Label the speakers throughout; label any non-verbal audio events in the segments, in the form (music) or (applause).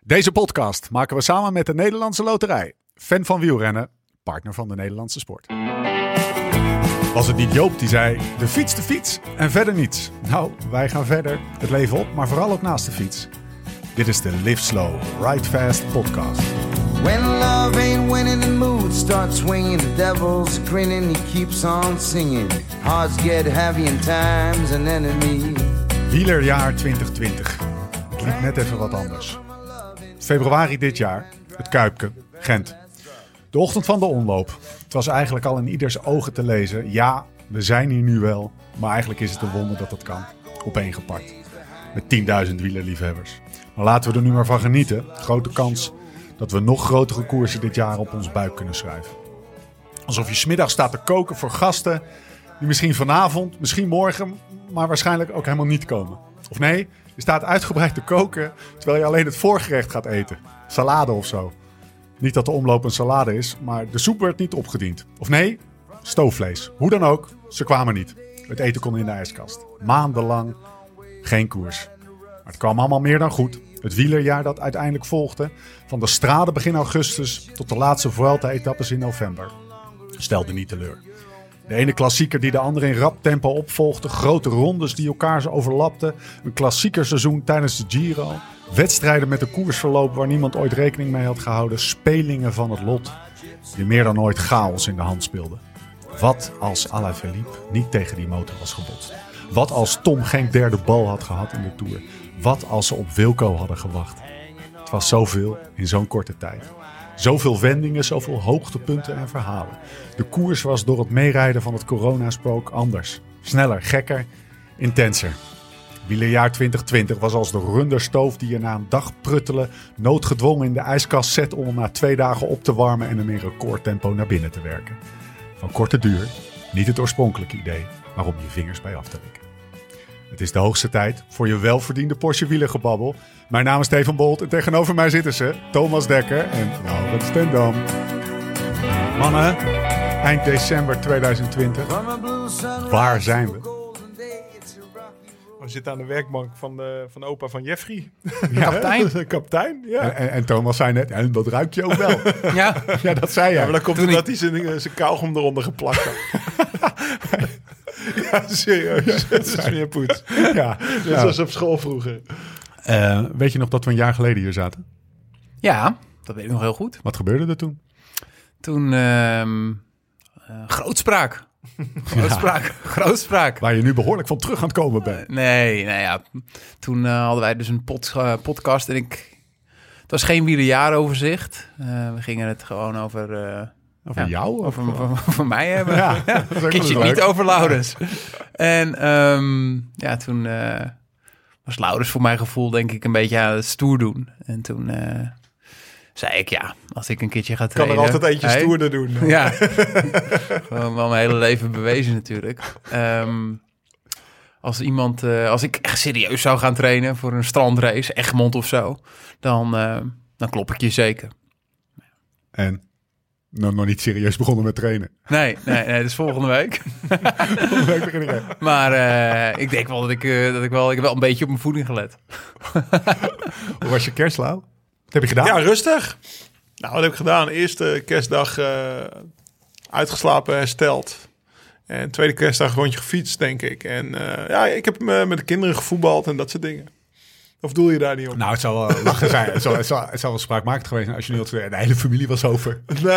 Speaker 1: Deze podcast maken we samen met de Nederlandse Loterij. Fan van wielrennen, partner van de Nederlandse sport. Was het niet Joop die zei, de fiets, de fiets en verder niets. Nou, wij gaan verder, het leven op, maar vooral ook naast de fiets. Dit is de Live Slow, Ride Fast podcast.
Speaker 2: When love ain't winning, the mood starts swinging. The devil's grinning, he keeps on singing. Hearts get heavy, and time's an enemy.
Speaker 1: Wielerjaar 2020. Het liep net even wat anders. Februari dit jaar, het Kuipke, Gent. De ochtend van de omloop. Het was eigenlijk al in ieders ogen te lezen. Ja, we zijn hier nu wel, maar eigenlijk is het een wonder dat dat kan. Opeengepakt. Met 10.000 wielerliefhebbers. Maar laten we er nu maar van genieten. Grote kans dat we nog grotere koersen dit jaar op ons buik kunnen schrijven. Alsof je smiddag staat te koken voor gasten die misschien vanavond, misschien morgen, maar waarschijnlijk ook helemaal niet komen. Of nee, je staat uitgebreid te koken terwijl je alleen het voorgerecht gaat eten. Salade of zo. Niet dat de omloop een salade is, maar de soep werd niet opgediend. Of nee, stoofvlees. Hoe dan ook, ze kwamen niet. Het eten kon in de ijskast. Maandenlang geen koers. Maar het kwam allemaal meer dan goed. Het wielerjaar dat uiteindelijk volgde, van de straden begin augustus tot de laatste Vuelta-etappes in november, stelde niet teleur. De ene klassieker die de andere in rap tempo opvolgde. Grote rondes die elkaar ze overlapten. Een klassiekerseizoen tijdens de Giro. Wedstrijden met een koersverloop waar niemand ooit rekening mee had gehouden. Spelingen van het lot die meer dan ooit chaos in de hand speelden. Wat als Alain Philippe niet tegen die motor was gebotst? Wat als Tom Genk derde bal had gehad in de Tour? Wat als ze op Wilco hadden gewacht? Het was zoveel in zo'n korte tijd. Zoveel wendingen, zoveel hoogtepunten en verhalen. De koers was door het meerijden van het coronaspook anders. Sneller, gekker, intenser. Wielerjaar 2020 was als de runderstoof die je na een dag pruttelen noodgedwongen in de ijskast zet om hem na twee dagen op te warmen en hem in recordtempo naar binnen te werken. Van korte duur, niet het oorspronkelijke idee, maar om je vingers bij af te likken. Het is de hoogste tijd voor je welverdiende Porsche wielergebabbel. Mijn naam is Steven Bolt en tegenover mij zitten ze Thomas Dekker en Laurens Stendam. Mannen, eind december 2020.
Speaker 2: From a blue sunrise
Speaker 1: Waar zijn we?
Speaker 2: to a golden day, it's a rocky
Speaker 3: We zitten aan de werkbank van de, van de opa van Jeffrey. (laughs)
Speaker 1: Kapitein.
Speaker 3: De kapitein, ja.
Speaker 1: En, en- en Thomas zei net, en dat ruikt je ook wel.
Speaker 4: Ja,
Speaker 1: ja, dat zei jij.
Speaker 3: maar dat komt
Speaker 4: Toen
Speaker 3: omdat hij zijn, eh, zijn kauwgom eronder geplakt had. ja,
Speaker 1: (laughs)
Speaker 3: serieus. Het is weer poets.
Speaker 1: Ja,
Speaker 3: Net
Speaker 1: ja.
Speaker 3: zoals op school vroeger.
Speaker 1: Eh, weet je nog dat we een jaar geleden hier zaten?
Speaker 4: ja, dat weet ik nog heel goed.
Speaker 1: Wat gebeurde er toen?
Speaker 4: Toen, ehm, eh, grootspraak. Oh,
Speaker 1: (laughs)
Speaker 4: Grootspraak, grootspraak.
Speaker 1: Waar je nu behoorlijk van terug aan het komen bent.
Speaker 4: Nee, nou ja, toen eh, hadden wij dus een pod- eh, podcast en ik... Het was geen wielerjaaroverzicht. Eh we gingen het gewoon over... eh,
Speaker 1: Over
Speaker 4: ja,
Speaker 1: jou?
Speaker 4: Over, over- (laughs) over mij hebben.
Speaker 1: (laughs) Ja, dat is ook wel
Speaker 4: Kies je
Speaker 1: eens
Speaker 4: niet
Speaker 1: leuk.
Speaker 4: over Laurens. en ehm, ja, toen eh, was Laurens voor mijn gevoel denk ik een beetje aan het stoer doen. En toen eh, zei ik ja, als ik een keertje ga
Speaker 3: Kan
Speaker 4: trainen...
Speaker 3: er altijd eentje
Speaker 4: Hey.
Speaker 3: stoerder doen.
Speaker 4: Ja,
Speaker 3: (laughs)
Speaker 4: gewoon wel mijn hele leven bewezen natuurlijk. Ehm, als iemand, eh, als ik echt serieus zou gaan trainen voor een strandrace, Egmond of zo, dan, eh, dan klop ik je zeker.
Speaker 1: En nog, nog niet serieus begonnen met
Speaker 4: (laughs)
Speaker 1: trainen.
Speaker 4: Nee, nee, nee, dat is volgende week.
Speaker 1: Volgende week begin ik echt.
Speaker 4: Maar eh, ik denk wel dat ik, eh, dat ik wel, ik heb wel een beetje op mijn voeding gelet.
Speaker 1: Hoe was je kerstlauw? Wat heb je gedaan?
Speaker 3: Ja, rustig. Nou, wat heb ik gedaan? Eerste kerstdag eh, uitgeslapen, hersteld. En tweede kerstdag rondje gefietst, denk ik. En eh, ja, ik heb eh, met de kinderen gevoetbald en dat soort dingen. Of doel je daar niet op?
Speaker 1: Nou, het zou wel lachen zijn. Het zou, het zou, het zou wel spraakmakend geweest zijn als je nu had gezegd, de hele familie was over.
Speaker 3: (laughs)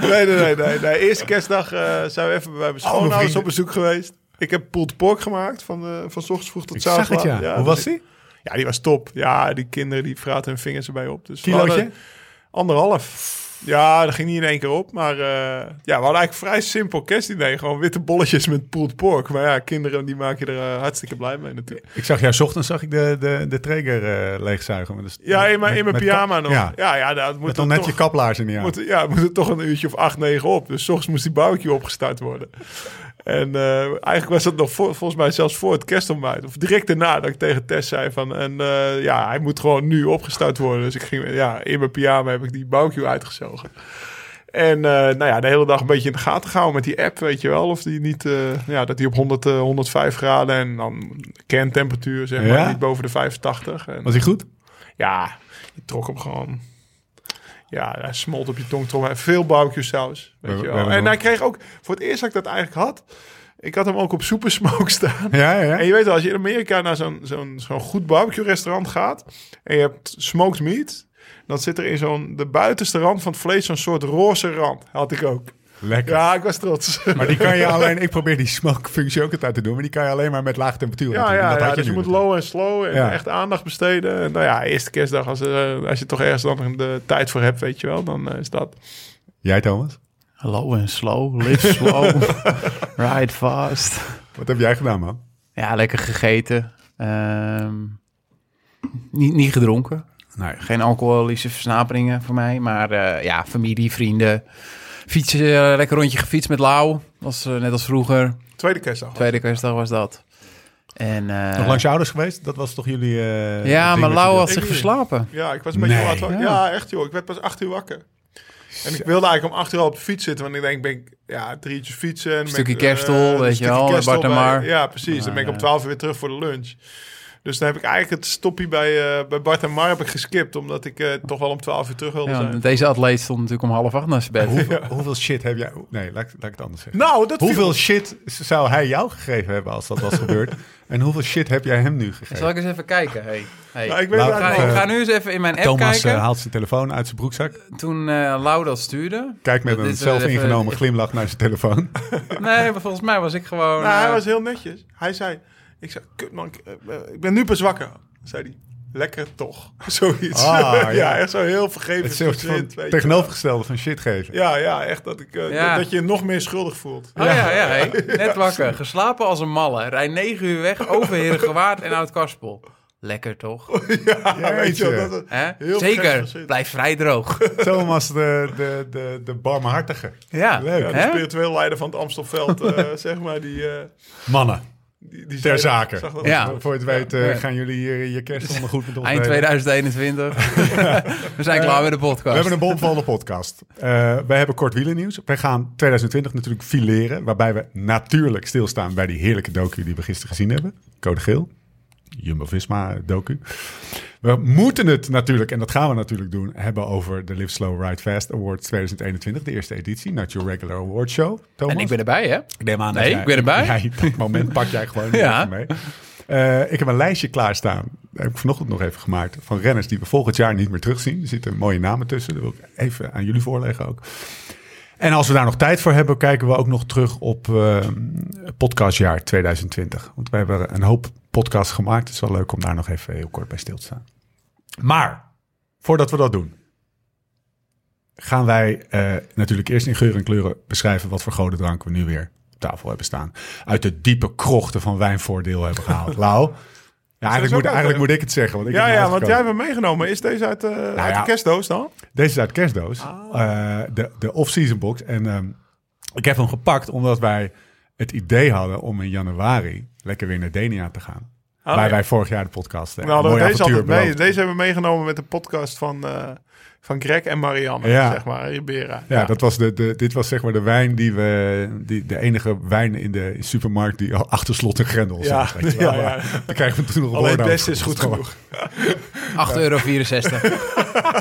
Speaker 3: Nee, nee, nee, nee, nee, nee. Eerste kerstdag eh, zijn we even bij mijn schoonouders
Speaker 1: Oh, vrienden.
Speaker 3: op bezoek geweest. Ik heb pulled pork gemaakt van, eh van 's ochtends vroeg tot
Speaker 1: Ik
Speaker 3: avonds
Speaker 1: zag het, ja.
Speaker 3: laat.
Speaker 1: Hoe
Speaker 3: dus
Speaker 1: was
Speaker 3: ik-
Speaker 1: die?
Speaker 3: Ja, die was top. Ja, die kinderen die vraten hun vingers erbij op. Dus we
Speaker 1: Kilootje?
Speaker 3: hadden Anderhalf. Ja, dat ging niet in één keer op. Maar eh, ja, we hadden eigenlijk vrij simpel kerstdiner. Gewoon witte bolletjes met pulled pork. Maar ja, kinderen die maak je er eh, hartstikke blij mee natuurlijk.
Speaker 1: Ik zag jou 's ochtends zag ik de, de, de traeger eh, leegzuigen. Met een-
Speaker 3: Ja, in mijn, in
Speaker 1: met-
Speaker 3: mijn
Speaker 1: met
Speaker 3: pyjama
Speaker 1: kap-
Speaker 3: nog.
Speaker 1: Ja,
Speaker 3: Ja, ja, dat moet
Speaker 1: met dan
Speaker 3: dan
Speaker 1: net
Speaker 3: toch-
Speaker 1: je kaplaars in de jaren.
Speaker 3: moet, ja, moet er toch een uurtje of acht, negen op. Dus 's ochtends moest die barbecue opgestart worden. En eh, eigenlijk was dat nog voor- volgens mij zelfs voor het kerstontbijt. Of direct daarna dat ik tegen Tess zei van... En, eh, ja, hij moet gewoon nu opgestart worden. Dus ik ging ja, in mijn pyjama heb ik die barbecue uitgezogen. En eh, nou ja, de hele dag een beetje in de gaten gehouden met die app, weet je wel. Of die niet, eh, ja, dat die op 100, eh, 105 graden en dan kerntemperatuur, zeg maar,
Speaker 1: Ja?
Speaker 3: niet boven de 85. En,
Speaker 1: Was hij goed?
Speaker 3: Ja, je trok hem gewoon. Ja, hij smolt op je tong. Trok maar veel barbecue saus. Weet
Speaker 1: We-
Speaker 3: je
Speaker 1: we
Speaker 3: wel.
Speaker 1: hebben
Speaker 3: En
Speaker 1: nog-
Speaker 3: hij kreeg ook... Voor het eerst dat ik dat eigenlijk had... Ik had hem ook op Super Smoke (laughs) staan.
Speaker 1: Ja, ja.
Speaker 3: En je weet wel, als je in Amerika naar zo'n zo'n zo'n goed barbecue restaurant gaat... en je hebt smoked meat... dan zit er in zo'n de buitenste rand van het vlees... zo'n soort roze rand. Had ik ook.
Speaker 1: Lekker.
Speaker 3: Ja, ik was trots.
Speaker 1: Maar die kan je alleen... Ik probeer die smokefunctie ook altijd te doen. Maar die kan je alleen maar met lage temperatuur.
Speaker 3: (laughs) Ja, ja,
Speaker 1: dat
Speaker 3: ja,
Speaker 1: had je
Speaker 3: dus je
Speaker 1: nu
Speaker 3: moet
Speaker 1: natuurlijk.
Speaker 3: low en slow en
Speaker 1: Ja.
Speaker 3: echt aandacht besteden. En nou ja, eerste kerstdag, als, eh, als je toch ergens dan de tijd voor hebt, weet je wel, dan eh, is dat.
Speaker 1: Jij, Thomas?
Speaker 4: Low and slow, live slow, (laughs) ride fast.
Speaker 1: Wat heb jij gedaan, man?
Speaker 4: Ja, lekker gegeten. Ehm, niet, niet gedronken.
Speaker 1: Nee.
Speaker 4: Geen alcoholische versnaperingen voor mij. Maar eh, ja, familie, vrienden. Fietsen, eh, lekker rondje gefietst met Lau. Was eh, net als vroeger.
Speaker 3: Tweede kerstdag.
Speaker 4: Tweede kerstdag was dat. En, eh,
Speaker 1: Nog langs je ouders geweest? Dat was toch jullie... eh,
Speaker 4: Ja,
Speaker 1: ding
Speaker 4: maar
Speaker 1: dat
Speaker 4: Lau
Speaker 1: je
Speaker 4: had
Speaker 1: deed?
Speaker 3: Ik
Speaker 4: zich
Speaker 3: niet.
Speaker 4: verslapen.
Speaker 3: Ja, ik was een beetje
Speaker 1: Nee.
Speaker 3: laat wakker.
Speaker 4: Ja.
Speaker 3: Ja. echt joh. Ik werd pas acht uur wakker. En ik wilde eigenlijk om acht uur al op de fiets zitten. Want ik denk, ben ik ja, drie uurtjes fietsen. en
Speaker 4: Stukje
Speaker 3: ben ik, eh,
Speaker 4: kerstel,
Speaker 3: een
Speaker 4: weet je
Speaker 3: stukje
Speaker 4: wel,
Speaker 3: kerstel
Speaker 4: Bart en
Speaker 3: bij-
Speaker 4: Mar.
Speaker 3: Ja, precies. Dan ben ik om
Speaker 4: eh,
Speaker 3: twaalf uur weer terug voor de lunch. Dus dan heb ik eigenlijk het stoppie bij, eh, bij Bart en Mar heb ik geskipt. Omdat ik eh, toch wel om twaalf uur terug wilde
Speaker 4: Ja,
Speaker 3: zijn.
Speaker 4: want deze atleet stond natuurlijk om half acht naar zijn bed.
Speaker 1: Hoeveel, hoeveel shit heb jij... Nee, laat, ik- laat ik het anders zeggen.
Speaker 3: Nou, dat viel
Speaker 1: Hoeveel shit zou hij jou gegeven hebben als dat
Speaker 4: (laughs)
Speaker 1: was gebeurd? en hoeveel shit heb jij hem nu gegeven?
Speaker 4: Zal ik eens even kijken? Hey, hey.
Speaker 3: Nou, ik
Speaker 4: ik,
Speaker 3: weet
Speaker 1: Laat-
Speaker 3: het
Speaker 4: ga,
Speaker 3: eigenlijk
Speaker 4: ik
Speaker 3: wel.
Speaker 4: ga nu eens even in mijn app
Speaker 1: eh, Thomas eh,
Speaker 4: kijken.
Speaker 1: haalt zijn telefoon uit zijn broekzak.
Speaker 4: Toen eh Lau dat stuurde.
Speaker 1: Kijkt met
Speaker 4: Dit
Speaker 1: een
Speaker 4: is
Speaker 1: zelf
Speaker 4: even-
Speaker 1: ingenomen glimlach naar zijn
Speaker 4: (laughs)
Speaker 1: telefoon.
Speaker 4: Nee, maar volgens mij was ik gewoon...
Speaker 3: Nou, hij
Speaker 4: eh,
Speaker 3: was heel netjes. Hij zei, ik zei, kut man, ik, eh, ik ben nu pas wakker. Zei hij, lekker toch. (laughs) Zoiets.
Speaker 1: Ah,
Speaker 3: ja.
Speaker 1: ja.
Speaker 3: echt zo heel
Speaker 1: Het
Speaker 3: vergevend.
Speaker 1: soort van
Speaker 3: gezind, weet je.
Speaker 1: tegenovergestelde van shit geven.
Speaker 3: Ja, ja, echt dat, ik, eh,
Speaker 4: Ja.
Speaker 3: dat, dat je je nog meer schuldig
Speaker 1: (laughs)
Speaker 3: voelt.
Speaker 4: Oh ja, ja, hey. net wakker. Geslapen als een malle. Rij negen uur weg over Herengewaard en Oud-Karspel. Lekker
Speaker 1: Oh,
Speaker 4: toch?
Speaker 3: Ja, (laughs) weet je wel,
Speaker 1: Jeetje.
Speaker 3: dat het
Speaker 4: Hè?
Speaker 3: heel
Speaker 4: Zeker,
Speaker 3: vergevend gezind.
Speaker 4: blijf vrij droog.
Speaker 1: Thomas, de, de, de, de barmhartige.
Speaker 4: Ja,
Speaker 1: Leuk.
Speaker 3: Ja, de
Speaker 4: hè?
Speaker 3: spiritueel leider van het
Speaker 1: (laughs)
Speaker 3: Amstelveld, eh, zeg maar, die... eh,
Speaker 1: Mannen,
Speaker 3: die, die
Speaker 1: ter
Speaker 3: zei-
Speaker 1: zake.
Speaker 3: zag
Speaker 1: (laughs)
Speaker 3: dat-
Speaker 4: Ja.
Speaker 1: Voor je het weet eh,
Speaker 4: Ja.
Speaker 1: gaan jullie hier je kerstondergoed met ons
Speaker 4: Eind
Speaker 1: delen. (laughs)
Speaker 4: 2021. We zijn klaar met de
Speaker 1: We
Speaker 4: podcast.
Speaker 1: hebben een bomvolle podcast. Eh wij hebben kort wielennieuws. Wij gaan 2020 natuurlijk fileren. Waarbij we natuurlijk stilstaan bij die heerlijke docu die we gisteren gezien hebben. Code Geel. Jumbo-Visma docu. We moeten het natuurlijk, en dat gaan we natuurlijk doen, hebben over de Live Slow Ride Fast Awards 2021. De eerste editie, not your regular award show. Thomas.
Speaker 4: En ik ben erbij, hè?
Speaker 1: Ik neem aan
Speaker 4: Nee, ik ben
Speaker 1: (laughs)
Speaker 4: erbij.
Speaker 1: Jij, dat moment pak jij
Speaker 4: (laughs)
Speaker 1: gewoon
Speaker 4: Ja.
Speaker 1: even mee. Eh, ik heb een lijstje klaarstaan. Dat heb ik vanochtend nog even gemaakt. Van renners die we volgend jaar niet meer terugzien. Er zitten mooie namen tussen. Dat wil ik even aan jullie voorleggen ook. En als we daar nog tijd voor hebben, kijken we ook nog terug op eh, podcastjaar 2020. Want we hebben een hoop podcasts gemaakt. Het is wel leuk om daar nog even heel kort bij stil te staan. Maar, voordat we dat doen, gaan wij eh, natuurlijk eerst in geur en kleuren beschrijven wat voor godendrank we nu weer op tafel hebben staan. Uit de diepe krochten van wijnvoordeel hebben
Speaker 3: (laughs)
Speaker 1: gehaald. Lau, ja, eigenlijk, moet,
Speaker 3: ook
Speaker 1: eigenlijk
Speaker 3: wel-
Speaker 1: moet ik het zeggen. Want ik
Speaker 3: Ja,
Speaker 1: heb hem
Speaker 3: ja, want jij
Speaker 1: uitgekozen.
Speaker 3: hebt hem meegenomen. Is deze uit, eh, uit
Speaker 1: Nou ja.
Speaker 3: de kerstdoos dan?
Speaker 1: Deze is uit de kerstdoos.
Speaker 3: Ah.
Speaker 1: Eh, de de off-season box. En ehm, ik heb hem gepakt omdat wij het idee hadden om in januari lekker weer naar Denia te gaan.
Speaker 3: Oh,
Speaker 1: waar
Speaker 3: ja.
Speaker 1: wij vorig jaar de podcast
Speaker 3: We
Speaker 1: hebben.
Speaker 3: hadden
Speaker 1: Mooi
Speaker 3: deze,
Speaker 1: avontuur
Speaker 3: altijd mee,
Speaker 1: beloofd.
Speaker 3: deze hebben we meegenomen met de podcast van, eh, van Greg en Marianne,
Speaker 1: Ja.
Speaker 3: zeg maar, Ribera.
Speaker 1: Ja, Dat was de, de, dit was zeg maar de wijn die we... Die, de enige wijn in de supermarkt die al achter slot en grendel
Speaker 3: Ja,
Speaker 1: zat. weet je wel.
Speaker 3: ja, ja.
Speaker 1: Maar Dan krijgen we toen nog een
Speaker 3: Alleen
Speaker 1: oordeel
Speaker 3: best is
Speaker 1: over.
Speaker 3: goed genoeg. (laughs)
Speaker 4: 8,64 euro. 64.
Speaker 1: (laughs)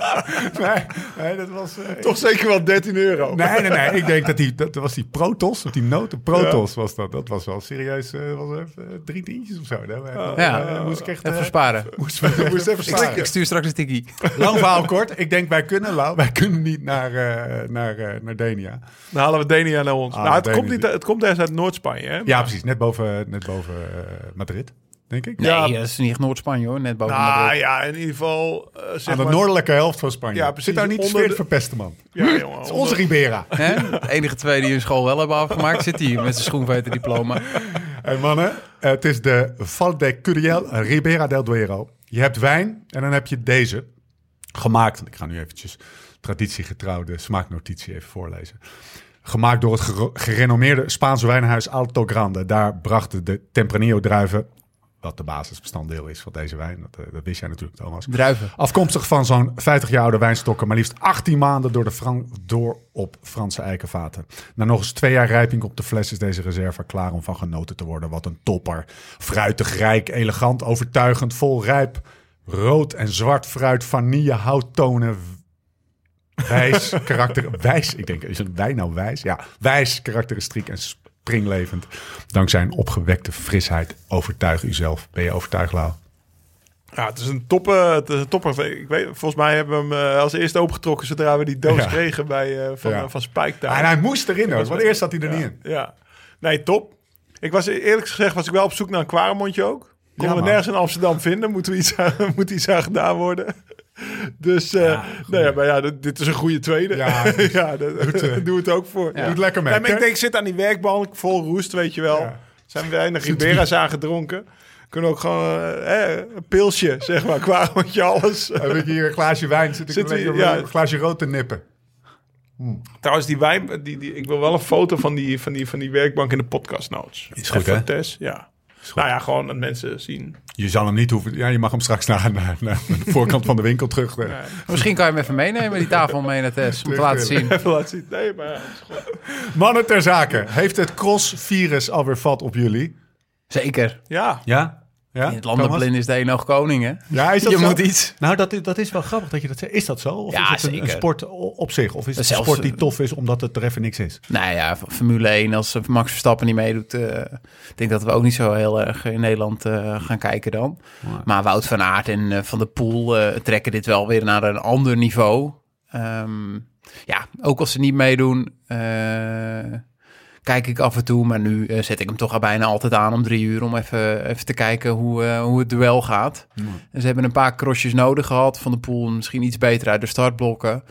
Speaker 1: Nee, nee, dat was... eh,
Speaker 3: Toch zeker wel 13 euro. Nou,
Speaker 1: Nee, nee, nee. Ik denk dat die, dat was die Protos, of die noten Protos was dat. Dat was wel serieus, eh, was even, eh, drie tientjes of zo. Daar eh,
Speaker 4: Ja.
Speaker 1: eh, moest ik echt... eh,
Speaker 4: Even sparen.
Speaker 1: moest (laughs)
Speaker 3: (laughs)
Speaker 1: ik moest even
Speaker 4: Ik,
Speaker 1: slikken.
Speaker 4: ik stuur straks een tikkie.
Speaker 1: Lang verhaal kort. Ik denk wij kunnen, Lau, wij kunnen niet naar, eh, naar, eh, naar Denia.
Speaker 3: Dan halen we Denia naar ons.
Speaker 1: Ah,
Speaker 3: nou, het,
Speaker 1: Denia.
Speaker 3: komt niet, het komt ergens uit Noord-Spanje, hè?
Speaker 1: Ja, precies. Net boven, net boven eh, Madrid, denk ik.
Speaker 4: Nee,
Speaker 1: Ja,
Speaker 4: dat is niet echt Noord-Spanje hoor. Net boven
Speaker 3: Nou
Speaker 4: Madrid.
Speaker 3: ja, in ieder geval... eh, zeg
Speaker 1: Aan de
Speaker 3: maar-
Speaker 1: noordelijke helft van Spanje.
Speaker 3: Ja, precies.
Speaker 1: Zit daar niet de
Speaker 3: Onder
Speaker 1: sfeer te
Speaker 3: de-
Speaker 1: verpesten, man.
Speaker 3: Ja, jongen,
Speaker 1: Het is onze Ribera.
Speaker 4: Hè? De enige twee die hun school wel hebben afgemaakt, zit hier met zijn schoenveterdiploma.
Speaker 1: (laughs) Hey mannen, het is de Val de Curiel Ribera del Duero. Je hebt wijn en dan heb je deze gemaakt. Ik ga nu eventjes traditiegetrouw de smaaknotitie even voorlezen. Gemaakt door het gero- gerenommeerde Spaanse wijnhuis Alto Grande. Daar brachten de Tempranillo-druiven, wat de basisbestanddeel is van deze wijn. Dat, eh, dat wist jij natuurlijk, Thomas.
Speaker 4: Druiven.
Speaker 1: Afkomstig van zo'n 50 jaar oude wijnstokken, maar liefst 18 maanden door, de Fran- door op Franse eikenvaten. Na nog eens twee jaar rijping op de fles is deze reserve klaar om van genoten te worden. Wat een topper. Fruitig, rijk, elegant, overtuigend, vol rijp. rood en zwart fruit, vanille, houttonen, w-
Speaker 3: (laughs)
Speaker 1: wijs, karakter, wijs. Ik denk, is een wijn nou wijs? Ja, wijs, karakteristiek en springlevend. Dankzij een opgewekte frisheid overtuig uzelf. Ben je overtuigd, Lau?
Speaker 3: Ja, het is een topper. Het is een topper. Ik weet, volgens mij hebben we hem eh, als eerste opengetrokken zodra we die doos
Speaker 1: Ja.
Speaker 3: kregen bij, eh, van,
Speaker 1: Ja.
Speaker 3: eh, van Spike daar.
Speaker 1: En hij moest erin hoor, want eerst zat hij er niet in.
Speaker 3: Ja. Nee, top. Ik was eerlijk gezegd was ik wel op zoek naar een kwaremondje ook.
Speaker 1: Ja,
Speaker 3: Konden we
Speaker 1: man.
Speaker 3: nergens in Amsterdam vinden. Moeten we iets aan, (laughs) moet iets aan gedaan worden. Dus, eh nou ja, maar ja, dit, dit is een goede tweede. (laughs)
Speaker 1: Ja,
Speaker 3: Ja,
Speaker 1: dus
Speaker 3: dat,
Speaker 1: doet, eh,
Speaker 3: (laughs) doe het ook voor.
Speaker 1: Doet lekker mee.
Speaker 3: Nee, maar ik denk, ik zit aan die werkbank, vol roest, weet je wel.
Speaker 1: Ja. (laughs)
Speaker 3: Zijn weinig Ribera's aangedronken. Kunnen ook gewoon eh, eh, een pilsje, zeg maar, (laughs) kwaremondje, alles.
Speaker 1: Heb ik hier een glaasje wijn, zit ik
Speaker 3: Zit
Speaker 1: een,
Speaker 3: hij-
Speaker 1: lekker-
Speaker 3: ja.
Speaker 1: een glaasje rood te nippen.
Speaker 3: Trouwens, die wijn, die, die, ik wil wel een foto van die, van die, van die werkbank in de podcast notes.
Speaker 1: Is goed,
Speaker 3: En van
Speaker 1: hè?
Speaker 3: Tess, ja. Nou ja, gewoon dat mensen zien. (laughs)
Speaker 1: Je zal hem niet hoeven. Ja, je mag hem straks naar, naar, naar de voorkant van de winkel terug. eh.
Speaker 4: Misschien kan je hem even meenemen, die tafel mee naar Tess. Om te laten zien.
Speaker 3: Even laten zien. Nee, maar ja, het is gewoon-
Speaker 1: Mannen ter zake. Heeft het crossvirus alweer vat op jullie?
Speaker 4: Zeker.
Speaker 3: ja.
Speaker 5: Ja?
Speaker 1: Ja?
Speaker 4: In het landenblind is de een oog koning, hè?
Speaker 1: Ja, is dat
Speaker 4: je
Speaker 1: zo?
Speaker 4: moet iets.
Speaker 1: Nou, dat, is- dat is wel grappig dat je dat zegt. Is dat zo? Of
Speaker 4: Ja,
Speaker 1: is het een, een
Speaker 4: zeker.
Speaker 1: sport o- op zich? Of is het
Speaker 4: Zelfs,
Speaker 1: een sport die
Speaker 4: eh,
Speaker 1: tof is omdat het er even niks is?
Speaker 4: Nou ja, Formule 1, als Max Verstappen niet meedoet, eh, ik denk dat we ook niet zo heel erg in Nederland eh, gaan kijken dan. Maar Wout van Aert en eh, Van der Poel eh, trekken dit wel weer naar een ander niveau. Ehm, ja, ook als ze niet meedoen, eh, kijk ik af en toe. Maar nu eh, zet ik hem toch al bijna altijd aan om drie uur om even, even te kijken hoe, eh, hoe het duel gaat. En ze hebben een paar crossjes nodig gehad. Van de Poel misschien iets beter uit de startblokken.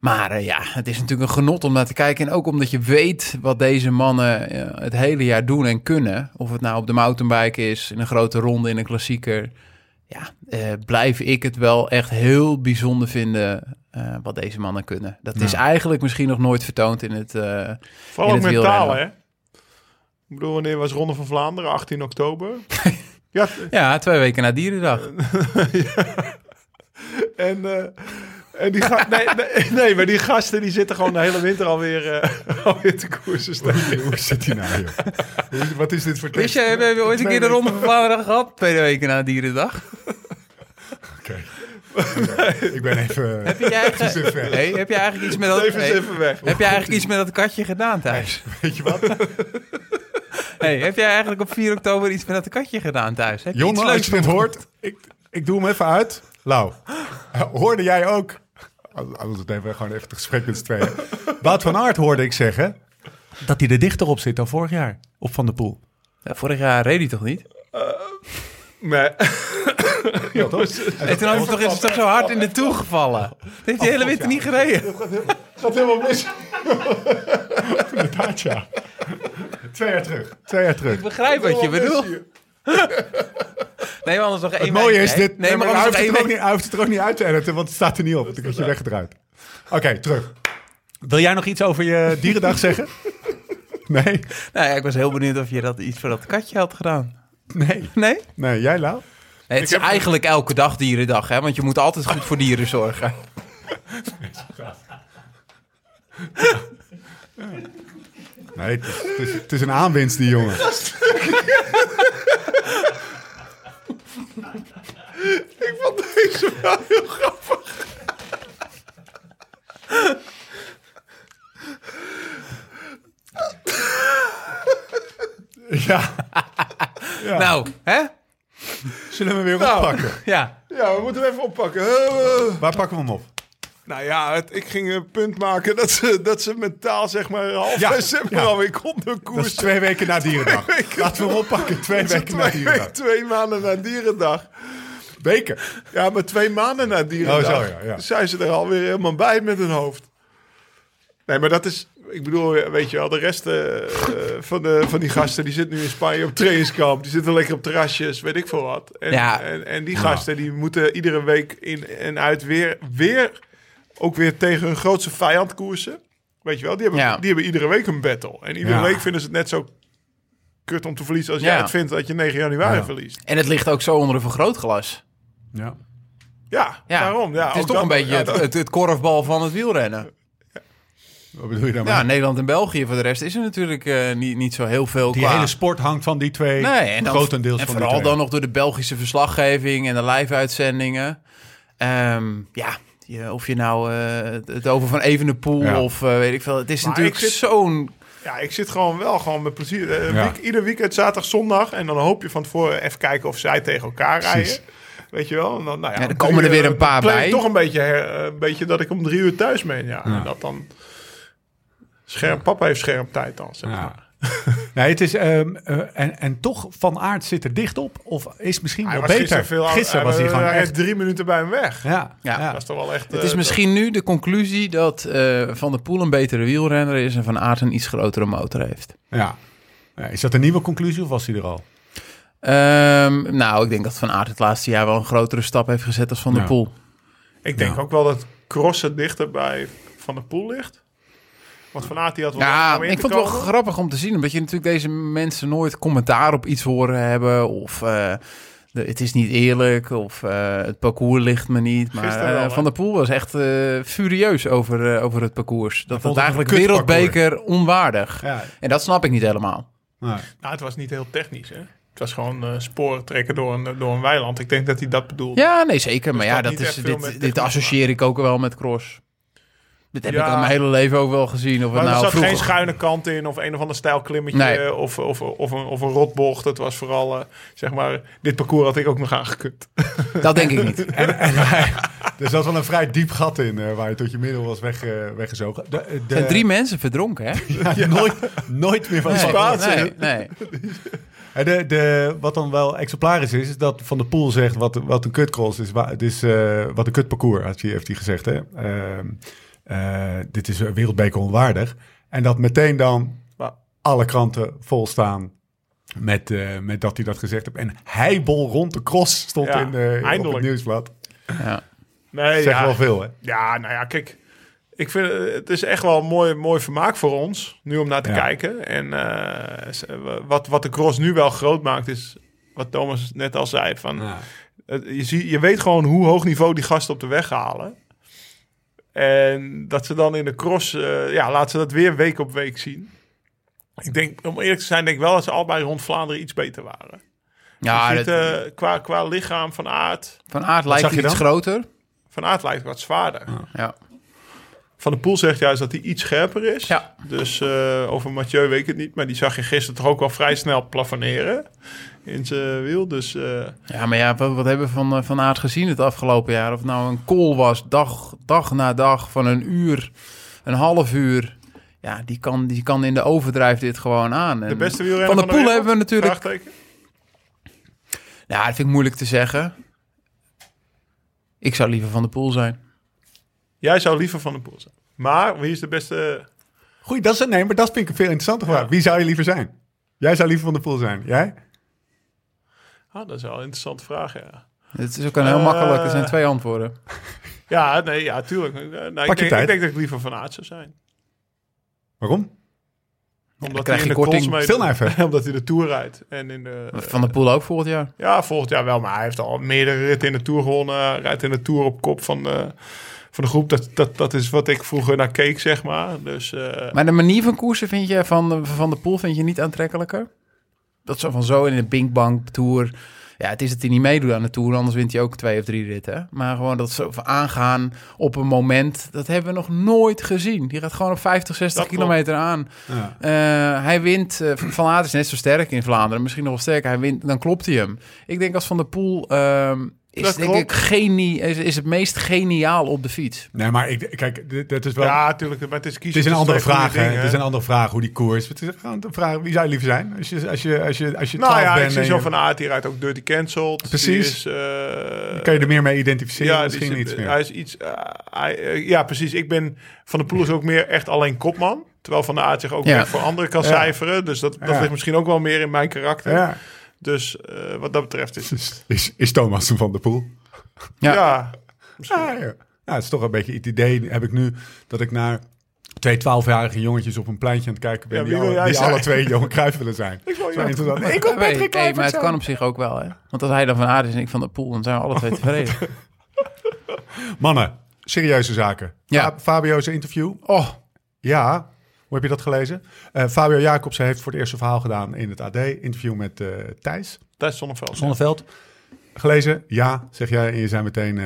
Speaker 4: Maar eh, ja, het is natuurlijk een genot om naar te kijken. En ook omdat je weet wat deze mannen eh, het hele jaar doen en kunnen. Of het nou op de mountainbike is, in een grote ronde, in een klassieker. Ja, eh, blijf ik het wel echt heel bijzonder vinden eh, wat deze mannen kunnen. Dat is eigenlijk misschien nog nooit vertoond in het... eh,
Speaker 3: Vooral
Speaker 4: In
Speaker 3: ook
Speaker 4: het
Speaker 3: mentaal, hè.
Speaker 4: wielrennen.
Speaker 3: Ik bedoel, wanneer was Ronde van Vlaanderen? 18 oktober. ja,
Speaker 4: ja, twee weken na (laughs) Dierendag.
Speaker 3: en... eh, en die ga- nee, nee, nee, maar die gasten die zitten gewoon de hele winter alweer, eh (laughs) alweer te koersen. staan.
Speaker 1: (laughs) Hoe zit hij nou (laughs) hier? Hoe- Wat is dit voor tekst?
Speaker 4: hebben we ooit een keer de Ronde van Vlaanderen gehad? Twee weken na Dierendag.
Speaker 1: Oké. Ik ben even... (laughs)
Speaker 4: Heb je
Speaker 1: Het is weer ver.
Speaker 4: eigenlijk, nee, heb je eigenlijk iets met dat...
Speaker 3: Even,
Speaker 4: hey,
Speaker 3: even weg.
Speaker 4: Heb je eigenlijk iets met dat katje gedaan thuis?
Speaker 1: Weet je wat?
Speaker 4: Hey, heb jij eigenlijk op 4 oktober iets met dat katje gedaan thuis? Heb je iets
Speaker 1: Jonne,
Speaker 4: leuks
Speaker 1: als je dit hoort, ik, ik doe hem even uit. Lau, (laughs) hoorde jij ook... Anders nemen we gewoon even het gesprek met z'n tweeën. Wout van Aert hoorde ik zeggen... dat hij er dichter op zit dan vorig jaar. Op Van der Poel.
Speaker 4: Ja, vorig jaar reed hij toch niet?
Speaker 3: Nee.
Speaker 1: Ja, toch? (laughs)
Speaker 4: En toen had hij toch, is hij toch zo hard in de toer gevallen? Dat heeft hij de hele winter niet gereden.
Speaker 1: gaat helemaal mis. (laughs) Inderdaad, ja. Twee jaar terug. Twee jaar terug.
Speaker 4: Ik begrijp wat je bedoelt. Nee, maar anders nog één
Speaker 1: Het mooie
Speaker 4: week,
Speaker 1: is
Speaker 4: hè?
Speaker 1: dit.
Speaker 4: Nee, maar
Speaker 1: hij,
Speaker 4: anders
Speaker 1: hoeft het
Speaker 4: nog één
Speaker 1: er ook
Speaker 4: week.
Speaker 1: niet, hij hoeft het er ook niet uit te editen, want het staat er niet op. Dan word je weggedraaid. Oké, terug. Wil jij nog iets over je dierendag zeggen? (laughs) Nee?
Speaker 4: Nou ja, ik was heel benieuwd of je dat iets voor dat katje had gedaan.
Speaker 1: Nee.
Speaker 4: Nee?
Speaker 1: Nee, jij Lau?
Speaker 4: Nee, het is eigenlijk elke dag dierendag, hè? Want je moet altijd goed voor dieren zorgen.
Speaker 1: Nee, het is, het is, het is een aanwinst, die jongen.
Speaker 3: Ik vond deze wel heel grappig.
Speaker 1: Ja. Ja.
Speaker 4: Nou, hè?
Speaker 1: Zullen we hem weer oppakken?
Speaker 4: Ja.
Speaker 3: Ja, we moeten hem even oppakken. Eh, eh.
Speaker 1: Waar pakken we hem op?
Speaker 3: Nou ja, het- ik ging een punt maken dat ze, dat ze mentaal zeg maar half
Speaker 1: Ja,
Speaker 3: december
Speaker 1: ja.
Speaker 3: alweer konden
Speaker 1: Dat is
Speaker 3: koersen.
Speaker 1: twee weken na dierendag.
Speaker 3: Twee weken.
Speaker 1: Laten we hem oppakken. Twee
Speaker 3: Dat is
Speaker 1: weken na
Speaker 3: twee,
Speaker 1: dierendag.
Speaker 3: twee maanden na Dierendag.
Speaker 1: Weken.
Speaker 3: Ja, maar twee maanden na Dierendag
Speaker 1: Oh, zo, ja, ja.
Speaker 3: zijn ze er alweer helemaal bij met hun hoofd. Nee, maar dat is... Ik bedoel, weet je wel, de rest eh, eh, van, de, van die gasten... die zitten nu in Spanje op trainingskamp. Die zitten lekker op terrasjes, weet ik veel wat. En,
Speaker 4: Ja.
Speaker 3: en, en die gasten die moeten iedere week in en uit weer... weer ook weer tegen hun grootste vijand koersen. Weet je wel, die hebben,
Speaker 4: Ja.
Speaker 3: die hebben iedere week een battle. En iedere
Speaker 1: Ja.
Speaker 3: week vinden ze het net zo kut om te verliezen... als jij
Speaker 4: Ja.
Speaker 3: het vindt dat je 9 januari
Speaker 1: Ja.
Speaker 3: verliest.
Speaker 4: En het ligt ook zo onder een vergrootglas.
Speaker 1: Ja.
Speaker 3: Ja,
Speaker 4: Ja.
Speaker 3: daarom. Ja,
Speaker 4: het is
Speaker 3: ook
Speaker 4: toch
Speaker 3: dat-
Speaker 4: een beetje
Speaker 3: ja,
Speaker 4: het,
Speaker 3: dat-
Speaker 4: het, het korfbal van het wielrennen.
Speaker 1: Wat bedoel je daarmee?
Speaker 4: Ja, Nederland en België. Voor de rest is er natuurlijk eh, niet, niet zo heel veel
Speaker 1: die
Speaker 4: qua...
Speaker 1: hele sport hangt van die twee.
Speaker 4: Nee, en dan,
Speaker 1: grotendeels
Speaker 4: en
Speaker 1: van
Speaker 4: vooral
Speaker 1: die twee.
Speaker 4: dan nog door de Belgische verslaggeving en de live-uitzendingen. Ehm, ja, je- of je nou eh, het- het over van Evenepoel
Speaker 1: Ja.
Speaker 4: of eh, weet ik veel. Het is
Speaker 3: Maar
Speaker 4: natuurlijk
Speaker 3: ik vind- eh,
Speaker 4: zo'n...
Speaker 3: Ja, ik zit gewoon wel gewoon met plezier. Eh,
Speaker 1: Ja.
Speaker 3: week- ieder weekend, zaterdag, zondag. En dan hoop je van tevoren even kijken of zij tegen elkaar
Speaker 1: Precies.
Speaker 3: rijden. Weet je wel? En Dan, nou ja,
Speaker 4: Ja, er
Speaker 3: om
Speaker 4: komen
Speaker 3: drie
Speaker 4: er weer
Speaker 3: uur-
Speaker 4: een paar
Speaker 3: plan ik
Speaker 4: bij.
Speaker 3: toch een beetje, her- eh, een beetje dat ik om drie uur thuis ben. Ja. En dat dan... Scherp, papa heeft scherp tijd dan, zeg maar.
Speaker 1: Ja. (laughs) nee, het is, ehm, eh, en, en toch, Van Aert zit er dicht op. Of is misschien
Speaker 3: Hij
Speaker 1: wel
Speaker 3: was
Speaker 1: beter.
Speaker 3: gisteren veel...
Speaker 1: Gisteren was hij gewoon
Speaker 3: Hij
Speaker 1: echt...
Speaker 3: reed drie minuten bij hem weg.
Speaker 1: Ja, ja.
Speaker 4: Ja.
Speaker 3: Dat is toch wel echt... eh,
Speaker 4: Het is misschien nu de conclusie dat eh, Van der Poel een betere wielrenner is... en Van Aert een iets grotere motor heeft.
Speaker 1: ja. Ja, Is dat een nieuwe conclusie of was hij er al?
Speaker 4: Ehm, nou, ik denk dat Van Aert het laatste jaar wel een grotere stap heeft gezet als Van der
Speaker 1: Ja.
Speaker 4: Poel.
Speaker 3: Ik denk
Speaker 1: Ja.
Speaker 3: ook wel dat crossen dichter bij Van der Poel ligt. Want Van Aert die had wel lang
Speaker 4: Ja,
Speaker 3: om in
Speaker 4: ik
Speaker 3: te
Speaker 4: vond het wel
Speaker 3: komen.
Speaker 4: grappig om te zien. Omdat je natuurlijk deze mensen nooit commentaar op iets horen hebben. Of eh, de- het is niet eerlijk. Of eh, het parcours ligt me niet. Maar
Speaker 3: Gisteren wel,
Speaker 4: eh,
Speaker 3: hè?
Speaker 4: Van der Poel was echt eh, furieus over, eh, over het parcours. Dat
Speaker 1: vond
Speaker 4: het
Speaker 1: het
Speaker 4: eigenlijk
Speaker 1: een kutparcours.
Speaker 4: wereldbeker onwaardig.
Speaker 1: Ja.
Speaker 4: En dat snap ik niet helemaal.
Speaker 1: Nou,
Speaker 3: Nou, het was niet heel technisch, hè? Het was gewoon eh, sporen trekken door een, door een weiland. Ik denk dat hij dat bedoelde.
Speaker 4: Ja, nee, zeker. Maar
Speaker 3: Dus dat
Speaker 4: ja,
Speaker 3: had
Speaker 4: dat
Speaker 3: niet
Speaker 4: is,
Speaker 3: echt veel met
Speaker 4: dit,
Speaker 3: techniek
Speaker 4: dit
Speaker 3: te
Speaker 4: associeer ik ook wel met cross. Dit heb ik
Speaker 3: Ja.
Speaker 4: al mijn hele leven ook wel gezien. Of het
Speaker 3: maar er
Speaker 4: nou
Speaker 3: zat
Speaker 4: vroeger...
Speaker 3: geen schuine kant in of een of ander stijl klimmetje
Speaker 4: Nee.
Speaker 3: eh, of, of, of, een, of een rotbocht. Het was vooral, eh, zeg maar, dit parcours had ik ook nog aangekund.
Speaker 4: Dat denk
Speaker 3: (laughs)
Speaker 4: ik niet.
Speaker 1: er zat wel een vrij diep gat in eh, waar je tot je middel was weg, eh, weggezogen. De, de,
Speaker 4: Er zijn drie mensen verdronken, hè?
Speaker 1: (laughs) Ja, Nooit, nooit meer van
Speaker 4: Nee,
Speaker 1: Spaans.
Speaker 4: nee, nee.
Speaker 1: En Eh, de, de, wat dan wel exemplarisch is, is dat Van der Poel zegt wat, wat een kutcross is. wa- Het is eh, wat een kutparcours, had hij- heeft hij gezegd. Hè? Ehm, eh, dit is eh, wereldbeker onwaardig. En dat meteen dan
Speaker 3: Maar
Speaker 1: alle kranten vol staan met, eh, met dat hij dat gezegd heeft. En heibel rond de cross stond
Speaker 3: Ja,
Speaker 1: in, eh op het
Speaker 3: eindelijk.
Speaker 1: nieuwsblad.
Speaker 4: Ja.
Speaker 3: nee,
Speaker 1: Zeg
Speaker 3: ja,
Speaker 1: wel veel, hè?
Speaker 3: Ja, nou ja, kijk. Ik vind eh, het is echt wel een mooi, mooi vermaak voor ons nu om naar te
Speaker 1: Ja.
Speaker 3: kijken. En eh, s- wat, wat de cross nu wel groot maakt, is wat Thomas net al zei. Van, het- je, zie, je weet gewoon hoe hoog niveau die gasten op de weg halen. En dat ze dan in de cross, eh, ja, laten ze dat weer week op week zien. Ik denk, om eerlijk te zijn, denk ik wel dat ze allebei rond Vlaanderen iets beter waren.
Speaker 4: Ja,
Speaker 3: Je ziet,
Speaker 4: dat-
Speaker 3: eh, qua, qua lichaam van aard,
Speaker 4: Van Aert lijkt
Speaker 1: zag je
Speaker 4: hij iets
Speaker 1: dan?
Speaker 4: groter.
Speaker 3: van aard lijkt wat zwaarder.
Speaker 4: Ja.
Speaker 3: Van de Poel zegt juist dat hij iets scherper is.
Speaker 4: Ja.
Speaker 3: Dus eh, over Mathieu weet ik het niet. Maar die zag je gisteren toch ook wel vrij snel plafoneren in zijn wiel. Dus eh,
Speaker 4: ja, maar ja, wat, wat hebben we van, eh, van Aert gezien het afgelopen jaar? Of het nou een call was, dag, dag na dag, van een uur, een half uur. Ja, die kan, die kan in de overdrijf dit gewoon aan.
Speaker 3: de
Speaker 4: En
Speaker 3: beste wielrenner
Speaker 4: Van de Poel
Speaker 3: wereld?
Speaker 4: hebben we natuurlijk...
Speaker 3: Vraagteken.
Speaker 4: Ja, dat vind ik moeilijk te zeggen. Ik zou liever Van de Poel zijn.
Speaker 3: Jij zou liever Van de Poel zijn. Maar wie is de beste...
Speaker 1: Goed, dat is een nee, maar dat vind ik een veel interessanter vraag. Wie zou je liever zijn? Jij zou liever Van der Poel zijn. Jij?
Speaker 3: Ah, dat is wel een interessante vraag, ja.
Speaker 4: Het is ook een heel
Speaker 3: Eh.
Speaker 4: makkelijk. Er zijn twee antwoorden.
Speaker 3: Ja, nee, ja, tuurlijk. Eh, nou,
Speaker 1: je
Speaker 3: ik, denk,
Speaker 1: tijd.
Speaker 3: ik denk dat ik liever Van Aert zou zijn.
Speaker 1: Waarom?
Speaker 3: Omdat
Speaker 4: krijg
Speaker 3: hij
Speaker 4: je
Speaker 3: in de cross
Speaker 4: korting.
Speaker 3: meedoet.
Speaker 1: Stil nou
Speaker 3: (laughs)
Speaker 1: even.
Speaker 3: Omdat hij de Tour rijdt. En in de,
Speaker 4: Van de Poel ook volgend jaar.
Speaker 3: Ja, volgend jaar wel. Maar hij heeft al meerdere ritten in de Tour gewonnen. Hij rijdt in de Tour op kop van de, van de groep. Dat, dat, dat is wat ik vroeger naar keek, zeg maar. Dus eh,
Speaker 4: Maar de manier van koersen vind je van, van de pool vind je niet aantrekkelijker? Dat zo van zo in de Binkbank Tour. Ja, het is dat hij niet meedoet aan de Tour, anders wint hij ook twee of drie ritten. hè. Maar gewoon dat zo van aangaan op een moment, dat hebben we nog nooit gezien. Die gaat gewoon op 50, 60
Speaker 3: Dat klopt.
Speaker 4: kilometer aan.
Speaker 1: Ja.
Speaker 4: Eh, hij wint, eh, Van Aert is net zo sterk in Vlaanderen, misschien nog wel sterker. Hij wint, dan klopt hij hem. Ik denk als Van der Poel ehm, is,
Speaker 3: Dat
Speaker 4: denk
Speaker 3: klopt.
Speaker 4: ik genie, is, is het meest geniaal op de fiets.
Speaker 1: Nee, maar ik, kijk, dit- dat is wel...
Speaker 3: ja, natuurlijk. Maar het is kiezen.
Speaker 1: Het is een andere
Speaker 3: tussen twee
Speaker 1: vraag,
Speaker 3: goede
Speaker 1: hè?
Speaker 3: dingen,
Speaker 1: Het is een andere vraag hoe die koers. Het is gewoon een vraag wie zou je liever zijn als je als je als je als je
Speaker 3: Nou
Speaker 1: 12
Speaker 3: ja, ik
Speaker 1: bent.
Speaker 3: zie
Speaker 1: en
Speaker 3: zo
Speaker 1: je-
Speaker 3: van Aert. Die rijdt ook Dirty Cancelled.
Speaker 1: Precies.
Speaker 3: Die is, eh,
Speaker 1: kan je er meer mee identificeren?
Speaker 3: ja, die
Speaker 1: misschien
Speaker 3: zit-
Speaker 1: iets meer.
Speaker 3: Hij is iets, eh, hij, eh, ja, precies. Ik ben van de Poel is ook meer echt alleen kopman. Terwijl Van de Aert zich ook
Speaker 4: Ja.
Speaker 3: weer voor anderen kan
Speaker 1: Ja.
Speaker 3: cijferen. Dus dat, dat
Speaker 1: Ja.
Speaker 3: ligt misschien ook wel meer in mijn karakter.
Speaker 1: ja.
Speaker 3: Dus eh, wat dat betreft is het...
Speaker 1: Is, is, is Thomas een van de pool?
Speaker 4: Ja.
Speaker 3: ja,
Speaker 1: Ja, ja. Ja, het is toch een beetje het idee heb ik nu dat ik naar twee 12-jarige jongetjes op een pleintje aan het kijken ben
Speaker 3: Ja,
Speaker 1: die,
Speaker 3: wie wil
Speaker 1: alle,
Speaker 3: jij
Speaker 1: die
Speaker 3: zijn?
Speaker 1: alle twee Johan Cruijff willen zijn.
Speaker 3: Ik wil
Speaker 1: Zo
Speaker 3: Johan
Speaker 1: interessant. Ik wil
Speaker 4: Hey,
Speaker 1: Patrick
Speaker 4: hey, maar
Speaker 1: Kluivert
Speaker 4: het kan
Speaker 1: zijn.
Speaker 4: op zich ook wel, hè? Want als hij dan van Aard is en ik van de Poel, dan zijn we alle twee
Speaker 1: (laughs)
Speaker 4: tevreden.
Speaker 1: Mannen, serieuze zaken.
Speaker 4: Ja.
Speaker 1: Fabio's interview.
Speaker 4: Oh,
Speaker 1: Ja, hoe heb je dat gelezen? Eh, Fabio Jacobsen heeft voor het eerste verhaal gedaan in het AD. Interview met eh, Thijs
Speaker 3: Thijs Zonneveld.
Speaker 1: Zonneveld. Gelezen? Ja, zeg jij. En je zei meteen eh,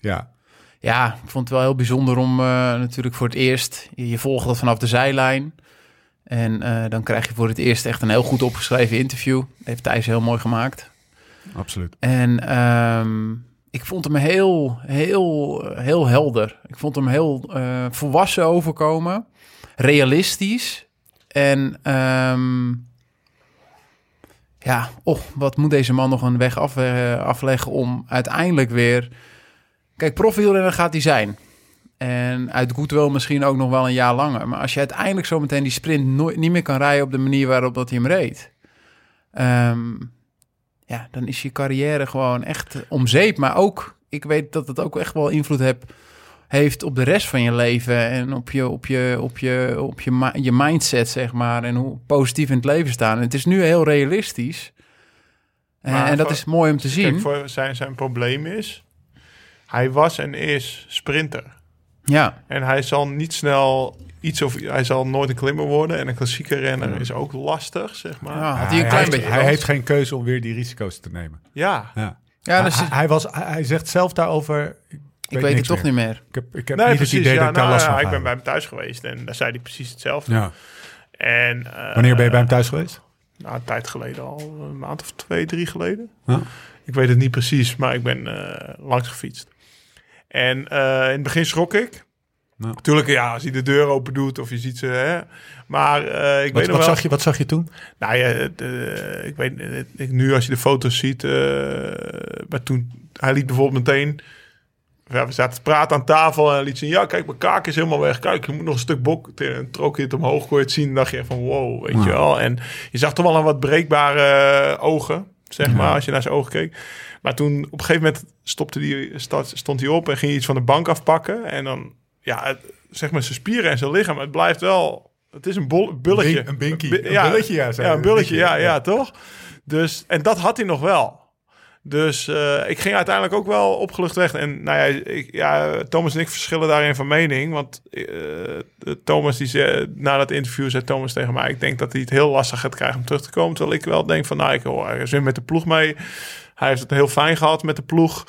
Speaker 1: ja.
Speaker 4: Ja, ik vond het wel heel bijzonder om eh, natuurlijk voor het eerst. Je, je volgt dat vanaf de zijlijn. En eh, dan krijg je voor het eerst echt een heel goed opgeschreven interview. Dat heeft Thijs heel mooi gemaakt.
Speaker 1: Absoluut.
Speaker 4: En ehm, ik vond hem heel, heel, heel helder. Ik vond hem heel eh, volwassen overkomen. Realistisch. En ehm, ja, oh, wat moet deze man nog een weg af- eh, afleggen om uiteindelijk weer... Kijk, profielrenner gaat hij zijn. En uit goodwill misschien ook nog wel een jaar langer. Maar als je uiteindelijk zometeen die sprint nooit, niet meer kan rijden op de manier waarop dat hij hem reed... ehm, ja, dan is je carrière gewoon echt om zeep. Maar ook, ik weet dat het ook echt wel invloed heb, heeft op de rest van je leven. En op je, op je, op je, op je, ma- je mindset, zeg maar. En hoe positief in het leven staan. En het is nu heel realistisch. En-
Speaker 3: Maar
Speaker 4: en dat
Speaker 3: voor-
Speaker 4: is mooi om te zien.
Speaker 3: Kijk, voor zijn, zijn probleem is... Hij was en is sprinter.
Speaker 4: Ja,
Speaker 3: En hij zal niet snel iets of... Hij zal nooit een klimmer worden. En een klassieke renner is ook lastig, zeg maar.
Speaker 4: ja
Speaker 3: Ja.
Speaker 4: had hij een klein
Speaker 1: heeft,
Speaker 4: beetje.
Speaker 1: hij
Speaker 4: kans.
Speaker 1: heeft geen keuze om weer die risico's te nemen. Ja.
Speaker 4: ja, dus
Speaker 1: hij, hij was, hij hij zegt zelf daarover... Ik,
Speaker 4: ik weet het
Speaker 1: niks
Speaker 4: toch
Speaker 1: meer.
Speaker 4: niet meer.
Speaker 1: Ik heb, ik heb
Speaker 3: Nee,
Speaker 1: niet
Speaker 3: precies.
Speaker 1: het idee
Speaker 3: ja,
Speaker 1: dat ik daar
Speaker 3: nou,
Speaker 1: last
Speaker 3: ja,
Speaker 1: van
Speaker 3: ik
Speaker 1: ga
Speaker 3: ben bij
Speaker 1: hebben.
Speaker 3: hem thuis geweest. En daar zei hij precies hetzelfde.
Speaker 1: Ja.
Speaker 3: En, eh,
Speaker 1: Wanneer ben je bij hem thuis geweest?
Speaker 3: Nou, een tijd geleden al. Een maand of twee, drie geleden.
Speaker 1: Huh?
Speaker 3: Ik weet het niet precies, maar ik ben eh, langs gefietst. En eh, in het begin schrok ik.
Speaker 1: Nou.
Speaker 3: Tuurlijk, ja, als hij de deur open doet of je ziet ze... Hè. Maar eh, ik
Speaker 1: Wat,
Speaker 3: weet nog
Speaker 1: wat,
Speaker 3: wel...
Speaker 1: zag je, wat zag je toen?
Speaker 3: Nou ja, het, eh, ik weet het, ik- nu als je de foto's ziet, eh, maar toen hij liet bijvoorbeeld meteen, ja, we zaten te praten aan tafel en hij liet zien, ja kijk mijn kaak is helemaal weg, kijk je moet nog een stuk bok, en trok je het omhoog, kon je het zien, dan dacht je echt van wow, weet je wel, en je zag toch wel een wat breekbare eh, ogen, zeg maar, als je naar zijn ogen keek. Maar toen op een gegeven moment stopte die, sta- stond hij op en ging iets van de bank afpakken en dan, ja, het- zeg maar zijn spieren en zijn lichaam, het blijft wel. Het is een bol, bulletje.
Speaker 1: Een binkie.
Speaker 3: Bi-
Speaker 1: Een bulletje, ja, zei
Speaker 3: ja, een
Speaker 1: hij.
Speaker 3: bulletje, ja, ja,
Speaker 1: Ja.
Speaker 3: toch? Dus, en dat had hij nog wel. Dus eh, ik ging uiteindelijk ook wel opgelucht weg. En nou ja, ik, ja, Thomas en ik verschillen daarin van mening. Want eh, Thomas, die zei, na dat interview, zei Thomas tegen mij... ik denk dat hij het heel lastig gaat krijgen om terug te komen. Terwijl ik wel denk van, nou, ik hoor, hij is weer met de ploeg mee. Hij heeft het heel fijn gehad met de ploeg.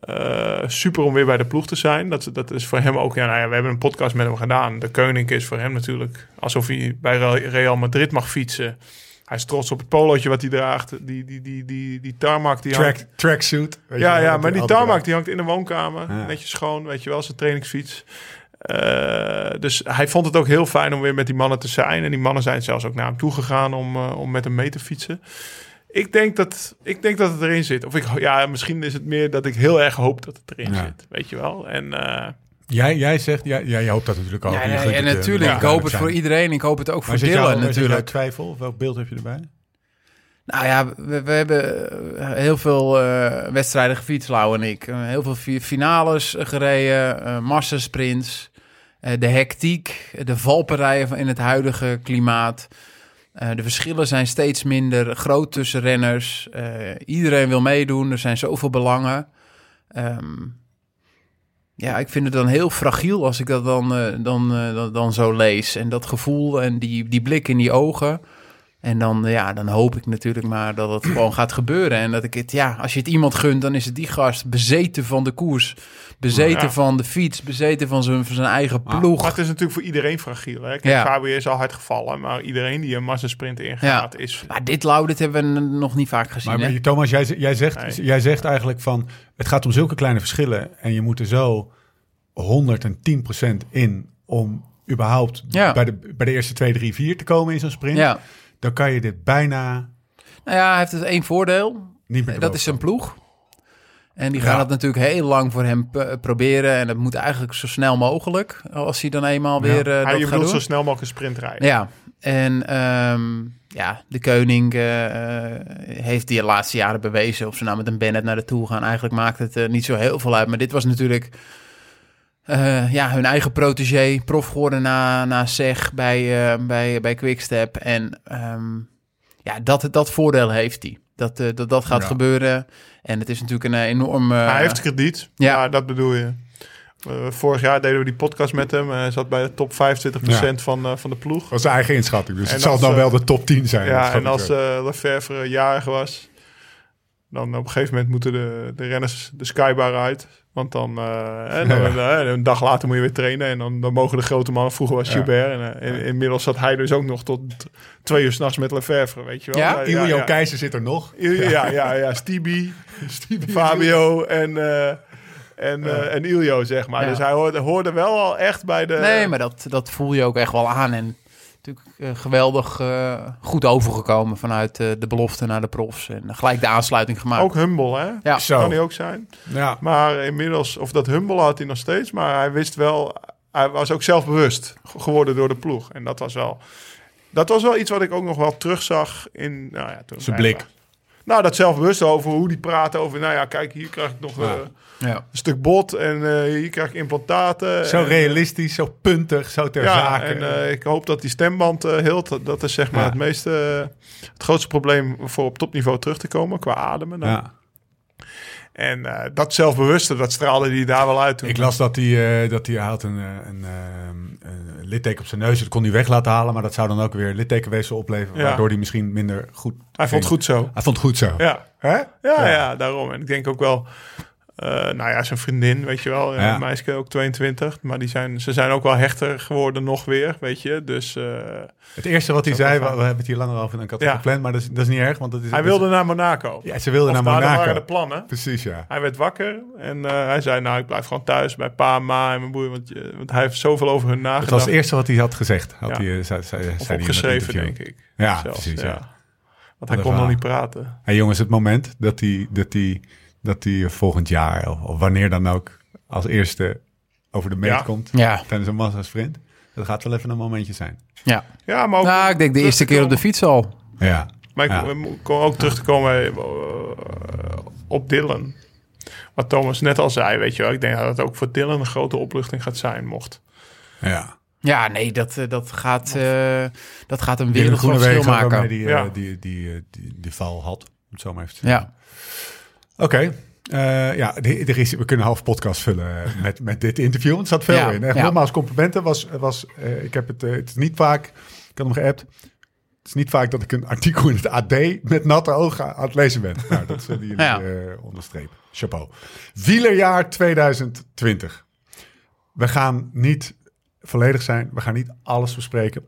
Speaker 3: Eh, super om weer bij de ploeg te zijn. Dat, dat is voor hem ook... Ja, nou ja, we hebben een podcast met hem gedaan. De koning is voor hem natuurlijk... alsof hij bij Real Madrid mag fietsen. Hij is trots op het polootje wat hij draagt. Die, die, die, die, die, tarmac die
Speaker 1: Track,
Speaker 3: hangt-
Speaker 1: tracksuit. weet
Speaker 3: ja,
Speaker 1: je wel,
Speaker 3: ja,
Speaker 1: dat
Speaker 3: maar die
Speaker 1: altijd
Speaker 3: tarmac
Speaker 1: draagt.
Speaker 3: die hangt in de woonkamer.
Speaker 1: Ja.
Speaker 3: Netjes schoon, weet je wel, zijn trainingsfiets. Eh, dus hij vond het ook heel fijn om weer met die mannen te zijn. En die mannen zijn zelfs ook naar hem toegegaan om, eh, om met hem mee te fietsen. Ik denk, dat, ik denk dat het erin zit. Of ik, ja, misschien is het meer dat ik heel erg hoop dat het erin
Speaker 1: Ja.
Speaker 3: zit. Weet je wel. En eh,
Speaker 1: Jij, jij zegt, ja, ja, jij hoopt dat natuurlijk ook.
Speaker 4: Ja,
Speaker 1: Je
Speaker 4: ja,
Speaker 1: gunt
Speaker 4: en
Speaker 1: het, eh,
Speaker 4: natuurlijk,
Speaker 1: mag
Speaker 4: ik hoop
Speaker 1: duidelijk
Speaker 4: het voor
Speaker 1: zijn.
Speaker 4: iedereen. Ik hoop het ook voor
Speaker 1: Maar zit jou- zit
Speaker 4: Dylan
Speaker 1: jou
Speaker 4: natuurlijk.
Speaker 1: twijfel? Of welk beeld heb je erbij?
Speaker 4: Nou ja, we, we hebben eh, heel veel eh, wedstrijden gefietst, Lau en ik. Eh, heel veel fi- finales eh, gereden, eh massasprints, eh, de hectiek, eh, de valpartijen van- in het huidige klimaat. Eh, de verschillen zijn steeds minder groot tussen renners. Eh, iedereen wil meedoen, er zijn zoveel belangen. Ehm, ja, ik vind het dan heel fragiel als ik dat dan, eh, dan, eh, dan, dan zo lees. En dat gevoel en die, die blik in die ogen... En dan, ja, dan hoop ik natuurlijk maar dat het gewoon gaat gebeuren. En dat ik het, ja, als je het iemand gunt, dan is het die gast bezeten van de koers. Bezeten
Speaker 3: Ja.
Speaker 4: van de fiets, bezeten van zijn, van zijn eigen
Speaker 1: Ah.
Speaker 4: ploeg.
Speaker 3: maar het is natuurlijk voor iedereen fragiel. Hè? Kijk,
Speaker 4: Ja.
Speaker 3: Fabio is al hard gevallen. Maar iedereen die een massasprint ingaat is...
Speaker 4: Maar dit lauw, dit hebben we nog niet vaak gezien.
Speaker 1: Maar,
Speaker 4: hè?
Speaker 1: maar Thomas, jij, jij, zegt,
Speaker 3: Nee.
Speaker 1: jij zegt eigenlijk van... het gaat om zulke kleine verschillen... en je moet er zo 110% in om überhaupt...
Speaker 4: Ja.
Speaker 1: Bij, de, bij de eerste 2, 3, 4 te komen in zo'n sprint...
Speaker 4: Ja.
Speaker 1: dan kan je dit bijna
Speaker 4: Nou ja, hij heeft het één voordeel.
Speaker 1: niet meer
Speaker 4: Dat is zijn ploeg. En die gaan
Speaker 1: Ja.
Speaker 4: het natuurlijk heel lang voor hem p- proberen. En dat moet eigenlijk zo snel mogelijk. Als hij dan eenmaal weer eh,
Speaker 3: hij
Speaker 4: dat
Speaker 3: je
Speaker 4: gaat
Speaker 3: bedoelt
Speaker 4: doen.
Speaker 3: zo snel mogelijk een sprint rijden.
Speaker 4: Ja, en ehm, ja, de koning eh, eh, heeft die de laatste jaren bewezen. Of ze nou met een Bennett naar de Tour gaan, eigenlijk maakt het eh, niet zo heel veel uit. Maar dit was natuurlijk eh, ja, hun eigen protégé, prof geworden na, na SEG bij, eh, bij, bij Quickstep. En ehm, ja, dat, dat voordeel heeft hij. Dat, eh, dat dat gaat
Speaker 1: Ja.
Speaker 4: gebeuren. En het is natuurlijk een eh, enorm... eh,
Speaker 3: Hij heeft krediet.
Speaker 4: Ja.
Speaker 3: Ja, dat bedoel je. Eh, vorig jaar deden we die podcast met hem. Hij zat bij de top 25% van, eh, van de ploeg.
Speaker 1: Dat is zijn eigen inschatting. Dus
Speaker 3: En
Speaker 1: het zal
Speaker 3: als,
Speaker 1: dan
Speaker 3: eh,
Speaker 1: wel de top 10 zijn. dat
Speaker 3: Ja,
Speaker 1: schat
Speaker 3: en
Speaker 1: ik
Speaker 3: als
Speaker 1: zo.
Speaker 3: eh Lefevre jarig was, dan op een gegeven moment moeten de, de renners de skybar uit. Want dan, eh, en dan eh, een dag later moet je weer trainen. En dan, dan mogen de grote mannen, vroeger was
Speaker 1: Ja.
Speaker 3: Gilbert. En, eh, in- inmiddels zat hij dus ook nog tot twee uur s'nachts met Lefevre, weet je wel.
Speaker 4: Ja?
Speaker 3: Hij-
Speaker 1: Ilio
Speaker 3: eh, ja.
Speaker 1: Keizer zit er nog.
Speaker 3: Ilio- ja, ja, ja. Stevie, Fabio en, eh, en, eh, en Ilio, zeg maar.
Speaker 4: Ja.
Speaker 3: Dus hij hoorde, hoorde wel al echt bij de...
Speaker 4: Nee, maar dat, dat voel je ook echt wel aan. En natuurlijk eh, geweldig eh, goed overgekomen vanuit eh, de belofte naar de profs. En gelijk de aansluiting gemaakt.
Speaker 3: Ook humble, hè?
Speaker 4: ja.
Speaker 1: Zo.
Speaker 3: Kan hij ook zijn.
Speaker 1: Ja.
Speaker 3: Maar inmiddels, of dat humble had hij nog steeds, maar hij wist wel, hij was ook zelfbewust ge- geworden door de ploeg. En dat was wel, dat was wel iets wat ik ook nog wel terugzag in nou ja, toen
Speaker 1: Zijn
Speaker 3: hij
Speaker 1: blik.
Speaker 3: was. Nou, dat zelfbewust over hoe die praten over, nou ja, kijk, hier krijg ik nog
Speaker 1: Ja.
Speaker 3: eh,
Speaker 4: Ja.
Speaker 3: een stuk bot en eh, hier krijg ik implantaten.
Speaker 1: Zo
Speaker 3: en,
Speaker 1: realistisch, zo puntig, zo ter
Speaker 3: Eh, ja,
Speaker 1: zake.
Speaker 3: en eh, ik hoop dat die stemband eh hield. Dat- Dat is zeg maar
Speaker 1: Ja.
Speaker 3: het meeste, eh, het grootste probleem voor op topniveau terug te komen qua ademen. dan.
Speaker 1: ja.
Speaker 3: En eh, dat zelfbewuste, dat straalde hij daar wel uit. Toen.
Speaker 1: Ik las dat hij, eh, dat hij hij had een, eh, een, eh, een litteken op zijn neus. Dat kon hij weg laten halen, maar dat zou dan ook weer littekenweefsel opleveren.
Speaker 3: Ja.
Speaker 1: Waardoor hij misschien minder goed
Speaker 3: Hij vond het goed zo.
Speaker 1: Hij vond het goed zo.
Speaker 3: Ja.
Speaker 1: Hè?
Speaker 3: Ja, ja, daarom. En ik denk ook wel, eh, nou ja, zijn vriendin, weet je wel.
Speaker 1: Ja.
Speaker 3: Ja. Meisje ook 22, maar die zijn, ze zijn ook wel hechter geworden nog weer, weet je. Dus eh,
Speaker 1: Het eerste wat hij
Speaker 3: Dat is
Speaker 1: zei,
Speaker 3: wel
Speaker 1: we, we
Speaker 3: fijn.
Speaker 1: hebben het hier langer over en ik had het
Speaker 3: Ja.
Speaker 1: gepland, maar dat is, dat is niet erg. Want dat is,
Speaker 3: hij wilde naar Monaco.
Speaker 1: Dus- ja, ze wilden
Speaker 3: Of
Speaker 1: naar
Speaker 3: daar
Speaker 1: Monaco.
Speaker 3: waren de plannen.
Speaker 1: Precies, ja.
Speaker 3: Hij werd wakker en eh, hij zei, nou, ik blijf gewoon thuis bij pa, en ma en mijn broer, want, je- want hij heeft zoveel over hun
Speaker 1: Dat
Speaker 3: nagedacht.
Speaker 1: was het eerste wat hij had gezegd. Had
Speaker 3: Ja.
Speaker 1: hij, eh, zei, zei,
Speaker 3: of
Speaker 1: zei hij in dat
Speaker 3: opgeschreven,
Speaker 1: interview.
Speaker 3: denk ik.
Speaker 1: Ja,
Speaker 3: zelfs,
Speaker 1: precies, ja.
Speaker 3: Want hij
Speaker 1: een
Speaker 3: kon
Speaker 1: verhaal.
Speaker 3: nog niet praten.
Speaker 1: Hey jongens, het moment dat hij, dat hij, dat hij volgend jaar of, of wanneer dan ook als eerste over de meet
Speaker 3: Ja.
Speaker 1: komt
Speaker 4: Ja.
Speaker 1: tijdens een massasprint, dat gaat wel even een momentje zijn.
Speaker 4: ja.
Speaker 3: Ja, maar ook,
Speaker 4: Nou, ik denk de
Speaker 3: terug
Speaker 4: eerste
Speaker 3: te
Speaker 4: keer op de
Speaker 3: komen-
Speaker 4: fiets al.
Speaker 1: Ja.
Speaker 3: (laughs) Maar ik
Speaker 1: Ja.
Speaker 3: ik kom ook terug te komen eh, op Dylan. Wat Thomas net al zei, weet je wel. Ik denk dat het ook voor Dylan een grote opluchting gaat zijn, mocht.
Speaker 1: ja.
Speaker 4: Ja, nee, dat, eh, dat, gaat, eh, dat gaat een
Speaker 1: Dylan
Speaker 4: wereld verschil
Speaker 1: Groenewegen, waarmee
Speaker 4: maken.
Speaker 1: die, eh,
Speaker 3: Ja.
Speaker 1: die, die, die, die, die val had, om het zo maar even te zeggen.
Speaker 4: Ja.
Speaker 1: Oké. Eh, ja, de- er is, we kunnen een half podcast vullen eh, met, met dit interview. want Er zat veel
Speaker 4: Ja,
Speaker 1: in. Echt,
Speaker 4: ja.
Speaker 1: Nogmaals, complimenten. Was, was, eh, ik heb het, eh, het is niet vaak, ik had hem geappt. Het is niet vaak dat ik een artikel in het AD met natte ogen aan het lezen ben. Nou, dat zullen jullie
Speaker 4: Ja.
Speaker 1: eh, onderstrepen. Chapeau. Wielerjaar 2020. We gaan niet volledig zijn. We gaan niet alles bespreken.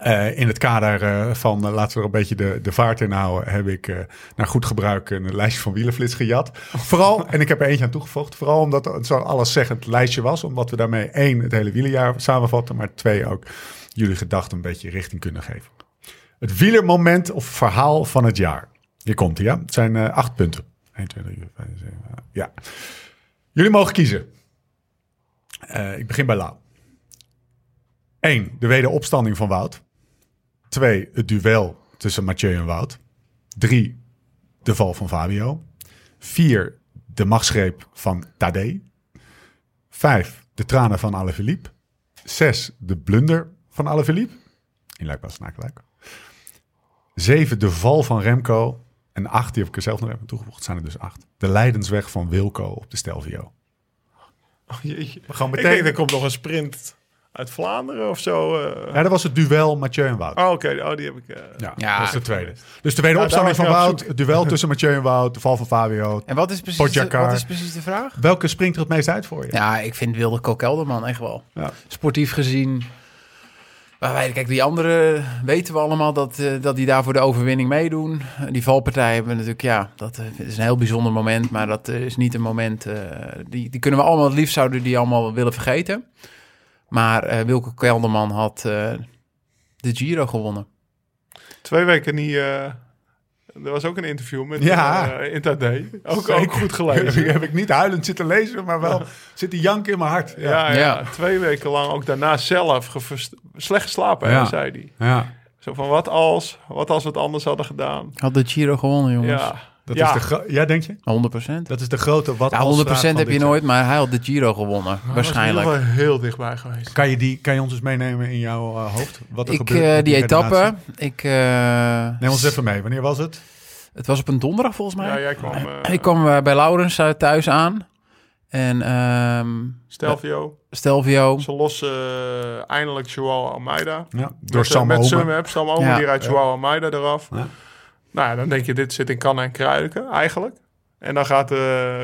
Speaker 1: Eh, in het kader eh, van eh, laten we er een beetje de, de vaart in houden, heb ik eh, naar goed gebruik een lijstje van wielenflits gejat. Vooral, en ik heb er eentje aan toegevoegd, vooral omdat het zo'n alleszeggend lijstje was. Omdat we daarmee één, het hele wielerjaar samenvatten, maar twee ook jullie gedachten een beetje richting kunnen geven. Het wielermoment of verhaal van het jaar. Hier komt hij, ja. Het zijn eh, acht punten. 1, 2, 3, 4, 5, 6, 7, 8. Ja. Jullie mogen kiezen. Eh, ik begin bij Lau. 1. De wederopstanding van Wout. 2. Het duel tussen Mathieu en Wout. 3. De val van Fabio. 4. De machtsgreep van Tadej. 5. De tranen van Alaphilippe. 6. De blunder van Alaphilippe. In Luikbaas Snaakluik. 7. De val van Remco. En 8, die heb ik er zelf nog even aan toegevoegd, zijn er dus 8. De leidensweg van Wilco op de Stelvio.
Speaker 3: We
Speaker 1: gaan meteen-
Speaker 3: Ik denk, er komt nog een sprint uit Vlaanderen of zo. eh.
Speaker 1: Ja, dat was het duel Mathieu en Wout.
Speaker 3: Oh, oké. Oh, die heb ik... eh.
Speaker 1: Ja,
Speaker 4: Ja. Nou,
Speaker 1: dat is de tweede. Dus de tweede
Speaker 3: Ja,
Speaker 1: opstanding
Speaker 3: daar
Speaker 1: van
Speaker 3: was ik wel op
Speaker 1: Wout, het duel tussen Mathieu en Wout, de val van Fabio.
Speaker 4: En wat is, precies de,
Speaker 1: Potjakar.
Speaker 4: wat is precies de vraag?
Speaker 1: Welke springt er het meest uit voor je?
Speaker 4: Ja, ik vind Wilde Kokelderman echt wel.
Speaker 1: Ja.
Speaker 4: Sportief gezien. Maar wij, kijk, die anderen weten we allemaal dat, eh, dat die daar voor de overwinning meedoen. Eh, Die valpartij hebben we natuurlijk, ja, dat eh, is een heel bijzonder moment. Maar dat eh, is niet een moment, eh, die, die kunnen we allemaal, het liefst zouden die allemaal willen vergeten. Maar eh Wilco Kelderman had eh, de Giro gewonnen.
Speaker 3: Twee weken niet... eh, er was ook een interview met
Speaker 1: Ja.
Speaker 3: eh, in Tadé. Ook,
Speaker 1: Zeker.
Speaker 3: ook
Speaker 1: Heb (laughs)
Speaker 3: goed (laughs)
Speaker 1: ik-
Speaker 3: gelezen.
Speaker 1: heb ik niet huilend zitten lezen, maar wel zit die jank in mijn hart. Ja.
Speaker 3: Ja, ja,
Speaker 4: Ja.
Speaker 3: twee weken lang ook daarna zelf gevers- slecht geslapen, hè,
Speaker 1: Ja.
Speaker 3: zei hij.
Speaker 1: Ja,
Speaker 3: Zo van, wat als? Wat als we het anders hadden gedaan?
Speaker 4: Had de Giro gewonnen, jongens.
Speaker 3: Ja,
Speaker 1: dat
Speaker 3: ja.
Speaker 1: Is de gro- ja, denk je?
Speaker 4: 100%.
Speaker 1: Dat is de grote wat als
Speaker 4: Ja, 100%
Speaker 1: vraag van
Speaker 4: heb
Speaker 1: dit
Speaker 4: je
Speaker 1: jaar.
Speaker 4: nooit, maar hij had de Giro gewonnen. waarschijnlijk.
Speaker 3: was in ieder geval heel eh, dichtbij geweest.
Speaker 1: Kan je, die, kan je ons eens meenemen in jouw eh, hoofd? Wat er
Speaker 4: Ik,
Speaker 1: gebeurt
Speaker 4: eh,
Speaker 1: met
Speaker 4: die
Speaker 1: redenatie?
Speaker 4: etappe, ik, eh,
Speaker 1: Neem ons even mee. Wanneer was het?
Speaker 4: het was op een donderdag volgens mij.
Speaker 3: Ja, jij kwam... eh,
Speaker 4: Ik kwam eh, bij Laurens eh, thuis aan. En ehm
Speaker 3: Stelvio,
Speaker 4: Stelvio.
Speaker 3: ze lossen eh, eindelijk Joao Almeida.
Speaker 1: Ja, door
Speaker 3: Met, eh,
Speaker 1: Sam
Speaker 3: Met
Speaker 1: Omen.
Speaker 3: Sumhab, Sam Omen
Speaker 4: Ja.
Speaker 3: die rijdt Joao Almeida eraf.
Speaker 1: Ja.
Speaker 3: Nou ja, dan denk je, dit zit in kannen en kruiken eigenlijk. En dan gaat eh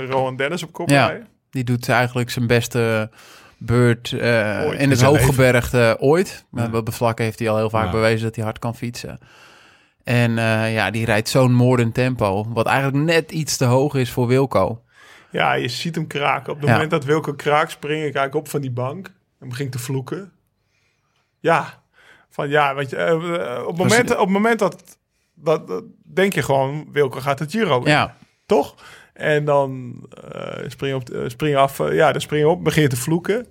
Speaker 3: Rowan Dennis op kop
Speaker 4: Ja.
Speaker 3: rijden.
Speaker 4: Die doet eigenlijk zijn beste beurt eh,
Speaker 3: Ooit
Speaker 4: in
Speaker 1: in
Speaker 4: het
Speaker 1: zijn
Speaker 4: hooggebergte ooit.
Speaker 1: Ja.
Speaker 4: Maar Op de vlakken heeft hij al heel vaak
Speaker 1: Ja.
Speaker 4: bewezen dat hij hard kan fietsen. En eh, ja, die rijdt zo'n moordend tempo. Wat eigenlijk net iets te hoog is voor Wilco.
Speaker 3: Ja, je ziet hem kraken. Op het
Speaker 4: Ja.
Speaker 3: moment dat Wilco kraakt, spring ik eigenlijk op van die bank. En begin te vloeken. Ja, van ja, want je, eh, eh, op, het moment, op het moment dat, dat, dat denk je gewoon, Wilco gaat het Giro winnen.
Speaker 4: Ja,
Speaker 3: toch? En dan eh, spring, je op, eh, spring af, eh, ja, dan spring je op, begin je te vloeken.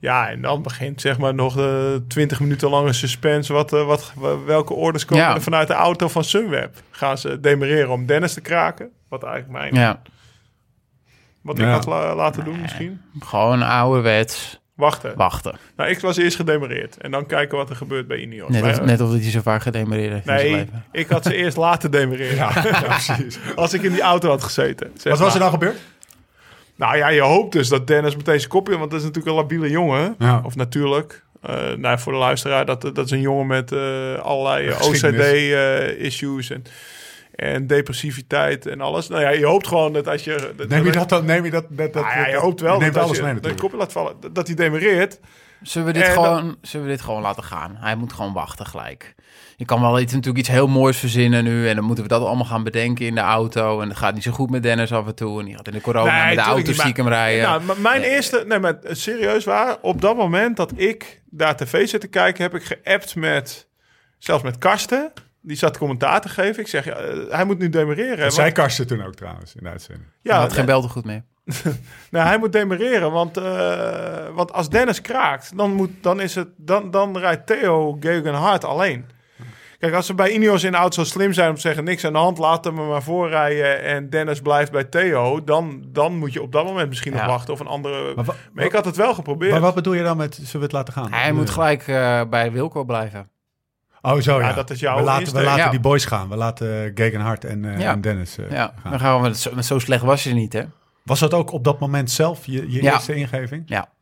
Speaker 3: Ja, en dan begint zeg maar nog de 20 minuten lange suspense. Wat, eh, wat, wa- welke orders komen
Speaker 4: Ja.
Speaker 3: er vanuit de auto van Sunweb? Gaan ze demereren om Dennis te kraken? Wat eigenlijk mijn,
Speaker 4: ja.
Speaker 3: wat ik
Speaker 1: Ja.
Speaker 3: had la- laten doen misschien.
Speaker 4: gewoon ouderwets
Speaker 3: Wachten.
Speaker 4: wachten.
Speaker 3: Nou, ik was eerst gedemereerd. En dan kijken wat er gebeurt bij Ineos.
Speaker 4: Net
Speaker 3: Maar,
Speaker 4: of,
Speaker 3: eh,
Speaker 4: net of dat hij zo vaak gedemereerd heeft in zijn
Speaker 3: nee,
Speaker 4: leven.
Speaker 3: ik had ze eerst laten
Speaker 4: (laughs)
Speaker 3: demereren. (laughs)
Speaker 1: precies.
Speaker 3: Als ik in die auto had gezeten. zeg
Speaker 1: Wat was er
Speaker 3: maar.
Speaker 1: dan gebeurd?
Speaker 3: Nou ja, je hoopt dus dat Dennis meteen zijn kopje... want dat is natuurlijk een labiele jongen.
Speaker 1: Ja.
Speaker 3: Of natuurlijk. eh, nou, ja, voor de luisteraar, dat, dat is een jongen met eh, allerlei
Speaker 1: Geschiedenis.
Speaker 3: OCD-issues... eh, en, en depressiviteit en alles. Nou ja, je hoopt gewoon dat als je... Dat,
Speaker 1: Neem je dat dan? Neem je dat? dat, dat
Speaker 3: Nou ja, je hoopt wel
Speaker 1: je neemt
Speaker 3: dat
Speaker 1: alles
Speaker 3: als je
Speaker 1: mee
Speaker 3: dat je
Speaker 1: natuurlijk.
Speaker 3: kopje laat vallen, dat- dat hij demereert.
Speaker 4: Zullen we, dit
Speaker 3: En dan-
Speaker 4: gewoon, zullen we dit gewoon laten gaan? Hij moet gewoon wachten gelijk. Je kan wel iets, natuurlijk iets heel moois verzinnen nu. En dan moeten we dat allemaal gaan bedenken in de auto. En het gaat niet zo goed met Dennis af en toe. En die gaat in de corona
Speaker 3: Nee,
Speaker 4: met de
Speaker 3: tuurlijk
Speaker 4: auto
Speaker 3: niet, maar-
Speaker 4: stiekem rijden.
Speaker 3: Nou, maar mijn
Speaker 4: Nee.
Speaker 3: eerste, nee, maar serieus waar, op dat moment dat ik daar tv zit te kijken, heb ik geappt met, zelfs met Karsten. Die zat commentaar te geven. Ik zeg, ja, eh, hij moet nu demereren.
Speaker 1: Dat
Speaker 3: want-
Speaker 1: zei Karsten toen ook trouwens in de uitzending.
Speaker 4: Hij
Speaker 3: ja,
Speaker 4: had geen
Speaker 3: nee,
Speaker 4: bel te goed meer.
Speaker 3: nou, hij moet demereren, want, eh, want als Dennis kraakt, dan, moet, dan, is het, dan, dan rijdt Theo Gegenhardt alleen. Kijk, als ze bij Ineos in de auto zo slim zijn om te zeggen... niks aan de hand, laat hem er maar voorrijden en Dennis blijft bij Theo... dan, dan moet je op dat moment misschien
Speaker 4: Ja.
Speaker 3: nog wachten of een andere...
Speaker 1: Maar wa-
Speaker 3: Maar ik had het wel geprobeerd.
Speaker 1: Maar wat bedoel je dan met zullen we het laten gaan?
Speaker 4: Hij moet gelijk eh, bij Wilco blijven.
Speaker 1: Oh, zo ja.
Speaker 3: Ja, dat is jouw
Speaker 1: we laten, we
Speaker 3: insteek.
Speaker 1: laten
Speaker 4: Ja.
Speaker 1: die boys gaan. We laten Gegenhard en, eh,
Speaker 4: Ja.
Speaker 1: en Dennis eh,
Speaker 4: Ja,
Speaker 1: gaan.
Speaker 4: dan gaan we met zo, met zo slecht was je niet, hè?
Speaker 1: Was dat ook op dat moment zelf je, je
Speaker 4: Ja.
Speaker 1: eerste ingeving?
Speaker 4: Ja.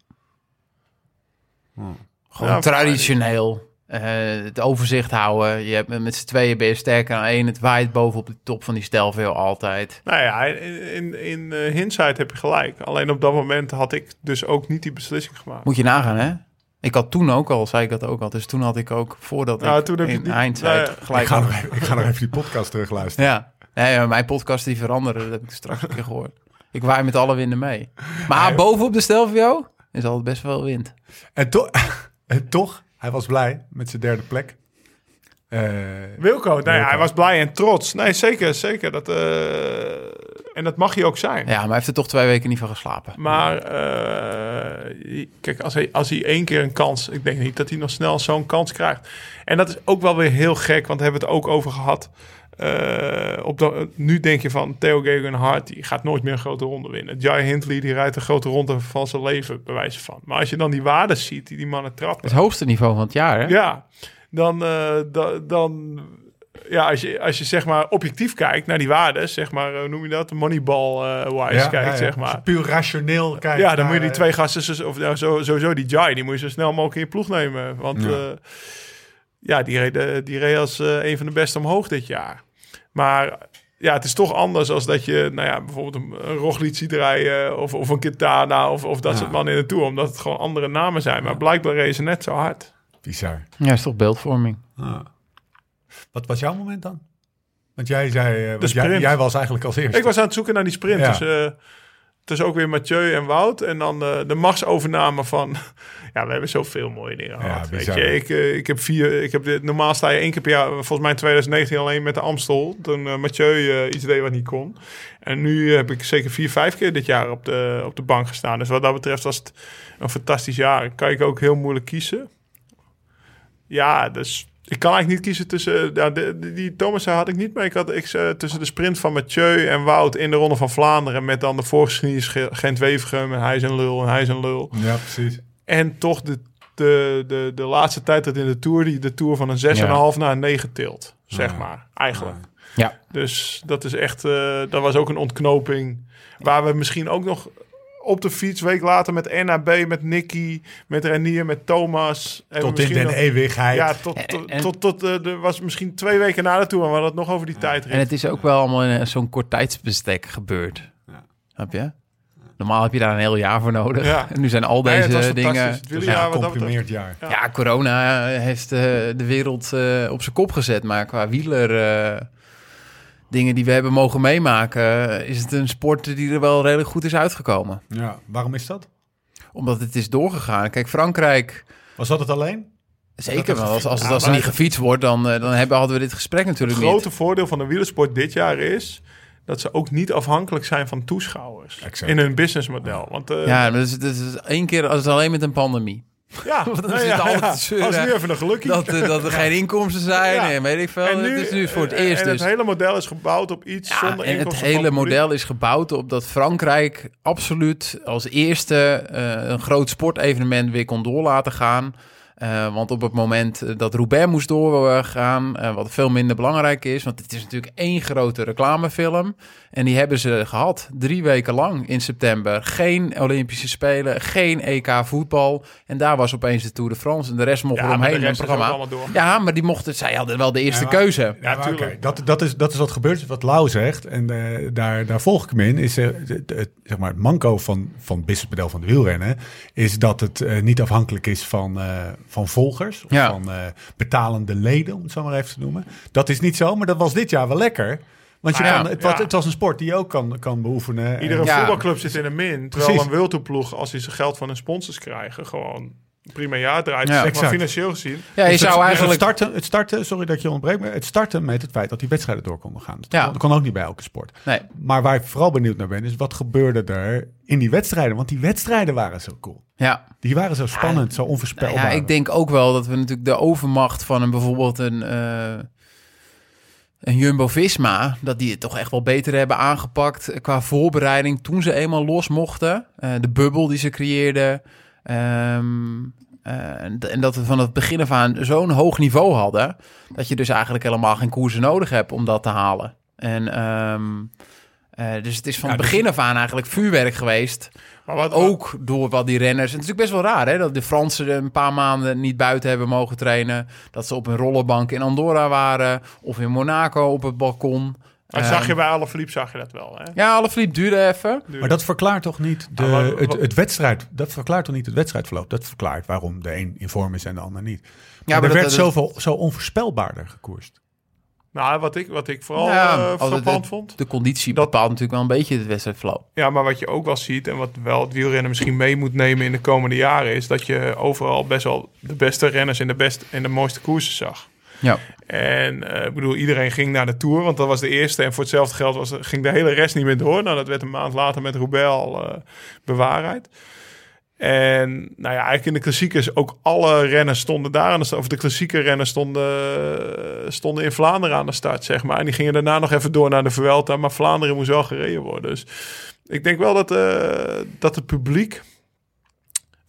Speaker 4: Gewoon
Speaker 3: Ja,
Speaker 4: traditioneel. eh, het overzicht houden. Je hebt, met z'n tweeën ben je sterker aan één. Het waait bovenop de top van die stijlveel altijd.
Speaker 3: Nou ja, in, in, in eh, hindsight heb je gelijk. Alleen op dat moment had ik dus ook niet die beslissing gemaakt.
Speaker 4: Moet je nagaan, hè? Ik had toen ook al, zei ik dat ook al. Dus toen had ik ook, voordat
Speaker 3: Nou,
Speaker 4: ik
Speaker 3: toen heb je
Speaker 4: in
Speaker 3: die-
Speaker 4: hindsight
Speaker 3: nou ja.
Speaker 1: Ik
Speaker 4: gelijk
Speaker 1: ga,
Speaker 4: had.
Speaker 1: nog even, ik ga nog even die podcast terugluisteren.
Speaker 4: Ja. Nee, maar mijn podcast die veranderen, dat heb ik straks een keer gehoord. Ik waai met alle winden mee. Maar bovenop de Stelvio is altijd best wel wind.
Speaker 1: En, to- (laughs) en toch, hij was blij met zijn derde plek. Eh,
Speaker 3: Wilco, nou ja,
Speaker 1: Wilco.
Speaker 3: hij was blij en trots. Nee, zeker, zeker. Dat, eh, en dat mag je ook zijn.
Speaker 4: Ja, maar hij heeft er toch twee weken niet van geslapen.
Speaker 3: Maar eh, kijk, als hij, als hij één keer een kans... Ik denk niet dat hij nog snel zo'n kans krijgt. En dat is ook wel weer heel gek, want daar hebben we het ook over gehad. Eh, op dat, nu denk je van Theo Gegenhardt, die gaat nooit meer een grote ronde winnen. Jai Hindley, die rijdt de grote ronde van zijn leven, bij wijze van. Maar als je dan die waarden ziet die die mannen trappen...
Speaker 4: Het hoogste niveau van het jaar, hè?
Speaker 3: Ja, dan, eh, da- dan ja, als je, als je zeg maar objectief kijkt naar die waarden, zeg maar, eh, hoe noem je dat? Moneyball-wise
Speaker 1: ja,
Speaker 3: kijkt,
Speaker 1: ja, ja.
Speaker 3: zeg maar.
Speaker 1: Puur rationeel kijken.
Speaker 3: Ja, dan moet je die
Speaker 1: naar, eh,
Speaker 3: twee gasten, zo- of nou, zo- sowieso die Jai, die moet je zo snel mogelijk in je ploeg nemen. Want
Speaker 1: Ja.
Speaker 3: ja, ja die, reed, eh, die reed als eh, een van de beste omhoog dit jaar. Maar ja, het is toch anders als dat je, nou ja, bijvoorbeeld een, een Roglic ziet rijden of, of een Quintana of, of dat
Speaker 1: Ja.
Speaker 3: soort mannen in de Tour. Omdat het gewoon andere namen zijn. Maar blijkbaar reden ze net zo hard.
Speaker 1: eh, Bizar.
Speaker 4: Ja, is toch beeldvorming.
Speaker 1: Ah. Wat was jouw moment dan? Want jij zei, eh, want
Speaker 3: De
Speaker 1: jij,
Speaker 3: sprint.
Speaker 1: jij was eigenlijk als eerste.
Speaker 3: Ik was aan het zoeken naar die sprint.
Speaker 1: Ja.
Speaker 3: Dus, eh, dus ook weer Mathieu en Wout. En dan eh, de machtsovername van... (laughs) ja, we hebben zoveel mooie dingen
Speaker 1: Ja,
Speaker 3: gehad. weet
Speaker 1: bizar.
Speaker 3: je, ik, eh, ik heb vier... Ik heb dit, normaal sta je één keer per jaar... Volgens mij in 2019 alleen met de Amstel. Toen eh, Mathieu eh, iets deed wat niet kon. En nu heb ik zeker vier, vijf keer dit jaar op de, op de bank gestaan. Dus wat dat betreft was het een fantastisch jaar. Kan ik ook heel moeilijk kiezen. Ja, dus ik kan eigenlijk niet kiezen tussen... ja, de- de- die Thomas had ik niet, maar ik had ik, eh, tussen de sprint van Mathieu en Wout... in de Ronde van Vlaanderen met dan de voorgeschiedenis Ge- Gent-Wevergem... en hij is een lul en hij is een lul.
Speaker 1: Ja, precies.
Speaker 3: En toch de, de, de, de laatste tijd dat in de Tour... die de Tour van een 6,5 naar een 9 tilt, zeg
Speaker 1: Ja.
Speaker 3: maar, eigenlijk.
Speaker 1: Ah.
Speaker 4: Ja.
Speaker 3: Dus dat is echt, eh, dat was ook een ontknoping. Waar we misschien ook nog op de fiets, week later met NAB, met Nicky, met Renier, met Thomas. En
Speaker 1: Tot in
Speaker 3: misschien
Speaker 1: den
Speaker 3: nog-
Speaker 1: eeuwigheid.
Speaker 3: Ja, tot,
Speaker 4: En-
Speaker 3: tot,
Speaker 4: en-
Speaker 3: tot, tot, eh, er was misschien twee weken na de Tour, maar we hadden het nog over die tijd.
Speaker 4: En het is ook wel allemaal in eh, zo'n kort tijdsbestek gebeurd.
Speaker 1: Ja.
Speaker 4: Snap je? Normaal heb je daar een heel jaar voor nodig.
Speaker 3: Ja.
Speaker 4: (laughs) En nu zijn al
Speaker 3: Nee,
Speaker 4: deze
Speaker 3: het was fantastisch.
Speaker 4: dingen...
Speaker 3: Het wilde
Speaker 1: ja,
Speaker 3: jaar
Speaker 1: een
Speaker 3: wat dat betreft.
Speaker 1: comprimeerd jaar.
Speaker 4: Ja, corona heeft eh, de wereld eh, op zijn kop gezet. Maar qua wieler... eh, dingen die we hebben mogen meemaken... eh, is het een sport die er wel redelijk goed is uitgekomen.
Speaker 1: Ja, waarom is dat?
Speaker 4: Omdat het is doorgegaan. Kijk, Frankrijk...
Speaker 1: Was dat het alleen?
Speaker 4: Zeker wel. Als, als, het-
Speaker 3: Ja,
Speaker 4: als er
Speaker 3: maar-
Speaker 4: niet gefietst wordt, dan, eh, dan hebben, hadden we dit gesprek
Speaker 3: Het
Speaker 4: natuurlijk niet.
Speaker 3: grote voordeel van de wielersport dit jaar is dat ze ook niet afhankelijk zijn van toeschouwers
Speaker 1: Exact.
Speaker 3: in hun businessmodel. Want eh,
Speaker 4: Ja, maar dat is, dat is één keer als het alleen met een
Speaker 3: (laughs)
Speaker 4: pandemie. (laughs)
Speaker 3: ja,
Speaker 4: Want dan
Speaker 3: nou
Speaker 4: zit
Speaker 3: ja,
Speaker 4: altijd
Speaker 3: ja.
Speaker 4: te zeuren.
Speaker 3: was nu even een gelukkie. (laughs)
Speaker 4: Dat, eh, dat er geen inkomsten zijn
Speaker 3: Ja.
Speaker 4: en weet ik veel. het is nu voor het
Speaker 3: eh, en-
Speaker 4: eerst
Speaker 3: En
Speaker 4: dus.
Speaker 3: het hele model is gebouwd op iets
Speaker 4: Ja,
Speaker 3: zonder
Speaker 4: en het
Speaker 3: inkomsten van
Speaker 4: hele
Speaker 3: publiek.
Speaker 4: model is gebouwd op dat Frankrijk absoluut als eerste eh, een groot sportevenement weer kon door laten gaan. Eh, want op het moment eh, dat Roubaix moest doorgaan, eh, wat veel minder belangrijk is, want het is natuurlijk één grote reclamefilm. En die hebben ze gehad drie weken lang in september. Geen Olympische Spelen, geen EK voetbal. En daar was opeens de Tour de France en de rest mocht
Speaker 3: Ja, maar de
Speaker 4: eromheen in het
Speaker 3: rest is ook
Speaker 4: programma.
Speaker 3: allemaal door.
Speaker 4: Ja, maar die mochten, zij hadden wel de eerste
Speaker 1: Ja, maar-
Speaker 4: keuze.
Speaker 1: Ja, maar
Speaker 3: tuurlijk.
Speaker 1: oké, dat, dat, is, dat is wat gebeurt, wat Lau zegt. En eh, daar, daar volg ik hem in. Is, eh, het, het- zeg maar, het manco van, van het businessmodel van de wielrennen... is dat het eh, niet afhankelijk is van, eh, van volgers... of
Speaker 4: Ja.
Speaker 1: van eh, betalende leden, om het zo maar even te noemen. Dat is niet zo, maar dat was dit jaar wel lekker. Want je
Speaker 4: Ah, ja.
Speaker 1: kan, het, was,
Speaker 3: Ja.
Speaker 1: het was een sport die je ook kan, kan beoefenen. En-
Speaker 3: Iedere
Speaker 4: Ja.
Speaker 3: voetbalclub zit in een min. Terwijl
Speaker 1: Precies.
Speaker 3: een wielerploeg, als die zijn geld van hun sponsors krijgen, gewoon prima jaar draait.
Speaker 4: Ja.
Speaker 3: zeg maar
Speaker 1: Exact.
Speaker 3: financieel gezien.
Speaker 4: Ja, je
Speaker 1: Dus
Speaker 4: zou
Speaker 1: het-
Speaker 4: eigenlijk...
Speaker 1: Het starten, het starten, sorry dat ik je ontbreekt, maar het starten met het feit dat die wedstrijden door konden gaan. Dat,
Speaker 4: Ja.
Speaker 1: kon, dat kon ook niet bij elke sport.
Speaker 4: Nee.
Speaker 1: Maar waar ik vooral benieuwd naar ben, is wat gebeurde er in die wedstrijden? Want die wedstrijden waren zo cool.
Speaker 4: Ja,
Speaker 1: Die waren zo spannend, zo onvoorspelbaar.
Speaker 4: Ja, ik denk ook wel dat we natuurlijk de overmacht van een bijvoorbeeld een, eh, een Jumbo-Visma... dat die het toch echt wel beter hebben aangepakt eh, qua voorbereiding... toen ze eenmaal los mochten. Eh, de bubbel die ze creëerden. Ehm, eh, en d- en dat we van het begin af aan zo'n hoog niveau hadden... dat je dus eigenlijk helemaal geen koersen nodig hebt om dat te halen. En... ehm, eh, dus het is van
Speaker 1: Ja,
Speaker 4: het
Speaker 1: dus-
Speaker 4: begin af aan eigenlijk vuurwerk geweest.
Speaker 3: Maar wat
Speaker 4: Ook door wat die renners. Het is natuurlijk best wel raar hè, dat de Fransen er een paar maanden niet buiten hebben mogen trainen. Dat ze op een rollenbank in Andorra waren of in Monaco op het balkon.
Speaker 3: Dat
Speaker 4: Ehm,
Speaker 3: zag je bij Alaphilippe, zag je dat wel. Hè?
Speaker 4: Ja, Alaphilippe duurde even.
Speaker 1: Maar dat verklaart toch niet de,
Speaker 3: Ah, maar-
Speaker 1: het, het wedstrijd. Dat verklaart toch niet het wedstrijdverloop. Dat verklaart waarom de een in vorm is en de ander niet. Maar
Speaker 4: maar
Speaker 1: er
Speaker 4: dat-
Speaker 1: werd
Speaker 4: dat-
Speaker 1: zoveel, zo onvoorspelbaarder gekoerst.
Speaker 3: Nou, wat ik, wat ik vooral
Speaker 4: Ja,
Speaker 3: eh,
Speaker 4: als het-
Speaker 3: frappant vond.
Speaker 4: De conditie
Speaker 3: Dat-
Speaker 4: bepaalt natuurlijk wel een beetje het wedstrijdverloop.
Speaker 3: Ja, maar wat je ook wel ziet en wat wel het wielrennen misschien mee moet nemen in de komende jaren... is dat je overal best wel de beste renners en de, best, en de mooiste koersen zag.
Speaker 4: Ja.
Speaker 3: En eh, ik bedoel, iedereen ging naar de Tour, want dat was de eerste. En voor hetzelfde geld was, ging de hele rest niet meer door. Nou, dat werd een maand later met Roubaix al eh, bewaarheid. En nou ja, eigenlijk in de klassiekers ook alle renners stonden daar aan de start. Of de klassieke renners stonden, eh, stonden in Vlaanderen aan de start, zeg maar. En die gingen daarna nog even door naar de Vuelta. Maar Vlaanderen moest wel gereden worden. Dus ik denk wel dat, eh, dat het publiek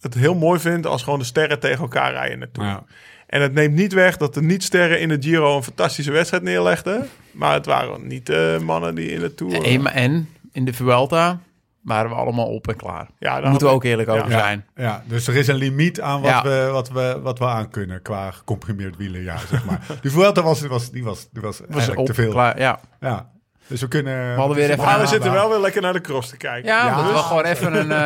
Speaker 3: het heel mooi vindt als gewoon de sterren tegen elkaar rijden in de Tour.
Speaker 1: Ja.
Speaker 3: En het neemt niet weg dat de niet-sterren in de Giro een fantastische wedstrijd neerlegden. Maar het waren niet de mannen die in de Tour...
Speaker 4: En, maar en in de Vuelta waren we allemaal op en klaar.
Speaker 3: Ja,
Speaker 4: Daar
Speaker 3: daar
Speaker 4: moeten we
Speaker 3: had-
Speaker 4: ook eerlijk
Speaker 3: Ja.
Speaker 4: over zijn.
Speaker 1: Ja, dus er is een limiet aan wat,
Speaker 4: Ja.
Speaker 1: we, wat, we, wat we aan kunnen qua gecomprimeerd wielerjaar, zeg maar. Die Vuelta was, was, die was, die was,
Speaker 4: Was
Speaker 1: eigenlijk
Speaker 4: op
Speaker 1: te
Speaker 4: en
Speaker 1: veel.
Speaker 4: klaar, ja.
Speaker 1: Ja, dus we kunnen... We
Speaker 4: hadden weer even
Speaker 3: Maar we
Speaker 4: Ja,
Speaker 3: zitten wel weer lekker naar de cross te kijken.
Speaker 4: Ja,
Speaker 1: Ja,
Speaker 4: dat
Speaker 1: dus-
Speaker 4: was gewoon even een... eh,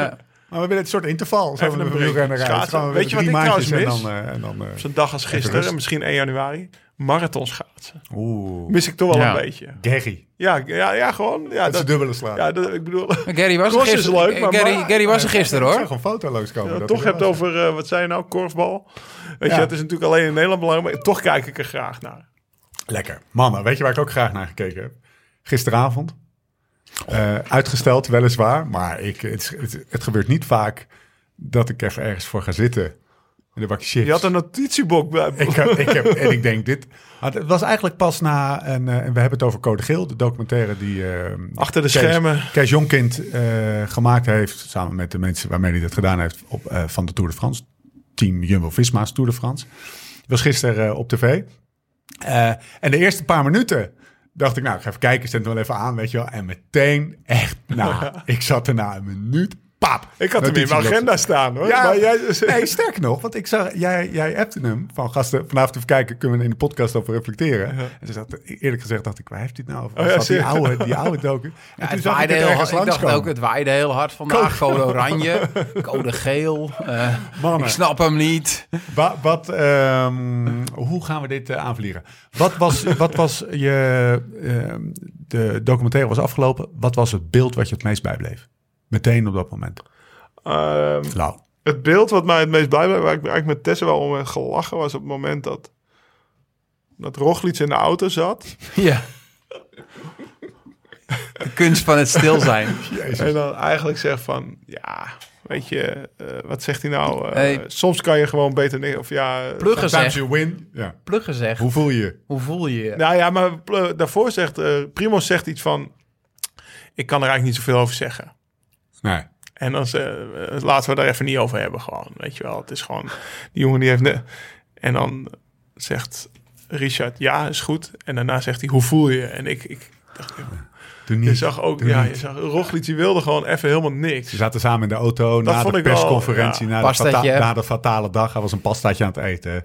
Speaker 1: Maar we willen een soort interval. Zo
Speaker 3: Even
Speaker 1: van
Speaker 3: een
Speaker 1: de
Speaker 3: break.
Speaker 1: wielrenner uit.
Speaker 3: Schaatsen.
Speaker 1: Gaan we weer
Speaker 3: Weet je
Speaker 1: drie
Speaker 3: wat ik
Speaker 1: maandjes En
Speaker 3: trouwens
Speaker 1: dan, eh, en dan, eh,
Speaker 3: Op zo'n dag als
Speaker 1: rust.
Speaker 3: gisteren, misschien 1 januari, marathon schaatsen.
Speaker 1: Oeh.
Speaker 3: Mis ik toch wel
Speaker 4: Ja.
Speaker 3: een beetje.
Speaker 1: Gerry.
Speaker 3: Ja, ja, ja gewoon. Ja,
Speaker 1: Dat is
Speaker 3: dat,
Speaker 1: dubbele slaan.
Speaker 3: ja, dat, ik (laughs) bedoel...
Speaker 4: Gary was er
Speaker 3: Cross is
Speaker 4: gisteren.
Speaker 3: leuk, maar-
Speaker 4: Gary,
Speaker 3: maar-
Speaker 4: Gary was er gisteren
Speaker 1: Ik
Speaker 4: hoor.
Speaker 1: zag een foto langskomen.
Speaker 3: Ja,
Speaker 1: dat
Speaker 3: toch
Speaker 1: hij
Speaker 3: hebt
Speaker 1: was.
Speaker 3: over, eh, wat zei je nou, korfbal. Weet
Speaker 1: Ja.
Speaker 3: je, het is natuurlijk alleen in Nederland belangrijk, maar toch kijk ik er graag naar.
Speaker 1: Lekker. Mannen, weet je waar ik ook graag naar gekeken heb? Gisteravond. Eh, uitgesteld, weliswaar. Maar ik, het, het, het gebeurt niet vaak dat ik even ergens voor ga zitten. In de bakje chips.
Speaker 3: Je had een notitieboek bij.
Speaker 1: ik, heb- ik heb, en ik denk dit. maar Het was eigenlijk pas na. En, eh, en we hebben het over Code Geel, de documentaire die. eh,
Speaker 3: Achter de
Speaker 1: Kees-
Speaker 3: schermen.
Speaker 1: Kees Jonkind eh, gemaakt heeft. Samen met de mensen waarmee hij dat gedaan heeft. Op, eh, van de Tour de France. Team Jumbo Visma's Tour de France. Was gisteren eh, op tv. Eh, en de eerste paar minuten. Dacht
Speaker 3: (laughs)
Speaker 1: ik, nou, ik ga even kijken, zet hem wel even aan, weet je wel. En meteen, echt, nou, ik zat er na een minuut paap.
Speaker 3: Ik had hem in mijn
Speaker 1: notitieblok.
Speaker 3: agenda staan hoor.
Speaker 1: Ja,
Speaker 3: maar jij,
Speaker 1: (laughs) nee, sterker nog, want ik zag, jij, jij appte hem van gasten, vanavond even kijken, kunnen we in de podcast over reflecteren. En ze zat, eerlijk gezegd dacht ik, waar heeft dit nou over?
Speaker 3: Oh ja,
Speaker 1: Was dat die
Speaker 3: serieus?
Speaker 1: oude, die oude
Speaker 3: (laughs)
Speaker 1: docu. En toen
Speaker 4: Ja, het
Speaker 1: zag ik
Speaker 4: waaide
Speaker 1: het
Speaker 4: heel
Speaker 1: ergens
Speaker 4: hard. Ik dacht
Speaker 1: langskomen.
Speaker 4: ook, het waaide heel hard vandaag. Code
Speaker 1: (laughs)
Speaker 4: oranje, code geel. eh,
Speaker 1: Mannen.
Speaker 4: ik snap hem
Speaker 1: (laughs)
Speaker 4: niet.
Speaker 1: Wa- wat, ehm, hoe gaan we dit eh, aanvliegen? Wat
Speaker 3: (laughs)
Speaker 1: was, wat was je... ehm, de documentaire was afgelopen. Wat was het beeld wat je het meest bijbleef? Meteen op dat moment.
Speaker 3: (laughs) Ehm,
Speaker 1: Lau.
Speaker 3: Het beeld wat mij het meest blij waar ik eigenlijk met Tessa wel om heb gelachen was op het moment dat dat Roglic in de auto zat
Speaker 4: Ja. De kunst van het stil
Speaker 1: (laughs)
Speaker 4: zijn.
Speaker 3: en dan eigenlijk zegt van ja weet je eh, wat zegt hij nou eh,
Speaker 4: Hey.
Speaker 3: soms kan je gewoon beter neer of ja eh,
Speaker 4: Pluggen
Speaker 1: Times
Speaker 4: zegt,
Speaker 1: you win. Ja.
Speaker 4: pluggen zegt,
Speaker 1: Hoe voel je je?
Speaker 4: hoe voel je je?
Speaker 3: nou ja maar pl- daarvoor zegt eh Primo zegt iets van ik kan er eigenlijk niet zoveel over zeggen
Speaker 1: Nee.
Speaker 3: En dan ze- eh, laten we daar even niet over hebben gewoon. Weet je wel, het is gewoon... Die jongen die heeft... ne- en dan zegt Richard, ja, is goed. En daarna zegt hij, hoe voel je? je? En ik... ik dacht,
Speaker 1: Doe niet.
Speaker 3: je zag ook...
Speaker 1: Doe
Speaker 3: Ja, je
Speaker 1: niet.
Speaker 3: zag... Roglic, die wilde gewoon even helemaal niks.
Speaker 1: Ze zaten samen in de auto na
Speaker 3: vond
Speaker 1: de
Speaker 3: ik wel,
Speaker 1: persconferentie, na,
Speaker 3: ja.
Speaker 1: de fata-
Speaker 4: Pastaatje.
Speaker 1: na de fatale dag. Hij was een pastaatje aan het eten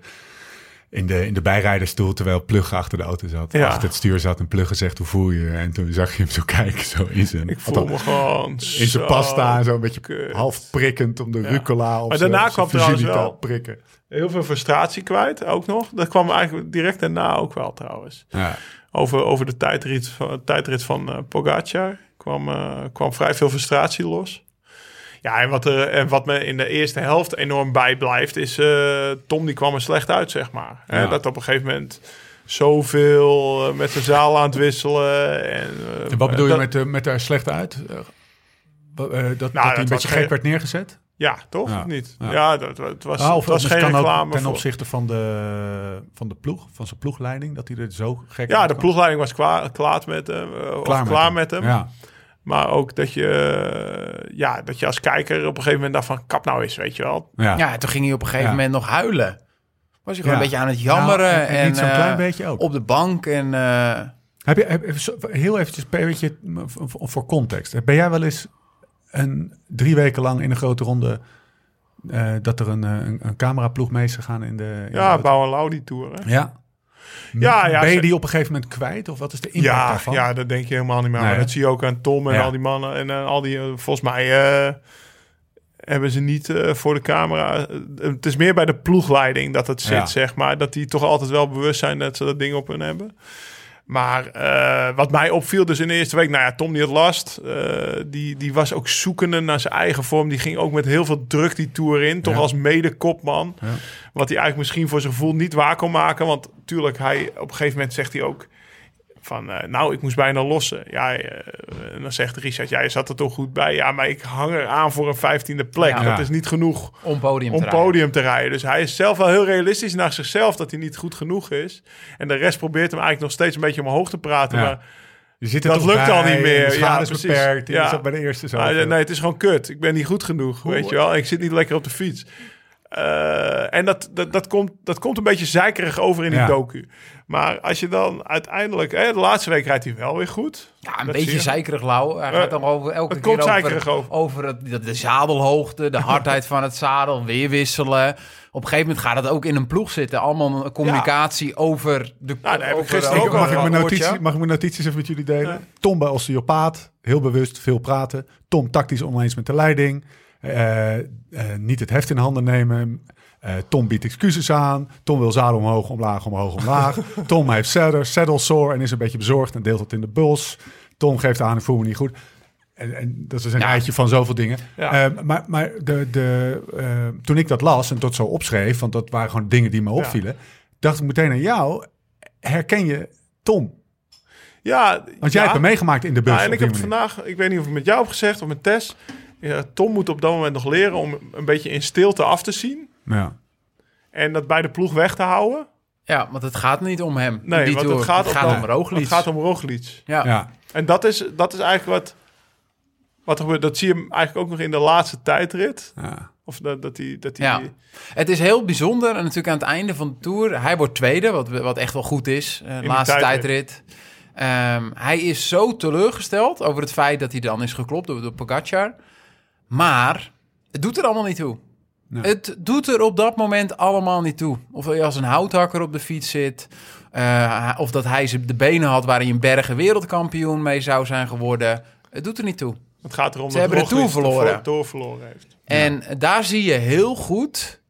Speaker 1: in de, in de bijrijderstoel, terwijl Plugge achter de auto zat.
Speaker 3: Ja.
Speaker 1: Achter het stuur zat en Plugge zegt, hoe voel je je? En toen zag je hem zo (laughs) kijken, zo in zijn,
Speaker 3: Ik voel me gewoon
Speaker 1: in zijn
Speaker 3: zo
Speaker 1: pasta, zo een beetje
Speaker 3: kut.
Speaker 1: half prikkend om de rucola op
Speaker 3: Maar
Speaker 1: zijn-
Speaker 3: daarna
Speaker 1: zijn
Speaker 3: kwam trouwens
Speaker 1: virginiteit
Speaker 3: wel-
Speaker 1: prikken.
Speaker 3: Heel veel frustratie kwijt, ook nog. Dat kwam eigenlijk direct daarna ook wel trouwens.
Speaker 1: Ja.
Speaker 3: Over, over de tijdrit van, tijdrit van eh, Pogacar kwam, eh, kwam vrij veel frustratie los. Ja, en wat, er, en wat me in de eerste helft enorm bijblijft, is eh, Tom die kwam er slecht uit, zeg maar. Hè,
Speaker 1: Ja.
Speaker 3: dat op een gegeven moment zoveel eh, met de zaal aan het wisselen. En, eh,
Speaker 1: En wat bedoel je
Speaker 3: dat-
Speaker 1: met, eh, met er slecht uit? Eh, wa- eh, dat, dat hij
Speaker 3: dat
Speaker 1: een
Speaker 3: was
Speaker 1: beetje
Speaker 3: geen-
Speaker 1: gek werd neergezet?
Speaker 3: Ja, toch?
Speaker 1: Ja.
Speaker 3: Of niet?
Speaker 1: Ja.
Speaker 3: Ja, dat, het was,
Speaker 1: Ah,
Speaker 3: het was geen
Speaker 1: kan ook
Speaker 3: reclame
Speaker 1: ten
Speaker 3: voor...
Speaker 1: opzichte van de, van de ploeg, van zijn ploegleiding, dat hij er zo gek
Speaker 3: Ja,
Speaker 1: uit
Speaker 3: de
Speaker 1: kwam.
Speaker 3: ploegleiding was kwa- kwaad met hem. eh, of klaar, met hem.
Speaker 1: Ja.
Speaker 3: Maar ook dat je, eh, ja, dat je als kijker op een gegeven moment dacht van kap nou eens, weet je wel.
Speaker 1: Ja.
Speaker 4: Ja, toen ging hij op een gegeven
Speaker 1: Ja.
Speaker 4: moment nog huilen. Was hij gewoon
Speaker 1: Ja.
Speaker 4: een beetje aan het jammeren.
Speaker 1: Nou, en- en
Speaker 4: en
Speaker 1: niet zo'n
Speaker 4: eh,
Speaker 1: klein beetje ook.
Speaker 4: Op de bank en... eh,
Speaker 1: Heb je, heb, heb- zo- heel eventjes, een beetje m- v- v- voor context. Ben jij wel eens een, drie weken lang in een grote ronde... eh, dat er een, eh, een, een cameraploeg mee is gegaan in de... in de
Speaker 3: Ja,
Speaker 1: auto?
Speaker 3: Bouw en Laudi tour. hè.
Speaker 1: ja.
Speaker 3: Ja, ja,
Speaker 1: ben je
Speaker 3: ze-
Speaker 1: die op een gegeven moment kwijt? Of wat is de impact
Speaker 3: Ja,
Speaker 1: daarvan?
Speaker 3: ja, dat denk je helemaal niet meer. aan.
Speaker 1: Nee, hè?
Speaker 3: dat zie je ook aan Tom en
Speaker 1: Ja.
Speaker 3: al die mannen. En eh, al die, eh, volgens mij eh, hebben ze niet eh, voor de camera. eh, het is meer bij de ploegleiding dat het zit,
Speaker 1: Ja.
Speaker 3: zeg maar. Dat die toch altijd wel bewust zijn dat ze dat ding op hun hebben. Maar eh, wat mij opviel dus in de eerste week, nou ja, Tom die had last. eh, die, die was ook zoekende naar zijn eigen vorm. Die ging ook met heel veel druk die tour in. Toch
Speaker 1: Ja.
Speaker 3: als mede-kopman.
Speaker 1: Ja.
Speaker 3: Wat hij eigenlijk misschien voor zijn gevoel niet waar kon maken. Want tuurlijk, hij, op een gegeven moment zegt hij ook van... eh, nou, ik moest bijna lossen. Ja, eh, en dan zegt Richard, jij zat er toch goed bij. Ja, maar ik hang er aan voor een vijftiende plek.
Speaker 4: Ja.
Speaker 3: Dat is niet genoeg
Speaker 4: om podium te
Speaker 3: om
Speaker 4: rijden.
Speaker 3: podium te rijden. Dus hij is zelf wel heel realistisch naar zichzelf... dat hij niet goed genoeg is. En de rest probeert hem eigenlijk nog steeds een beetje omhoog te praten.
Speaker 1: Ja.
Speaker 3: Maar
Speaker 1: Je zit er
Speaker 3: Dat
Speaker 1: toch
Speaker 3: lukt
Speaker 1: bij,
Speaker 3: al niet meer.
Speaker 1: De schade
Speaker 3: Ja,
Speaker 1: is
Speaker 3: precies.
Speaker 1: beperkt. Je
Speaker 3: Ja.
Speaker 1: zat bij de eerste zo.
Speaker 3: Ah, nee, het is gewoon kut. Ik ben niet goed genoeg, weet je wel. Ik zit niet lekker op de fiets. Eh, en dat, dat, dat, komt, dat komt een beetje zeikerig over in die
Speaker 1: Ja.
Speaker 3: docu. Maar als je dan uiteindelijk... Hè, de laatste week rijdt hij wel weer goed.
Speaker 4: Ja, een
Speaker 3: Dat zie
Speaker 4: beetje
Speaker 3: je.
Speaker 4: zeikerig lauw. Hij gaat dan over elke
Speaker 3: Eh, het
Speaker 4: keer
Speaker 3: komt
Speaker 4: over,
Speaker 3: zeikerig over.
Speaker 4: over het, de, de zadelhoogte, de hardheid van het zadel, weer wisselen. Op een gegeven moment gaat het ook in een ploeg zitten. Allemaal communicatie over de...
Speaker 3: daar heb ik
Speaker 4: over-
Speaker 3: gisteren
Speaker 4: over-
Speaker 3: ook al
Speaker 1: mag, ik
Speaker 3: wel
Speaker 1: mijn
Speaker 3: een
Speaker 1: notitie,
Speaker 3: oortje.
Speaker 1: mag ik mijn notities even met jullie delen?
Speaker 3: Ja.
Speaker 1: Tom bij osteopaat, heel bewust, veel praten. Tom tactisch oneens met de leiding. Eh, eh, niet het heft in handen nemen. Eh, Tom biedt excuses aan. Tom wil zadel omhoog, omlaag, omhoog,
Speaker 3: (laughs)
Speaker 1: omlaag. Tom heeft saddle, saddle sore en is een beetje bezorgd en deelt dat in de buls. Tom geeft aan, ik voel me niet goed. En, en dat is een rijtje van zoveel dingen.
Speaker 3: Ja.
Speaker 1: Eh, maar maar de, de, eh, toen ik dat las en tot zo opschreef, want dat waren gewoon dingen die me opvielen, dacht ik meteen aan jou. Herken je Tom?
Speaker 3: Ja,
Speaker 1: Want jij
Speaker 3: ja.
Speaker 1: hebt hem meegemaakt in de bus.
Speaker 3: Nou, en
Speaker 1: op
Speaker 3: ik
Speaker 1: die
Speaker 3: heb het
Speaker 1: manier.
Speaker 3: vandaag, ik weet niet of ik het met jou heb gezegd of met Tess. Ja, Tom moet op dat moment nog leren om een beetje in stilte af te zien.
Speaker 1: Ja.
Speaker 3: En dat bij de ploeg weg te houden.
Speaker 4: Ja, want het gaat niet om hem.
Speaker 3: Nee,
Speaker 4: die
Speaker 3: want
Speaker 4: tour.
Speaker 3: het gaat,
Speaker 4: het
Speaker 3: op
Speaker 4: gaat
Speaker 3: dat-
Speaker 4: om Roglic.
Speaker 3: Het gaat om Roglic.
Speaker 4: Ja.
Speaker 1: Ja.
Speaker 3: En dat is, dat is eigenlijk wat, wat er gebeurt. Dat zie je hem eigenlijk ook nog in de laatste tijdrit.
Speaker 1: Ja.
Speaker 3: Of dat, dat die, dat die,
Speaker 4: Ja. Het is heel bijzonder. En natuurlijk aan het einde van de Tour. Hij wordt tweede, wat, wat echt wel goed is. eh,
Speaker 3: die
Speaker 4: laatste
Speaker 3: tijdrit.
Speaker 4: tijdrit. Ehm, hij is zo teleurgesteld over het feit dat hij dan is geklopt door, door Pogacar. Maar het doet er allemaal niet toe.
Speaker 1: Nee.
Speaker 4: Het doet er op dat moment allemaal niet toe. Of je als een houthakker op de fiets zit. eh, of dat hij ze de benen had waar hij een bergen wereldkampioen mee zou zijn geworden. Het doet er niet toe.
Speaker 3: Het gaat erom
Speaker 4: Ze
Speaker 3: dat
Speaker 4: hebben de
Speaker 3: Roglic
Speaker 4: Tour verloren.
Speaker 3: vo- Tour verloren heeft.
Speaker 4: En daar zie je heel goed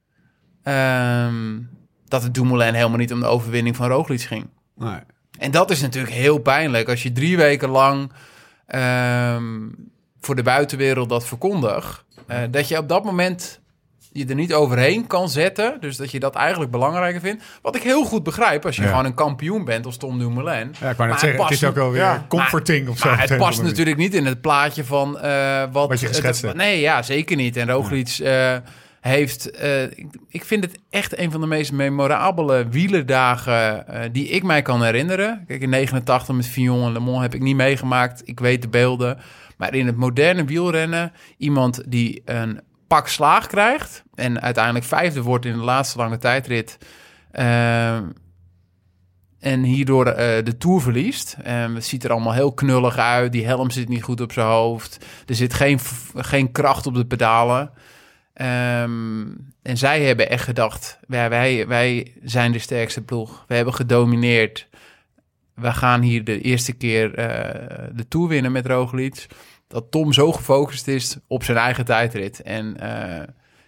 Speaker 4: ehm, dat het Dumoulin helemaal niet om de overwinning van Roglic ging.
Speaker 1: Nee.
Speaker 4: En dat is natuurlijk heel pijnlijk als je drie weken lang ehm, voor de buitenwereld dat verkondigt. eh, dat je op dat moment je er niet overheen kan zetten. Dus dat je dat eigenlijk belangrijker vindt. Wat ik heel goed begrijp als je
Speaker 1: Ja.
Speaker 4: gewoon een kampioen bent als Tom Dumoulin.
Speaker 1: Ja, ik wou net
Speaker 4: het
Speaker 1: zeggen, het
Speaker 4: past
Speaker 1: is ook wel weer
Speaker 3: ja,
Speaker 1: comforting of zo.
Speaker 4: maar het
Speaker 1: meteen
Speaker 4: past
Speaker 1: op een manier.
Speaker 4: natuurlijk niet in het plaatje van eh, wat,
Speaker 1: Wat je geschetst
Speaker 4: het-
Speaker 1: hebt.
Speaker 4: Nee, ja, zeker niet. En Roglic eh, heeft... eh, ik, ik vind het echt een van de meest memorabele wielerdagen eh, die ik mij kan herinneren. Kijk, in 89 met Fignon en Le Mans heb ik niet meegemaakt. Ik weet de beelden. Maar in het moderne wielrennen, iemand die een pak slaag krijgt... en uiteindelijk vijfde wordt in de laatste lange tijdrit... ehm, en hierdoor eh, de Tour verliest. Ehm, het ziet er allemaal heel knullig uit. Die helm zit niet goed op zijn hoofd. Er zit geen, v- geen kracht op de pedalen. Ehm, en zij hebben echt gedacht... Wij, wij, wij zijn de sterkste ploeg. We hebben gedomineerd. We gaan hier de eerste keer eh, de Tour winnen met Roglic. Dat Tom zo gefocust is op zijn eigen tijdrit. En... eh,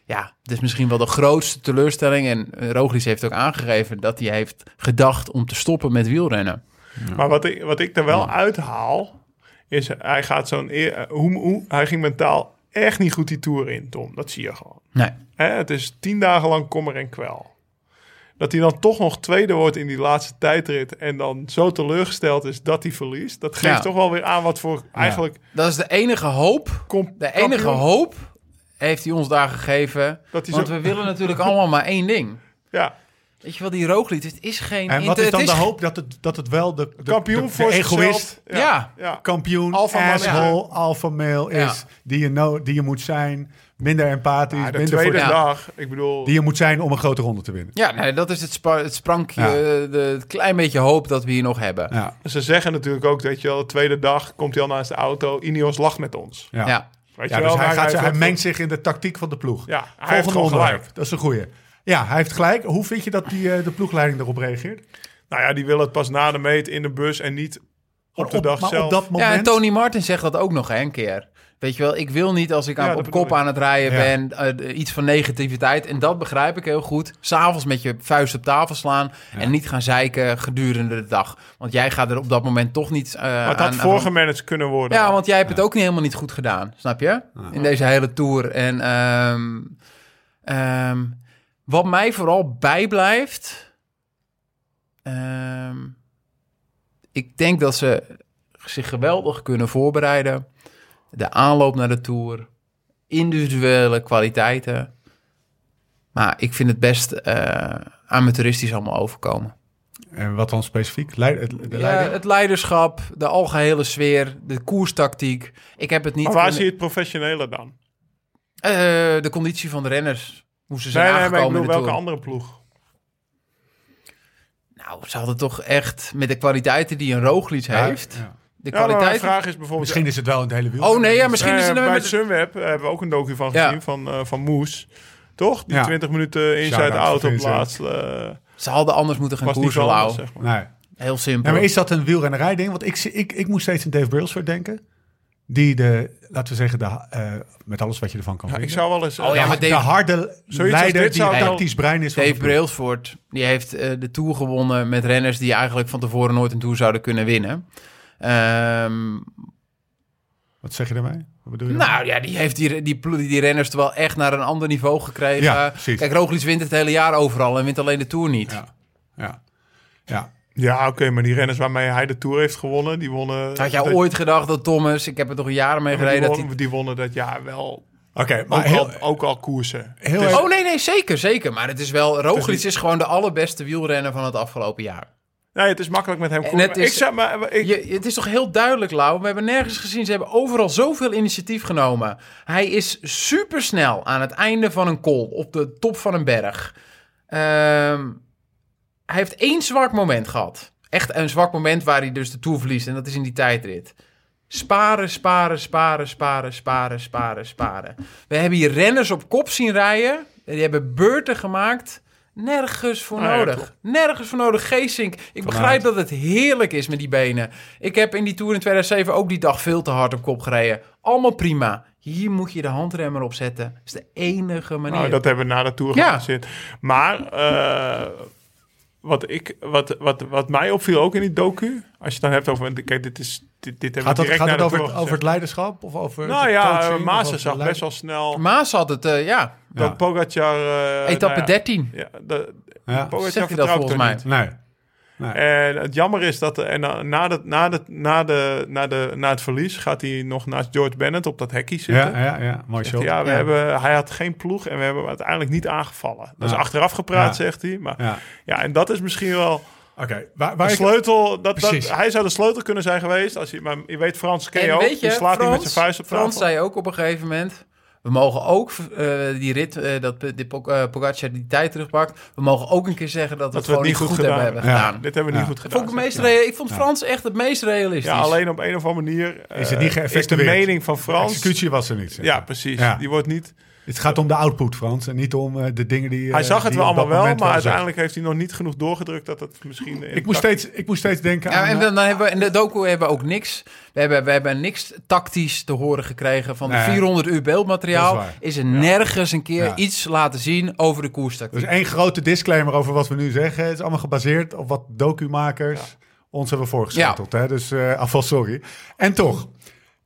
Speaker 4: ja, het is misschien wel de grootste teleurstelling. En eh, Roglic heeft ook aangegeven dat hij heeft gedacht om te stoppen met wielrennen.
Speaker 3: Maar wat ik, wat ik er wel uithaal, is hij gaat zo'n... eer- eh, Hoe, hoe, hij ging mentaal echt niet goed die Tour in, Tom. Dat zie je gewoon.
Speaker 4: Nee,
Speaker 3: Hè, het is tien dagen lang kommer en kwel. Dat hij dan toch nog tweede wordt in die laatste tijdrit... en dan zo teleurgesteld is dat hij verliest... dat geeft
Speaker 4: Ja.
Speaker 3: toch wel weer aan wat voor eigenlijk...
Speaker 4: dat is de enige hoop.
Speaker 3: kom-
Speaker 4: De enige
Speaker 3: kampioen-
Speaker 4: hoop heeft hij ons daar gegeven.
Speaker 3: Dat hij
Speaker 4: want
Speaker 3: zo-
Speaker 4: we willen natuurlijk allemaal maar één ding.
Speaker 3: Ja,
Speaker 4: Weet je wel, die Roglic, het is geen...
Speaker 1: En wat is
Speaker 4: het
Speaker 1: dan de hoop dat het, dat het wel de, de,
Speaker 3: kampioen
Speaker 1: de- de
Speaker 3: voor zichzelf.
Speaker 1: egoïst,
Speaker 4: Ja.
Speaker 3: ja.
Speaker 1: kampioen,
Speaker 3: Alpha man,
Speaker 1: asshole, alpha male
Speaker 4: Ja.
Speaker 1: is, die, je nou, die je moet zijn, minder empathisch,
Speaker 3: Maar de
Speaker 1: minder
Speaker 3: tweede
Speaker 1: voor-
Speaker 4: Ja.
Speaker 3: dag, ik bedoel...
Speaker 1: die je moet zijn om een grote ronde te winnen.
Speaker 4: Ja, nee, dat is het, spa- het sprankje,
Speaker 1: Ja.
Speaker 4: eh, de, het klein beetje hoop dat we hier nog hebben. Ja.
Speaker 1: Ja,
Speaker 3: Ze zeggen natuurlijk ook, dat je wel, de tweede dag komt hij al naast de auto. Ineos lacht met ons.
Speaker 1: ja.
Speaker 3: Weet
Speaker 1: Ja,
Speaker 3: je
Speaker 1: dus
Speaker 3: wel?
Speaker 1: hij, gaat,
Speaker 3: heeft
Speaker 1: hij
Speaker 3: ook-
Speaker 1: mengt zich in de tactiek van de ploeg.
Speaker 3: Ja, hij heeft
Speaker 1: Volgende
Speaker 3: gewoon
Speaker 1: onderwerp,
Speaker 3: gelijk.
Speaker 1: dat is een goeie. Ja, hij heeft gelijk. Hoe vind je dat die, eh, de ploegleiding daarop reageert?
Speaker 3: Nou ja, die wil het pas na de meet in de bus en niet op de
Speaker 1: Op-
Speaker 3: dag
Speaker 1: maar
Speaker 3: zelf.
Speaker 1: op dat moment...
Speaker 4: Ja, en Tony Martin zegt dat ook nog hè, een keer. Weet je wel, ik wil niet als ik aan,
Speaker 3: Ja, dat
Speaker 4: op
Speaker 3: bedoel
Speaker 4: kop
Speaker 3: ik.
Speaker 4: aan het rijden
Speaker 1: Ja.
Speaker 4: ben, eh, iets van negativiteit. En dat begrijp ik heel goed. S'avonds met je vuist op tafel slaan en niet gaan zeiken gedurende de dag. Want jij gaat er op dat moment toch niet eh,
Speaker 3: maar het
Speaker 4: aan-
Speaker 3: had
Speaker 4: aan-
Speaker 3: voorgemanaged kunnen worden.
Speaker 4: Ja, want jij hebt het ook niet helemaal niet goed gedaan, snap je?
Speaker 3: Ah,
Speaker 4: In deze hele tour. En ehm, ehm, wat mij vooral bijblijft... ehm, ik denk dat ze zich geweldig kunnen voorbereiden. De aanloop naar de Tour. Individuele kwaliteiten. Maar ik vind het best eh, amateuristisch allemaal overkomen.
Speaker 1: En wat dan specifiek? Leid, de
Speaker 4: Ja,
Speaker 1: leiding?
Speaker 4: het leiderschap, de algehele sfeer, de koerstactiek. Ik heb het niet...
Speaker 3: maar waar
Speaker 4: in-
Speaker 3: zie je het professionele dan?
Speaker 4: eh, de conditie van de renners. Hoe ze zijn
Speaker 3: Nee, nee, maar ik
Speaker 4: aangekomen
Speaker 3: bedoel,
Speaker 4: in de
Speaker 3: welke
Speaker 4: Tour.
Speaker 3: andere ploeg?
Speaker 4: Nou, ze hadden toch echt met de kwaliteiten die een Roglic
Speaker 1: Ja,
Speaker 4: heeft.
Speaker 1: ja.
Speaker 4: De
Speaker 3: Ja, maar mijn
Speaker 4: kwaliteiten.
Speaker 3: vraag is bijvoorbeeld...
Speaker 1: Misschien is het wel in het hele wiel.
Speaker 4: oh nee, ja, misschien
Speaker 3: eh,
Speaker 4: is het
Speaker 3: bij
Speaker 4: er met...
Speaker 3: Sunweb hebben we ook een docu van
Speaker 4: Ja.
Speaker 3: gezien van, eh, van Moes. Toch? Die
Speaker 1: Ja.
Speaker 3: 20 minuten
Speaker 1: Shout-out
Speaker 3: inside
Speaker 1: voor
Speaker 3: out op
Speaker 1: Vincent.
Speaker 3: laatst. eh,
Speaker 4: Ze hadden anders moeten gaan
Speaker 3: was niet
Speaker 4: koersen,
Speaker 3: zo
Speaker 4: Lau.
Speaker 3: anders, zeg maar.
Speaker 1: Nee.
Speaker 4: Heel
Speaker 1: Ja,
Speaker 4: simpel.
Speaker 1: maar is dat een wielrennerij ding? Want ik, zie- ik, ik moest steeds aan Dave Brailsford denken. Die de, laten we zeggen, de, ha- eh, met alles wat je ervan kan
Speaker 3: Ja, ik
Speaker 1: vinden.
Speaker 3: zou wel eens...
Speaker 4: Oh ja, maar
Speaker 1: de
Speaker 4: Dave,
Speaker 1: harde
Speaker 3: als
Speaker 1: leider
Speaker 3: dit
Speaker 1: die
Speaker 3: zou ik dan-
Speaker 1: tactisch brein is. van
Speaker 4: Dave
Speaker 1: de ploeg.
Speaker 4: Brailsford die heeft eh, de Tour gewonnen met renners... die eigenlijk van tevoren nooit een Tour zouden kunnen winnen. Ehm,
Speaker 1: Wat zeg je daarmee? Wat bedoel je daarmee?
Speaker 4: nou ja, die heeft die, die, plo- die renners toch wel echt naar een ander niveau gekregen.
Speaker 1: Ja, precies.
Speaker 4: Kijk, Roglic wint het hele jaar overal en wint alleen de Tour niet.
Speaker 1: Ja. Ja. ja.
Speaker 3: Ja, oké, maar die renners waarmee hij de Tour heeft gewonnen, die wonnen...
Speaker 4: Had jij
Speaker 3: dat-
Speaker 4: ooit gedacht dat Thomas, ik heb er toch jaren mee
Speaker 3: die,
Speaker 4: gereden... dat hij
Speaker 3: wonnen, die wonnen dat jaar wel.
Speaker 1: Oké, maar
Speaker 3: ook,
Speaker 1: heel,
Speaker 3: al, ook al koersen.
Speaker 1: heel
Speaker 3: Het is-
Speaker 1: erg-
Speaker 4: Oh nee, nee, zeker, zeker. Maar het is wel, Roglic
Speaker 3: niet-
Speaker 4: is gewoon de allerbeste wielrenner van het afgelopen jaar.
Speaker 3: Nee, het is makkelijk met hem
Speaker 4: En
Speaker 3: koersen.
Speaker 4: het
Speaker 3: Ik
Speaker 4: is-
Speaker 3: zou maar... Ik,
Speaker 4: Je, het is toch heel duidelijk, Lau. We hebben nergens gezien, ze hebben overal zoveel initiatief genomen. Hij is supersnel aan het einde van een col, op de top van een berg. Ehm, hij heeft één zwak moment gehad. Echt een zwak moment waar hij dus de Tour verliest. En dat is in die tijdrit. Sparen, sparen, sparen, sparen, sparen, sparen, sparen. We hebben hier renners op kop zien rijden. En Die hebben beurten gemaakt. Nergens voor
Speaker 3: Nou ja,
Speaker 4: nodig.
Speaker 3: toch.
Speaker 4: Nergens voor nodig. Geesink. Ik begrijp
Speaker 1: Aert.
Speaker 4: dat het heerlijk is met die benen. Ik heb in die Tour in 2007 ook die dag veel te hard op kop gereden. Allemaal prima. Hier moet je de handremmer op zetten. Dat is de enige manier.
Speaker 3: Nou, dat hebben we na de Tour
Speaker 4: Ja.
Speaker 3: gedaan. zit. Maar eh, wat, ik, wat, wat, wat mij opviel ook in die docu... als je het dan hebt over... Kijk, dit, is, dit, dit hebben
Speaker 1: Gaat,
Speaker 3: we
Speaker 1: dat,
Speaker 3: direct
Speaker 1: gaat
Speaker 3: na
Speaker 1: het
Speaker 3: de
Speaker 1: over,
Speaker 3: Tour
Speaker 1: het- over het
Speaker 3: gezegd.
Speaker 1: leiderschap? Of over
Speaker 3: Nou
Speaker 1: de coaching,
Speaker 3: ja,
Speaker 1: of
Speaker 3: Maassen
Speaker 1: over
Speaker 3: zag
Speaker 1: leid-
Speaker 3: best wel snel...
Speaker 4: Maas had het, eh, ja.
Speaker 3: dat
Speaker 1: Ja.
Speaker 3: Pogacar... eh,
Speaker 4: Etappe
Speaker 3: nou ja,
Speaker 4: 13.
Speaker 3: Ja, dat,
Speaker 1: Ja.
Speaker 3: Pogacar
Speaker 4: Zegt hij dat
Speaker 3: vertrouwt
Speaker 4: volgens
Speaker 3: er
Speaker 4: mij?
Speaker 3: niet.
Speaker 1: Nee.
Speaker 3: En het jammer is dat er- en na, na, de, na, de, na, de, na, de, na het verlies gaat hij nog naast George Bennett op dat hekje
Speaker 1: Ja,
Speaker 3: zitten.
Speaker 1: ja, ja, mooi
Speaker 3: Zegt hij,
Speaker 1: shot.
Speaker 3: ja, we
Speaker 4: Ja.
Speaker 3: Hebben, hij had geen ploeg en we hebben hem uiteindelijk niet aangevallen. Dat
Speaker 1: Ja.
Speaker 3: is achteraf gepraat,
Speaker 1: Ja.
Speaker 3: zegt hij. Maar ja.
Speaker 1: Ja.
Speaker 3: en dat is misschien wel
Speaker 1: Oké, waar,
Speaker 3: de
Speaker 1: waar ik-
Speaker 3: sleutel. Dat, dat,
Speaker 1: Precies.
Speaker 3: hij zou de sleutel kunnen zijn geweest. Als je, maar je weet, Frans ken je
Speaker 4: En
Speaker 3: ook.
Speaker 4: weet
Speaker 3: die
Speaker 4: je,
Speaker 3: slaat hij
Speaker 4: Frans,
Speaker 3: met zijn vuist op
Speaker 4: Frans
Speaker 3: tafel.
Speaker 4: zei ook op een gegeven moment... We mogen ook eh, die rit, eh, dat P- die Pog- eh, Pogacar die tijd terugpakt... We mogen ook een keer zeggen dat we het
Speaker 3: we het
Speaker 4: gewoon niet goed, hebben, hebben
Speaker 1: Ja.
Speaker 4: gedaan.
Speaker 3: Dit hebben we niet
Speaker 1: Ja.
Speaker 3: goed
Speaker 4: Dat
Speaker 3: gedaan.
Speaker 4: vond ik, het
Speaker 3: zegt
Speaker 4: meest
Speaker 3: hij.
Speaker 4: rea- ik vond Frans echt het meest realistisch.
Speaker 3: ja, alleen op een of andere manier eh,
Speaker 1: Is het niet
Speaker 3: de
Speaker 1: geëffectueerd?
Speaker 3: mening van
Speaker 1: de
Speaker 3: Frans.
Speaker 1: executie was er niet. zeg.
Speaker 3: Ja, precies.
Speaker 1: Ja.
Speaker 3: Die wordt niet.
Speaker 1: Het gaat om de output, Frans, en niet om eh, de dingen die. eh,
Speaker 3: Hij zag het
Speaker 1: die
Speaker 3: wel
Speaker 1: op dat
Speaker 3: allemaal wel,
Speaker 1: moment
Speaker 3: maar
Speaker 1: zag.
Speaker 3: uiteindelijk heeft hij nog niet genoeg doorgedrukt dat het misschien. eh,
Speaker 1: Ik moest, steeds, ik moest steeds denken
Speaker 4: Ja,
Speaker 1: aan.
Speaker 4: en
Speaker 1: eh,
Speaker 4: dan dan hebben we in de docu hebben we ook niks. We hebben, we hebben niks tactisch te horen gekregen van de
Speaker 1: Nee.
Speaker 4: 400 uur beeldmateriaal.
Speaker 1: Dat is
Speaker 4: Is,
Speaker 1: waar.
Speaker 4: er nergens een keer
Speaker 1: Ja. Dus
Speaker 4: iets laten zien over de
Speaker 1: Er
Speaker 4: koerstactiek.
Speaker 1: is één grote disclaimer over wat we nu zeggen. Het is allemaal gebaseerd op wat documakers ons hebben voorgeschoteld. Hè? Dus eh alvast sorry. En toch,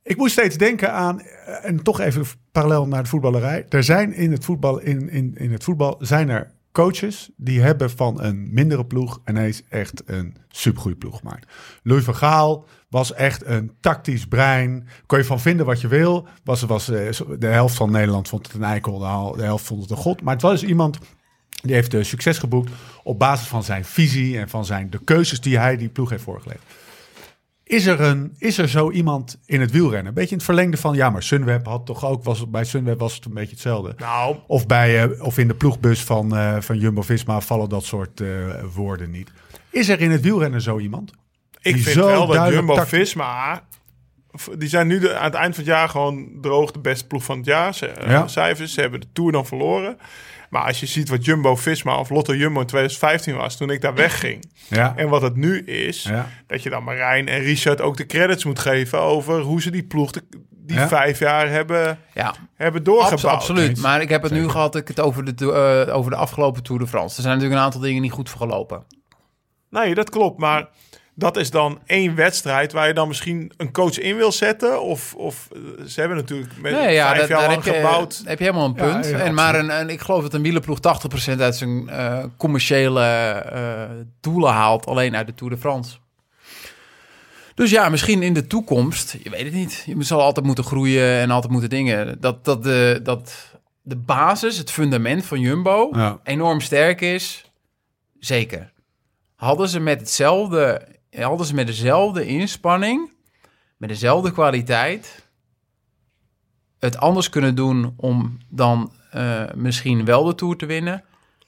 Speaker 1: ik moest steeds denken aan, eh, en toch even parallel naar de voetballerij. Er zijn in het voetbal, in, in, in het voetbal zijn er coaches die hebben van een mindere ploeg ineens echt een supergoeie ploeg gemaakt. Louis van Gaal was echt een tactisch brein. Kon je van vinden wat je wil. Was, was, eh, zo- de helft van Nederland vond het een eikel, de hel- de helft vond het een god. Maar het was iemand die heeft eh, succes geboekt op basis van zijn visie en van zijn, de keuzes die hij die ploeg heeft voorgelegd. Is er, een, is er zo iemand in het wielrennen? Een beetje in het verlengde van, ja, maar Sunweb had toch ook, was het, bij Sunweb was het een beetje hetzelfde.
Speaker 3: Nou,
Speaker 1: Of, bij, eh, of in de ploegbus van, eh, van Jumbo-Visma vallen dat soort eh, woorden niet. Is er in het wielrennen zo iemand?
Speaker 3: ik
Speaker 1: die
Speaker 3: vind
Speaker 1: zo
Speaker 3: wel dat
Speaker 1: duidelijk
Speaker 3: Jumbo
Speaker 1: tactisch-
Speaker 3: Visma. Die zijn nu de, aan het eind van het jaar gewoon droog de beste ploeg van het jaar. Ze, eh,
Speaker 1: Ja.
Speaker 3: Cijfers, ze hebben de Tour dan verloren. Maar als je ziet wat Jumbo Visma of Lotto Jumbo in 2015 was toen ik daar wegging.
Speaker 1: Ja.
Speaker 3: En wat het nu is,
Speaker 1: Ja.
Speaker 3: dat je dan Marijn en Richard ook de credits moet geven over hoe ze die ploeg de, die
Speaker 1: Ja.
Speaker 3: vijf jaar hebben,
Speaker 4: Ja,
Speaker 3: hebben doorgebouwd.
Speaker 4: abso- absoluut.
Speaker 1: Eens.
Speaker 4: Maar ik heb het nu gehad ik het over de, to- eh, over de afgelopen Tour de France. Er zijn natuurlijk een aantal dingen niet goed gelopen.
Speaker 3: Nee, dat klopt. Maar dat is dan één wedstrijd waar je dan misschien een coach in wil zetten. Of, of eh, ze hebben natuurlijk met
Speaker 4: Nee, ja,
Speaker 3: vijf
Speaker 4: dat,
Speaker 3: jaar
Speaker 4: daar
Speaker 3: lang
Speaker 4: heb je,
Speaker 3: gebouwd.
Speaker 4: heb je helemaal een
Speaker 1: Ja,
Speaker 4: punt.
Speaker 1: ja,
Speaker 4: en, maar een, een- ik geloof dat een wielerploeg 80% uit zijn eh, commerciële eh, doelen haalt. Alleen uit de Tour de France. Dus ja, misschien in de toekomst, je weet het niet. Je zal altijd moeten groeien en altijd moeten dingen. Dat, dat, de, dat de basis, het fundament van Jumbo
Speaker 1: Ja.
Speaker 4: enorm sterk is, zeker. Hadden ze met hetzelfde, hadden ze met dezelfde inspanning, met dezelfde kwaliteit, het anders kunnen doen om dan eh, misschien wel de Tour te winnen.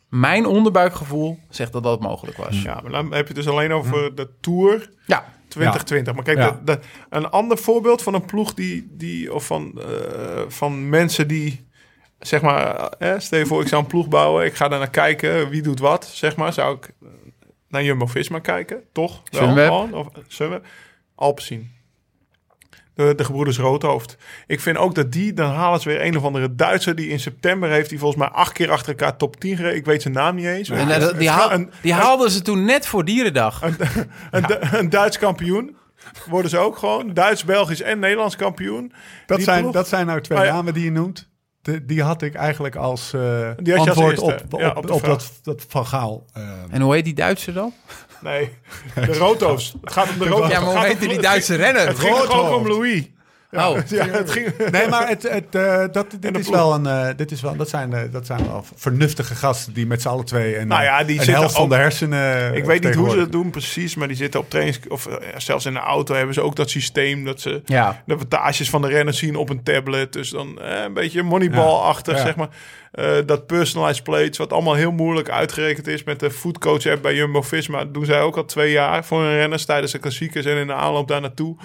Speaker 4: Mijn onderbuikgevoel zegt dat dat mogelijk was.
Speaker 3: Ja, maar dan heb je het dus alleen over
Speaker 4: Hm.
Speaker 3: de Tour
Speaker 4: Ja,
Speaker 3: 2020. Maar kijk,
Speaker 1: Ja.
Speaker 3: dat- dat- een ander voorbeeld van een ploeg die... die of van, eh, van mensen die... Zeg maar, eh, stel je voor, ik zou een ploeg bouwen. Ik ga daar naar kijken. Wie doet wat, zeg maar. Zou ik eh, naar Jumbo-Visma kijken, toch? Wel,
Speaker 4: Sunweb.
Speaker 3: gewoon, Of Sunweb. Alpecin. De, de gebroeders Roodhoofd. Ik vind ook dat die, dan halen ze weer een of andere Duitser... die in september heeft, die volgens mij acht keer achter elkaar top 10 gereden. Ik weet zijn naam niet eens.
Speaker 4: En, eh, dat- die, haal-
Speaker 3: een-
Speaker 4: die haalden ze toen net voor Dierendag.
Speaker 3: Een, Du- een Duits kampioen worden ze ook gewoon. Duits, Belgisch en Nederlands kampioen.
Speaker 1: Dat
Speaker 3: Die
Speaker 1: zijn,
Speaker 3: ploeg-
Speaker 1: dat zijn nou twee
Speaker 3: Maar ja.
Speaker 1: namen die je noemt. De- die had ik eigenlijk als eh,
Speaker 3: je als
Speaker 1: antwoord
Speaker 3: eerste.
Speaker 1: op, op,
Speaker 3: Ja, op
Speaker 1: op,
Speaker 3: de vraag.
Speaker 1: dat, dat Van Gaal. eh,
Speaker 4: En hoe heet die Duitser
Speaker 3: Oh,
Speaker 4: dan?
Speaker 3: Nee, de Roto's. Het gaat om de Roto's.
Speaker 4: Ja, maar
Speaker 3: Het
Speaker 4: hoe
Speaker 3: gaat
Speaker 4: heette
Speaker 3: om-
Speaker 4: die Duitse renner?
Speaker 3: Het ging gewoon
Speaker 1: Roodhoofd.
Speaker 3: om Louis.
Speaker 4: Oh,
Speaker 3: Ja, het ging...
Speaker 1: Nee, maar het, het, eh, dat, dit,
Speaker 3: de
Speaker 1: is
Speaker 3: ploeg.
Speaker 1: wel een, eh, dit is wel dat zijn, eh, dat zijn wel vernuftige gasten die met z'n allen twee en,
Speaker 3: Nou ja, die
Speaker 1: een
Speaker 3: zitten
Speaker 1: helft van
Speaker 3: ook-
Speaker 1: de hersenen. eh,
Speaker 3: Ik weet niet hoe ze dat
Speaker 1: vertegenwoordigen.
Speaker 3: doen precies, maar die zitten op trainings... Of eh, zelfs in de auto hebben ze ook dat systeem dat ze...
Speaker 4: Ja.
Speaker 3: De wattages van de renners zien op een tablet. Dus dan eh, een beetje moneyball-achtig,
Speaker 1: Ja. Ja.
Speaker 3: zeg maar. Eh, dat personalized plates, wat allemaal heel moeilijk uitgerekend is met de foodcoach app bij Jumbo-Visma. Dat doen zij ook al twee jaar voor hun renners tijdens de klassiekers en in de aanloop daar naartoe.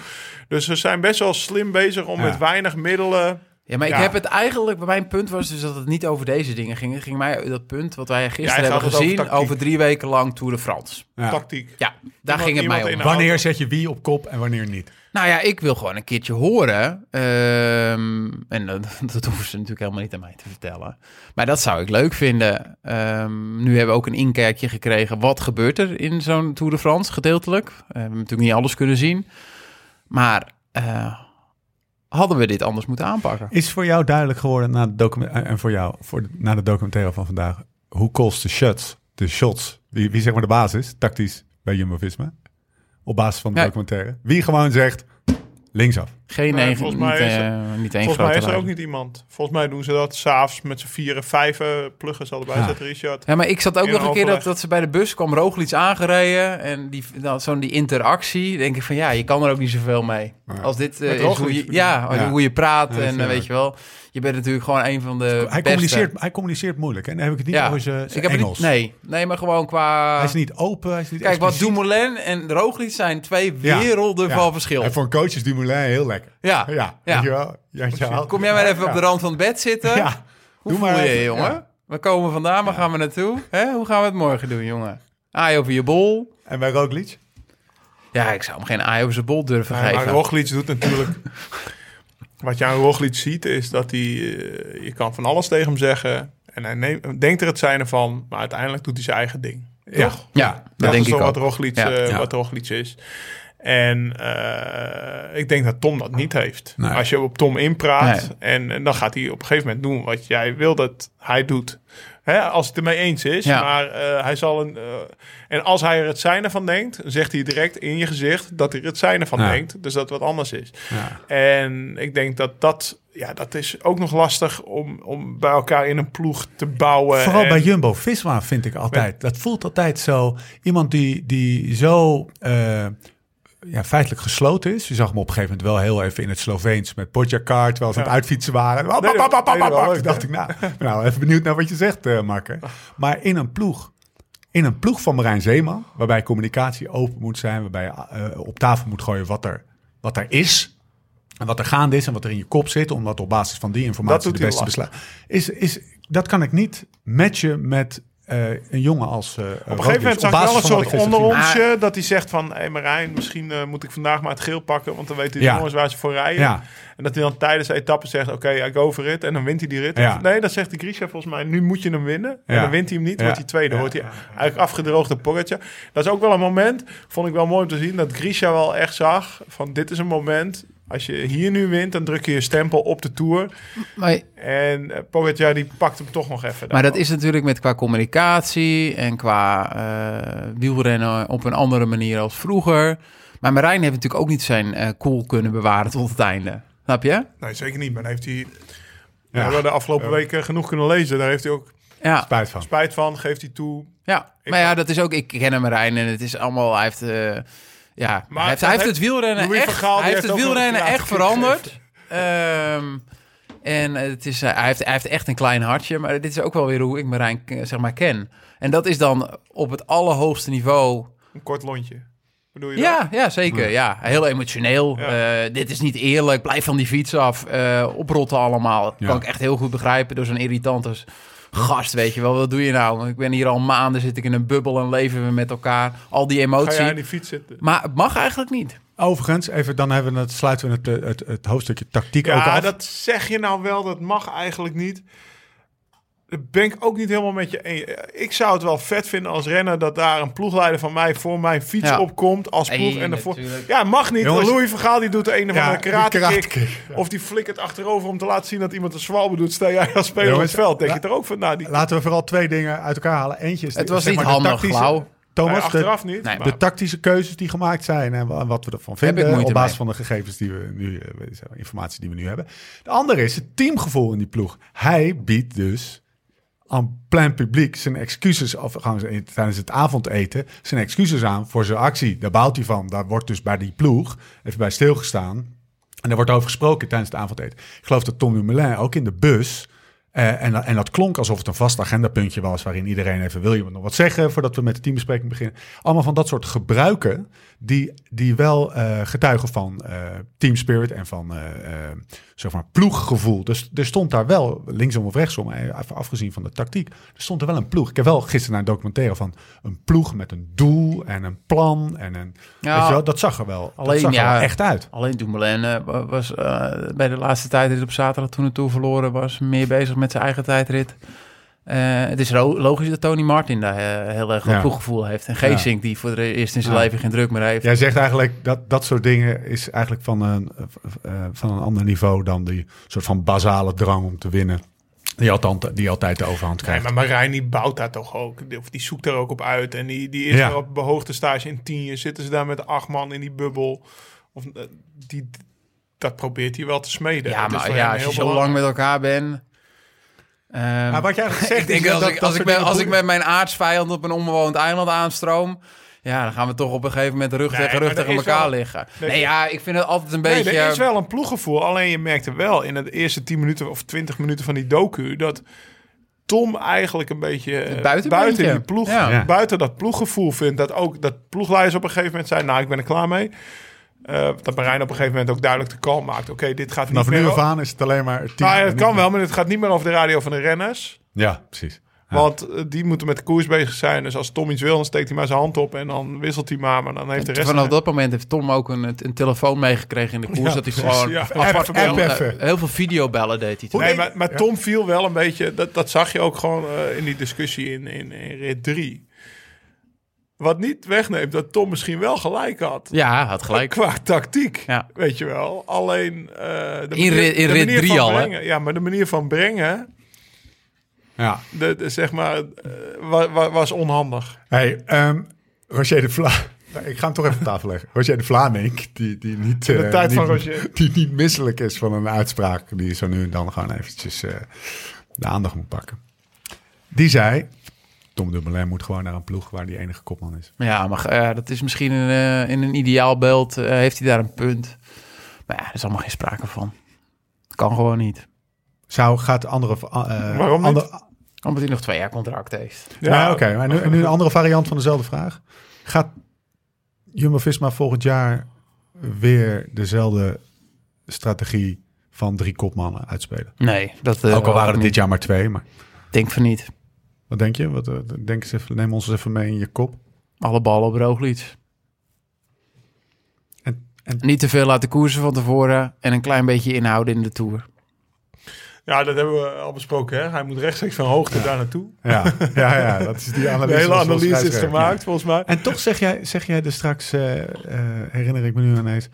Speaker 3: Dus ze zijn best wel slim bezig om
Speaker 1: Ja.
Speaker 3: met weinig middelen...
Speaker 4: Ja, maar ik
Speaker 3: Ja.
Speaker 4: heb het eigenlijk... Mijn punt was dus dat het niet over deze dingen ging. Het ging mij dat punt wat wij gisteren
Speaker 3: gaat
Speaker 4: hebben
Speaker 3: het over
Speaker 4: gezien... Over,
Speaker 3: tactiek.
Speaker 4: drie weken lang Tour de France.
Speaker 1: Ja.
Speaker 3: Tactiek.
Speaker 4: Ja, daar
Speaker 3: Iemand-
Speaker 4: ging het mij
Speaker 3: iemand
Speaker 4: om.
Speaker 3: in
Speaker 1: Wanneer zet je wie op kop en wanneer niet?
Speaker 4: Nou ja, ik wil gewoon een keertje horen. ehm, en dat, (laughs) dat hoeven ze natuurlijk helemaal niet aan mij te vertellen. Maar dat zou ik leuk vinden. Ehm, nu hebben we ook een inkijkje gekregen. Wat gebeurt er in zo'n Tour de France, gedeeltelijk? Eh, we hebben natuurlijk niet alles kunnen zien. Maar eh, hadden we dit anders moeten aanpakken?
Speaker 1: Is voor jou duidelijk geworden na de document eh, en voor jou voor de- na de documentaire van vandaag hoe calls de shots, de shots, wie, wie zeg maar de basis tactisch bij Jumbo-Visma op basis van de
Speaker 4: Ja.
Speaker 1: documentaire? Wie gewoon zegt linksaf.
Speaker 4: Geen
Speaker 3: Nee,
Speaker 4: één,
Speaker 3: volgens
Speaker 4: niet,
Speaker 3: mij is
Speaker 4: eh, niet één
Speaker 3: Volgens mij
Speaker 4: grote
Speaker 3: is er ook
Speaker 4: lijn.
Speaker 3: niet iemand. Volgens mij doen ze dat s'avonds met z'n vieren, vijven pluggers allebei,
Speaker 1: Ja.
Speaker 3: zet Richard.
Speaker 4: Ja, maar ik zat ook
Speaker 3: In
Speaker 4: nog een keer dat,
Speaker 3: overleg.
Speaker 4: dat ze bij de bus kwam Roglic aangereden. En die, nou, zo'n die interactie. denk ik van ja, je kan er ook niet zoveel mee.
Speaker 1: Ja.
Speaker 4: Als dit eh,
Speaker 3: Met
Speaker 4: is
Speaker 3: Roglic
Speaker 4: hoe je,
Speaker 3: bedoel je?
Speaker 4: ja,
Speaker 1: Ja.
Speaker 4: hoe je praat.
Speaker 1: Ja, dat is
Speaker 4: en eh,
Speaker 1: waar.
Speaker 4: weet je wel, je bent natuurlijk gewoon een van de
Speaker 1: Hij
Speaker 4: beste.
Speaker 1: communiceert, hij communiceert moeilijk en dan heb ik het niet
Speaker 4: Ja.
Speaker 1: over zijn
Speaker 4: Ik
Speaker 1: zijn
Speaker 4: heb het
Speaker 1: Engels.
Speaker 4: niet, nee, nee, maar gewoon qua...
Speaker 1: Hij is niet open, hij is niet
Speaker 4: Kijk, wat
Speaker 1: expliciet.
Speaker 4: Dumoulin en Roglic zijn twee
Speaker 1: Ja.
Speaker 4: werelden
Speaker 1: Ja.
Speaker 4: van verschil.
Speaker 1: En voor een coach is Dumoulin heel lekker.
Speaker 4: Ja.
Speaker 1: Ja,
Speaker 4: Ja.
Speaker 1: Weet je wel? Ja, ja.
Speaker 4: Kom jij maar even op de rand van het bed zitten.
Speaker 1: Ja.
Speaker 4: Hoe
Speaker 1: Doe
Speaker 4: voel
Speaker 1: maar
Speaker 4: je,
Speaker 1: even,
Speaker 4: jongen?
Speaker 1: ja.
Speaker 4: We komen vandaan, waar gaan we naartoe? Hè? Hoe gaan we het morgen doen, jongen? Aai over je bol.
Speaker 1: En bij Roglic?
Speaker 4: Ja, ik zou hem geen aai over zijn bol durven
Speaker 3: Ja, maar
Speaker 4: geven.
Speaker 3: Roglic doet natuurlijk... Wat je aan Roglic ziet is dat hij... eh, je kan van alles tegen hem zeggen. En hij neemt, denkt er het zijne van. Maar uiteindelijk doet hij zijn eigen ding.
Speaker 1: Ja.
Speaker 3: Toch?
Speaker 4: Ja, dat,
Speaker 3: Dat
Speaker 4: denk
Speaker 3: is
Speaker 4: ik
Speaker 3: toch
Speaker 4: ook.
Speaker 3: wat Roglic,
Speaker 4: Ja.
Speaker 3: eh,
Speaker 1: Ja.
Speaker 3: wat Roglic is. En eh, ik denk dat Tom dat niet heeft.
Speaker 1: Nee.
Speaker 3: Als je op Tom inpraat en, en dan gaat hij op een gegeven moment doen wat jij wil dat hij doet. Hè, als het ermee eens is.
Speaker 4: Ja.
Speaker 3: Maar eh, hij zal een. eh, en als hij er het zijne van denkt, zegt hij direct in je gezicht dat hij er het zijne van
Speaker 1: Ja.
Speaker 3: denkt. Dus dat het wat anders is.
Speaker 1: Ja.
Speaker 3: En ik denk dat dat. Ja, dat is ook nog lastig om, om bij elkaar in een ploeg te bouwen.
Speaker 1: Vooral
Speaker 4: Eh,
Speaker 3: en-
Speaker 1: bij Jumbo Visma vind ik altijd. Dat voelt altijd zo. Iemand die, die zo eh, ja, feitelijk gesloten is. Je zag hem op een gegeven moment wel heel even in het Sloveens met Podjakar. Terwijl ze aan het uitfietsen waren. Wap, wap, wap, wap, wap, wap.
Speaker 3: Nee, dat-
Speaker 1: dacht ik, nou, nou, even benieuwd naar wat je zegt, eh Marker. Maar in een ploeg. In een ploeg van Marijn Zeeman. Waarbij communicatie open moet zijn. Waarbij je eh, op tafel moet gooien wat er, wat er is. En wat er gaande is en wat er in je kop zit, omdat op basis van die
Speaker 3: Dat
Speaker 1: informatie
Speaker 3: doet
Speaker 1: de
Speaker 3: hij
Speaker 1: beste besluit. Is, is, dat kan ik niet matchen met eh, een jongen als. eh
Speaker 3: Op een gegeven moment zag ik wel een soort onderonsje dat hij zegt van... Hé Marijn, misschien eh, moet ik vandaag maar het geel pakken... want dan weten de
Speaker 1: Ja.
Speaker 3: jongens waar ze voor rijden.
Speaker 1: Ja.
Speaker 3: En dat hij dan tijdens de etappe zegt... oké, I go for it. En dan wint hij die rit.
Speaker 1: Ja.
Speaker 3: Of- Nee, dat zegt die Grisha volgens mij. Nu moet je hem winnen.
Speaker 1: Ja.
Speaker 3: En dan wint hij hem niet,
Speaker 1: Ja.
Speaker 3: wordt hij tweede.
Speaker 1: Ja.
Speaker 3: Wordt hij eigenlijk afgedroogde porretje. Dat is ook wel een moment, vond ik wel mooi om te zien... dat Grisha wel echt zag van dit is een moment... Als je hier nu wint, dan druk je je stempel op de Tour.
Speaker 4: Maar,
Speaker 3: En eh, Pogacar, die pakt hem toch nog even.
Speaker 4: maar dat
Speaker 3: daarvan.
Speaker 4: is natuurlijk met qua communicatie en qua eh, wielrennen op een andere manier als vroeger. Maar Marijn heeft natuurlijk ook niet zijn eh, cool kunnen bewaren tot het einde. Snap je?
Speaker 3: Nee, zeker niet. Maar dan heeft hij... We
Speaker 1: Ja,
Speaker 3: hebben de afgelopen weken genoeg kunnen lezen. Daar heeft hij ook
Speaker 4: Ja,
Speaker 1: spijt van.
Speaker 3: spijt van, geeft hij toe.
Speaker 4: ja.
Speaker 3: Ik-
Speaker 4: maar ja, dat is ook... Ik ken hem Marijn en het is allemaal... Hij heeft, eh, ja,
Speaker 3: Maar
Speaker 4: hij heeft,
Speaker 3: dat
Speaker 4: hij heeft
Speaker 3: heeft
Speaker 4: het wielrennen
Speaker 3: Louis van
Speaker 4: echt,
Speaker 3: Gaal, die
Speaker 4: hij heeft
Speaker 3: heeft
Speaker 4: het
Speaker 3: ook wel een
Speaker 4: wielrennen
Speaker 3: keer
Speaker 4: echt
Speaker 3: laten
Speaker 4: veranderd. Ehm, en het is, eh, hij, heeft, hij heeft echt een klein hartje. Maar dit is ook wel weer hoe ik Marijn eh, zeg maar, ken. En dat is dan op het allerhoogste niveau...
Speaker 3: Een kort lontje. Bedoel je dat?
Speaker 4: Ja, ja, zeker. Ja. Heel emotioneel.
Speaker 3: Ja.
Speaker 4: Eh, dit is niet eerlijk. Blijf van die fiets af. Eh, oprotten allemaal. Dat
Speaker 1: Ja.
Speaker 4: Kan ik echt heel goed begrijpen door zo'n irritante gast. Weet je wel, wat doe je nou? Ik ben hier al maanden, zit ik in een bubbel en leven we met elkaar. Al die
Speaker 3: Ga
Speaker 4: emotie.
Speaker 3: jij aan die fiets zitten?
Speaker 4: Maar het mag eigenlijk niet.
Speaker 1: Overigens, even dan hebben we het, sluiten we het, eh, het, het hoofdstukje tactiek ook
Speaker 3: Ja,
Speaker 1: af.
Speaker 3: dat zeg je nou wel. Dat mag eigenlijk niet. Dat ben ik ook niet helemaal met je eens. Ik zou het wel vet vinden als renner dat daar een ploegleider van mij voor mijn fiets
Speaker 4: Ja.
Speaker 3: opkomt als ploeg.
Speaker 4: Nee,
Speaker 3: en ervoor...
Speaker 4: natuurlijk.
Speaker 3: Ja, mag niet.
Speaker 1: Jongens-
Speaker 3: Louis Vergaal die doet de ene van
Speaker 1: Ja,
Speaker 3: de karate,
Speaker 1: die karate
Speaker 3: kick.
Speaker 1: kick,
Speaker 3: Of die flikkert achterover om te laten zien dat iemand een zwalbe doet. Sta jij als speler op
Speaker 1: Jongens,
Speaker 3: het veld. Denk
Speaker 1: la-
Speaker 3: je er ook van na die...
Speaker 1: Laten we vooral twee dingen uit elkaar halen. Eentje is de-
Speaker 4: Het was
Speaker 1: zeg
Speaker 4: niet
Speaker 1: maar de
Speaker 4: handig,
Speaker 1: tactische-
Speaker 4: Lau.
Speaker 3: Nee,
Speaker 1: Thomas, de,
Speaker 3: achteraf niet.
Speaker 4: Nee,
Speaker 3: maar-
Speaker 1: de tactische keuzes die gemaakt zijn en wa- wat we ervan
Speaker 4: ik
Speaker 1: vinden.
Speaker 4: moeite
Speaker 1: Op basis
Speaker 4: mee.
Speaker 1: van de gegevens die we nu, eh, we- zeg maar, informatie die we nu hebben. De andere is het teamgevoel in die ploeg. Hij biedt dus aan plein publiek zijn excuses af, gaan ze- tijdens het avondeten zijn excuses aan voor zijn actie. Daar baalt hij van. Daar wordt dus bij die ploeg even bij stilgestaan. En daar wordt over gesproken tijdens het avondeten. Ik geloof dat Tom Dumoulin ook in de bus Eh, en, en dat klonk alsof het een vast agendapuntje was... waarin iedereen even wil je nog wat zeggen... voordat we met de teambespreking beginnen. Allemaal van dat soort gebruiken... die, die wel eh, getuigen van eh team spirit en van eh, eh, zeg maar ploeggevoel. Dus er stond daar wel, linksom of rechtsom... eh, af- afgezien van de tactiek, er stond er wel een ploeg. Ik heb wel gisteren naar een documentaire van een ploeg... met een doel en een plan en een...
Speaker 4: Ja.
Speaker 1: Weet je wel, dat zag er wel,
Speaker 4: Alleen,
Speaker 1: dat zag er
Speaker 4: ja.
Speaker 1: wel echt uit.
Speaker 4: Alleen Dumoulin eh, wa- was eh, bij de laatste tijdrit op zaterdag toen het toe verloren was, meer bezig met zijn eigen tijdrit. Eh, het is lo- logisch dat Tony Martin daar eh, heel erg
Speaker 1: Ja.
Speaker 4: wat ploeggevoel heeft. En Geesink, die voor de eerst in zijn
Speaker 1: Ja.
Speaker 4: leven geen druk meer heeft.
Speaker 1: Jij zegt eigenlijk dat dat soort dingen is eigenlijk van een, eh, van een ander niveau dan die soort van basale drang om te winnen. Die altijd, die altijd de overhand
Speaker 3: Nee,
Speaker 1: krijgt.
Speaker 3: maar Marijn die bouwt daar toch ook. Die- Of die zoekt daar ook op uit. En die, die is
Speaker 1: Ja.
Speaker 3: er op behoogte stage in tien jaar. Zitten ze daar met acht man in die bubbel. Of, eh, die, dat probeert hij wel te smeden.
Speaker 4: Ja,
Speaker 3: Dat is
Speaker 4: maar
Speaker 3: voor
Speaker 4: ja,
Speaker 3: hem
Speaker 4: als je
Speaker 3: heel
Speaker 4: zo lang met elkaar bent. ehm,
Speaker 1: Maar wat je eigenlijk zegt
Speaker 4: ik denk
Speaker 1: is
Speaker 4: als,
Speaker 1: dat-
Speaker 4: ik,
Speaker 1: dat
Speaker 4: als,
Speaker 1: soort
Speaker 4: ik ben,
Speaker 1: dingen
Speaker 4: als ik
Speaker 1: boeien.
Speaker 4: met mijn aardsvijand op een onbewoond eiland aanstroom. Ja, dan gaan we toch op een gegeven moment rug
Speaker 3: Nee,
Speaker 4: tegen rug
Speaker 3: maar er
Speaker 4: tegen
Speaker 3: is
Speaker 4: elkaar
Speaker 3: wel-
Speaker 4: liggen.
Speaker 3: Nee,
Speaker 4: Nee,
Speaker 3: er-
Speaker 4: ja, ik vind het altijd een beetje...
Speaker 3: Nee,
Speaker 4: eh,
Speaker 3: er is wel een ploeggevoel. Alleen je merkte wel in de eerste 10 minuten of 20 minuten van die docu dat Tom eigenlijk een beetje eh,
Speaker 4: buitenbeentje.
Speaker 3: buiten die ploeg,
Speaker 4: Ja.
Speaker 1: Ja.
Speaker 3: buiten dat ploeggevoel vindt. Dat ook dat ploegleiders op een gegeven moment zijn, nou ik ben er klaar mee. Eh, dat Marijn op een gegeven moment ook duidelijk de call maakt. Oké, dit gaat niet
Speaker 1: Vanaf
Speaker 3: meer.
Speaker 1: nu
Speaker 3: o-
Speaker 1: af aan is het alleen maar team.
Speaker 3: Nou, ja,
Speaker 1: en
Speaker 3: het
Speaker 1: niet
Speaker 3: kan
Speaker 1: meer-
Speaker 3: wel, maar het gaat niet meer over de radio van de renners.
Speaker 1: Ja, precies. Ja.
Speaker 3: Want eh, die moeten met de koers bezig zijn. Dus als Tom iets wil, dan steekt hij maar zijn hand op en dan wisselt hij maar. Maar dan heeft de rest.
Speaker 4: Vanaf dat moment heeft Tom ook een, een telefoon meegekregen in de koers.
Speaker 1: Ja,
Speaker 4: dat hij
Speaker 1: precies,
Speaker 4: gewoon
Speaker 3: ja.
Speaker 4: apart
Speaker 1: App- app
Speaker 4: eh,
Speaker 1: even.
Speaker 4: heel veel videobellen deed hij. toen.
Speaker 3: Nee, maar, maar Tom viel wel een beetje, dat, dat zag je ook gewoon eh, in die discussie in, in, in rit 3. Wat niet wegneemt dat Tom misschien wel gelijk had.
Speaker 4: Ja, hij had gelijk.
Speaker 3: Qua tactiek,
Speaker 4: Ja.
Speaker 3: weet je wel. Alleen eh, de
Speaker 4: In rit- in
Speaker 3: de
Speaker 4: rit
Speaker 3: manier
Speaker 4: drie
Speaker 3: van
Speaker 4: al, hè?
Speaker 3: brengen, Ja, maar de manier van brengen,
Speaker 1: Ja.
Speaker 3: de, de- zeg maar, eh, wa- wa- was onhandig.
Speaker 1: Hey, ehm, Roger de Vla. (laughs) Nou, Ik ga hem toch even op tafel leggen. Roger de Vlaming, die, die niet...
Speaker 3: de
Speaker 1: eh,
Speaker 3: tijd
Speaker 1: niet-
Speaker 3: van Roger.
Speaker 1: (laughs) Die niet misselijk is van een uitspraak die zo nu en dan gewoon eventjes eh, de aandacht moet pakken. Die zei, Tom Dumoulin moet gewoon naar een ploeg waar die enige kopman is.
Speaker 4: Ja, maar eh, dat is misschien een, eh, in een ideaal beeld eh, heeft hij daar een punt. Maar ja, er is allemaal geen sprake van. Kan gewoon niet.
Speaker 1: Zou, gaat andere... eh,
Speaker 3: Waarom niet?
Speaker 1: ander-
Speaker 4: Omdat hij nog twee jaar contract heeft.
Speaker 1: Ja, oké. Maar nu, en nu een andere variant van dezelfde vraag. Gaat Jumbo-Visma volgend jaar weer dezelfde strategie van drie kopmannen uitspelen?
Speaker 4: Nee, dat... eh,
Speaker 1: Ook al waren er
Speaker 4: niet.
Speaker 1: dit jaar maar twee, maar...
Speaker 4: Ik Denk van niet.
Speaker 1: Wat denk je? Wat, eh, denk eens even, neem ons eens even mee in je kop.
Speaker 4: Alle ballen op Roglic.
Speaker 1: En, en
Speaker 4: Niet te veel laten koersen van tevoren en een klein beetje inhouden in de Tour.
Speaker 3: Ja, dat hebben we al besproken. Hè? Hij moet rechtstreeks van hoogte daar naartoe.
Speaker 1: ja, (laughs) ja, ja, dat is die
Speaker 3: De
Speaker 1: analyse.
Speaker 3: hele
Speaker 1: zoals we
Speaker 3: analyse is
Speaker 1: schrijven.
Speaker 3: gemaakt, volgens mij.
Speaker 1: En toch zeg jij, zeg jij er straks, eh, eh, herinner ik me nu ineens,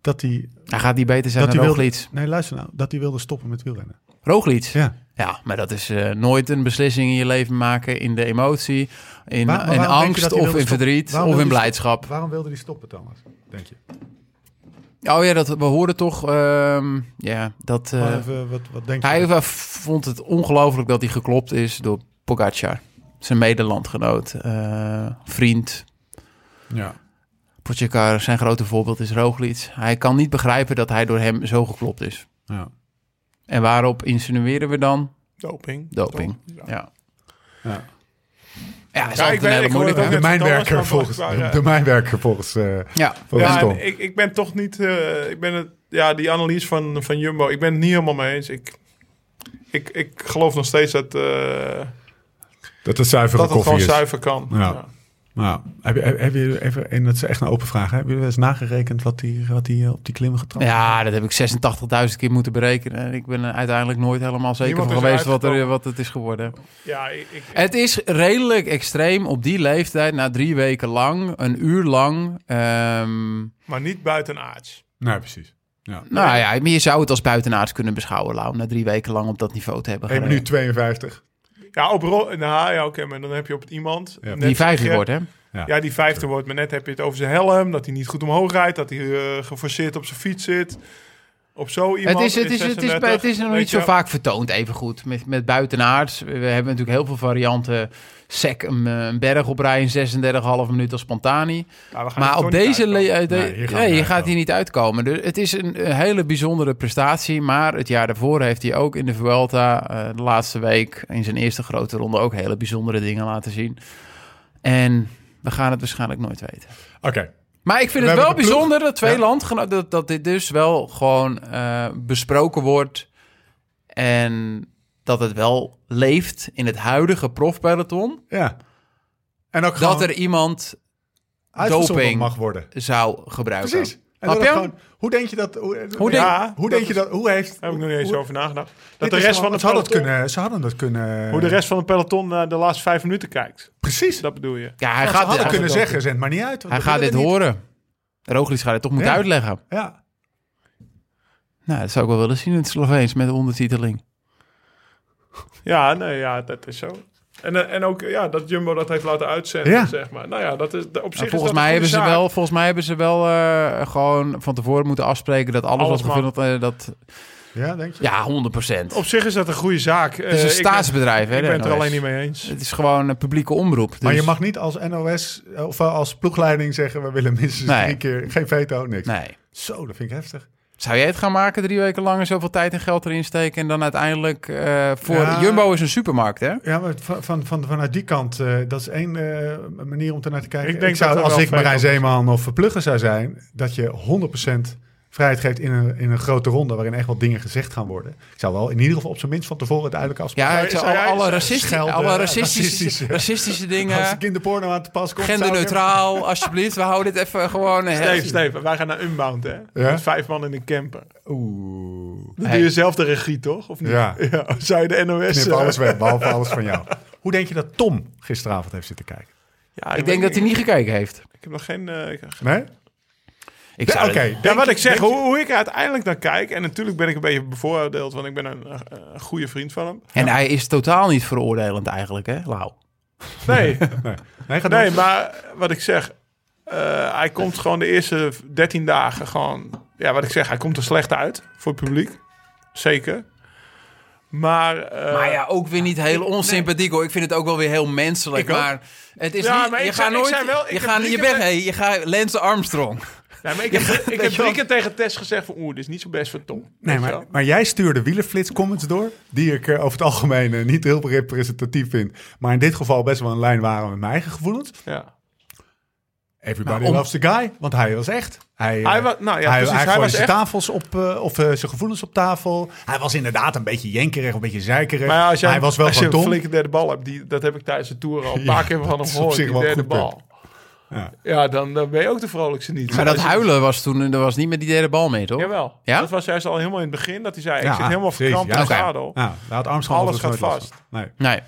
Speaker 1: dat hij...
Speaker 4: Hij gaat die beter zijn
Speaker 1: Dat
Speaker 4: dan
Speaker 1: hij wilde,
Speaker 4: Roglic.
Speaker 1: nee, luister nou. Dat hij wilde stoppen met wielrennen.
Speaker 4: Roglic? Ja.
Speaker 1: Ja.
Speaker 4: maar dat is eh, nooit een beslissing in je leven maken in de emotie, in,
Speaker 1: Waar- maar waarom
Speaker 4: in
Speaker 1: denk je
Speaker 4: angst
Speaker 1: dat hij
Speaker 4: of
Speaker 1: wilde
Speaker 4: in
Speaker 1: stoppen?
Speaker 4: verdriet
Speaker 1: Waarom
Speaker 4: of in
Speaker 1: wilde hij
Speaker 4: blijdschap.
Speaker 1: Waarom wilde hij stoppen, Thomas? Denk je?
Speaker 4: Oh ja, dat, we hoorden toch ehm, ja, dat... eh,
Speaker 1: Maar even, wat, wat denk
Speaker 4: hij
Speaker 1: je?
Speaker 4: eh, vond het ongelooflijk dat hij geklopt is door Pogacar. Zijn medelandgenoot, eh, vriend,
Speaker 1: Ja.
Speaker 4: Pogacar, zijn grote voorbeeld is Roglic. Hij kan niet begrijpen dat hij door hem zo geklopt is.
Speaker 1: ja.
Speaker 4: En waarop insinueren we dan?
Speaker 3: Doping.
Speaker 4: Doping. Ja.
Speaker 1: Ja.
Speaker 4: Ja, is
Speaker 3: Ja, ik
Speaker 4: altijd
Speaker 3: ben-
Speaker 4: een hele
Speaker 3: ik hoor
Speaker 4: moeilijke.
Speaker 3: het
Speaker 1: De
Speaker 3: ook net van Thomas,
Speaker 1: mijnwerker
Speaker 3: maar
Speaker 1: volgens,
Speaker 3: blijkbaar,
Speaker 1: de mijnwerker volgens, eh
Speaker 4: Ja.
Speaker 1: volgens
Speaker 3: ja,
Speaker 1: Tom.
Speaker 3: en ik, ik ben toch niet. eh, ik ben het, ja, die analyse van, van Jumbo, ik ben het niet helemaal mee eens. Ik, ik, ik geloof nog steeds dat, eh,
Speaker 1: Dat het zuivere
Speaker 3: dat het
Speaker 1: koffie
Speaker 3: gewoon
Speaker 1: is.
Speaker 3: zuiver kan.
Speaker 1: Ja. Nou, heb je, heb, heb je even, en dat is echt een open vraag, hè? hebben jullie wel eens nagerekend wat die, wat die eh, op die klimmen getrapt
Speaker 4: ja, dat heb ik 86.000 keer moeten berekenen. En ik ben er uiteindelijk nooit helemaal zeker
Speaker 3: Niemand
Speaker 4: van
Speaker 3: is
Speaker 4: geweest wat, er,
Speaker 3: uitgekomen.
Speaker 4: wat het is geworden.
Speaker 3: Ja, ik, ik-
Speaker 4: Het is redelijk extreem op die leeftijd, na drie weken lang, een uur lang. ehm,
Speaker 3: maar niet buitenaards.
Speaker 1: Nee, precies.
Speaker 4: nou ja, maar je zou het als buitenaards kunnen beschouwen, Lau. Na drie weken lang op dat niveau te hebben
Speaker 1: 1
Speaker 4: gereden.
Speaker 1: minuut 52.
Speaker 3: Ja, op ro- nou ja, oké, maar dan heb je op het iemand.
Speaker 1: Ja.
Speaker 3: net
Speaker 4: Die vijfde
Speaker 3: Ger-
Speaker 4: wordt, hè?
Speaker 3: Ja, die vijfde wordt, maar net heb je het over zijn helm, dat hij niet goed omhoog rijdt, dat hij eh, geforceerd op zijn fiets zit. Op zo
Speaker 4: Het
Speaker 3: iemand
Speaker 4: is, het,
Speaker 3: in
Speaker 4: is, het, is,
Speaker 3: 36,
Speaker 4: het is nog
Speaker 3: weet
Speaker 4: niet zo
Speaker 3: je-
Speaker 4: vaak vertoond, even goed. Met, met buitenaards. We hebben natuurlijk heel veel varianten. Sec een, eh, een berg oprijden, 36,5 minuten als Pantani.
Speaker 3: Ja, we gaan er
Speaker 4: Maar
Speaker 3: toch
Speaker 4: op
Speaker 3: niet
Speaker 4: deze...
Speaker 3: uitkomen.
Speaker 4: le- eh, de-
Speaker 1: Nee, hier gaan we
Speaker 4: nee, je
Speaker 1: niet
Speaker 4: gaat hier niet uitkomen. Dus het is een, een hele bijzondere prestatie. Maar het jaar daarvoor heeft hij ook in de Vuelta... eh, de laatste week in zijn eerste grote ronde... ook hele bijzondere dingen laten zien. En we gaan het waarschijnlijk nooit weten.
Speaker 1: Oké,
Speaker 4: Maar ik vind
Speaker 1: We
Speaker 4: het
Speaker 1: hebben
Speaker 4: wel
Speaker 1: de ploeg.
Speaker 4: bijzonder dat twee
Speaker 1: Ja.
Speaker 4: landgeno- dat, dat dit dus wel gewoon eh, besproken wordt. En dat het wel leeft in het huidige profpeloton.
Speaker 1: ja. En ook
Speaker 4: Dat
Speaker 1: gewoon
Speaker 4: er iemand
Speaker 1: uitgezonden
Speaker 4: doping-
Speaker 1: mag worden.
Speaker 4: zou gebruiken.
Speaker 1: Precies. En
Speaker 4: Snap
Speaker 1: dat
Speaker 4: je?
Speaker 1: het gewoon- hoe denk je dat? Hoe,
Speaker 4: Hoe denk-
Speaker 3: Ja,
Speaker 1: hoe denk je dat? Hoe heeft?
Speaker 3: Daar heb ik nog niet eens
Speaker 1: hoe-
Speaker 3: over nagedacht. Dat
Speaker 1: dit
Speaker 3: de
Speaker 1: is
Speaker 3: rest
Speaker 1: gewoon-
Speaker 3: van het
Speaker 1: ze hadden het
Speaker 3: peloton,
Speaker 1: kunnen. Ze hadden dat kunnen.
Speaker 3: hoe de rest van het peloton naar de laatste vijf minuten kijkt.
Speaker 1: Precies.
Speaker 3: Dat bedoel je.
Speaker 4: Ja, hij
Speaker 1: Ze
Speaker 4: gaat,
Speaker 1: hadden
Speaker 4: hij,
Speaker 1: kunnen zeggen, zend maar niet uit. want
Speaker 4: hij
Speaker 1: we
Speaker 4: gaat dit
Speaker 1: willen het
Speaker 4: horen. Roglic gaat het toch moeten
Speaker 1: Ja.
Speaker 4: uitleggen.
Speaker 1: niet. Ja.
Speaker 4: Nou, dat zou ik wel willen zien in het Sloveens met de ondertiteling.
Speaker 3: Ja, nee, ja, dat is zo. En, eh, en ook ja, dat Jumbo dat heeft laten uitzenden,
Speaker 1: Ja.
Speaker 3: zeg maar. Nou ja, dat is, op zich
Speaker 4: Nou,
Speaker 3: is
Speaker 4: volgens,
Speaker 3: dat
Speaker 4: mij
Speaker 3: een
Speaker 4: hebben
Speaker 3: goede zaak.
Speaker 4: ze wel, volgens mij hebben ze wel eh, gewoon van tevoren moeten afspreken... dat alles,
Speaker 3: Alles
Speaker 4: wat
Speaker 3: mag.
Speaker 4: gevuld eh, dat...
Speaker 1: ja, denk je?
Speaker 4: Ja, 100 procent.
Speaker 3: Op zich is dat een goede zaak. Eh,
Speaker 4: Het is een staatsbedrijf, hè?
Speaker 3: Ik ben
Speaker 4: de
Speaker 3: het er
Speaker 4: NOS.
Speaker 3: alleen niet mee eens.
Speaker 4: Het is gewoon een publieke omroep. Dus...
Speaker 1: Maar je mag niet als NOS eh, of eh, als ploegleiding zeggen: we willen minstens
Speaker 4: Nee.
Speaker 1: drie keer geen veto, niks.
Speaker 4: Nee.
Speaker 1: Zo, dat vind ik heftig.
Speaker 4: Zou jij het gaan maken drie weken lang en zoveel tijd en geld erin steken... en dan uiteindelijk eh, voor...
Speaker 1: Ja.
Speaker 4: Jumbo is een supermarkt, hè?
Speaker 1: Ja, maar van, van, van, vanuit die kant, eh, dat is één eh, manier om ernaar te kijken.
Speaker 3: Ik denk
Speaker 1: zou,
Speaker 3: dat er
Speaker 1: als
Speaker 3: wel
Speaker 1: ik Marijn
Speaker 3: veto is.
Speaker 1: Zeeman of Verplugger zou zijn, dat je 100% vrijheid geeft in een, in een grote ronde waarin echt wat dingen gezegd gaan worden. Ik zou wel in ieder geval op zijn minst van tevoren het duidelijk afspraken.
Speaker 4: Ja,
Speaker 3: Maar
Speaker 4: ik zou
Speaker 3: zou
Speaker 4: alle,
Speaker 3: jij-
Speaker 4: alle,
Speaker 3: zou-
Speaker 4: racisti-
Speaker 1: schelden,
Speaker 4: alle racistische,
Speaker 1: racistische-
Speaker 4: racistische,
Speaker 1: Als de
Speaker 4: dingen...
Speaker 1: kinderporno aan te pas komt. zou ik hem-
Speaker 4: Genderneutraal, alsjeblieft. We houden dit even gewoon... eh,
Speaker 3: Steven, Steven, wij gaan naar Unbound, hè? Met vijf man in een camper.
Speaker 1: Oeh.
Speaker 3: Dan
Speaker 4: Hey.
Speaker 3: doe je zelf de regie, toch? Of niet? (laughs)
Speaker 1: Ja.
Speaker 3: Zou je de NOS...
Speaker 1: Knip
Speaker 3: eh,
Speaker 1: alles weg, behalve alles van jou. Hoe denk je dat Tom gisteravond heeft zitten kijken?
Speaker 3: Ja,
Speaker 4: Ik denk dat hij niet gekeken heeft.
Speaker 3: Ik heb nog geen... eh, ik-
Speaker 1: Nee?
Speaker 4: Ik
Speaker 1: Ja,
Speaker 4: zou
Speaker 1: Oké.
Speaker 4: het-
Speaker 1: denk
Speaker 3: Ja, wat
Speaker 1: je-
Speaker 3: ik zeg,
Speaker 1: denk je-
Speaker 3: hoe, hoe ik er uiteindelijk naar kijk... En natuurlijk ben ik een beetje bevooroordeeld... want ik ben een, eh, een goede vriend van hem.
Speaker 4: En hij is totaal niet veroordelend eigenlijk, hè, Lau?
Speaker 3: Nee, (laughs)
Speaker 1: Nee, nee, ga door.
Speaker 3: nee maar wat ik zeg... eh, hij komt gewoon de eerste 13 dagen gewoon... Ja, wat ik zeg, hij komt er slecht uit voor het publiek. Zeker. Maar... eh,
Speaker 4: Maar ja, ook weer niet heel onsympathiek hoor. Ik vind het ook wel weer heel menselijk.
Speaker 3: Ik ook.
Speaker 4: maar het is
Speaker 3: Ja,
Speaker 4: niet.
Speaker 3: maar
Speaker 4: je
Speaker 3: ik
Speaker 4: gaat
Speaker 3: zei- ik
Speaker 4: nooit.
Speaker 3: zei wel, ik
Speaker 4: je
Speaker 3: heb
Speaker 4: gaat
Speaker 3: drie
Speaker 4: je
Speaker 3: keer
Speaker 4: bent,
Speaker 3: met-
Speaker 4: hey, je gaat Lance Armstrong.
Speaker 3: Ja, maar ik heb, ik heb
Speaker 4: je wel.
Speaker 3: drie keer tegen Tess gezegd van... Oeh, dit is niet zo best voor Tom.
Speaker 1: Nee,
Speaker 3: Weet je
Speaker 1: maar,
Speaker 3: wel?
Speaker 1: maar jij stuurde wielerflits comments door, die ik eh, over het algemeen eh, niet heel representatief vind. Maar in dit geval best wel een lijn waren met mijn eigen gevoelens.
Speaker 3: Ja.
Speaker 1: Everybody
Speaker 4: Maar om-
Speaker 1: loves the guy, want hij was echt. Hij, eh,
Speaker 3: Nou, Hij was- nou ja,
Speaker 1: hij, hij
Speaker 3: precies, hij
Speaker 1: gooide
Speaker 3: was
Speaker 1: zijn
Speaker 3: echt.
Speaker 1: tafels op, eh, of eh, zijn gevoelens op tafel. Hij was inderdaad een beetje jenkerig, een beetje zeikerig.
Speaker 3: Maar ja, als jij,
Speaker 1: hij was wel
Speaker 3: als je
Speaker 1: gewoon
Speaker 3: een
Speaker 1: dom.
Speaker 3: flinke derde bal hebt, die, dat heb ik tijdens de Tour al een
Speaker 1: (laughs) Ja,
Speaker 3: paar keer van
Speaker 1: dat
Speaker 3: hem
Speaker 1: is op
Speaker 3: gehoord,
Speaker 1: zich
Speaker 3: die
Speaker 1: wel een
Speaker 3: derde
Speaker 1: goed
Speaker 3: bal.
Speaker 1: Ja.
Speaker 3: Ja, dan, dan ben je ook de vrolijkste niet.
Speaker 4: (laughs) Maar dat
Speaker 3: Als je-
Speaker 4: huilen was toen. Dat was niet met die derde bal mee, toch?
Speaker 3: Jawel.
Speaker 4: Ja?
Speaker 3: Dat was juist al helemaal in het begin, dat hij zei,
Speaker 1: Ja,
Speaker 3: ik zit helemaal
Speaker 1: precies,
Speaker 3: verkrampt
Speaker 1: ja.
Speaker 3: in de
Speaker 4: Oké.
Speaker 3: zadel.
Speaker 1: Ja, nou, het Armstrong
Speaker 3: Alles
Speaker 1: was dus
Speaker 3: gaat
Speaker 1: nooit lastig.
Speaker 3: vast.
Speaker 1: Nee.
Speaker 4: Nee.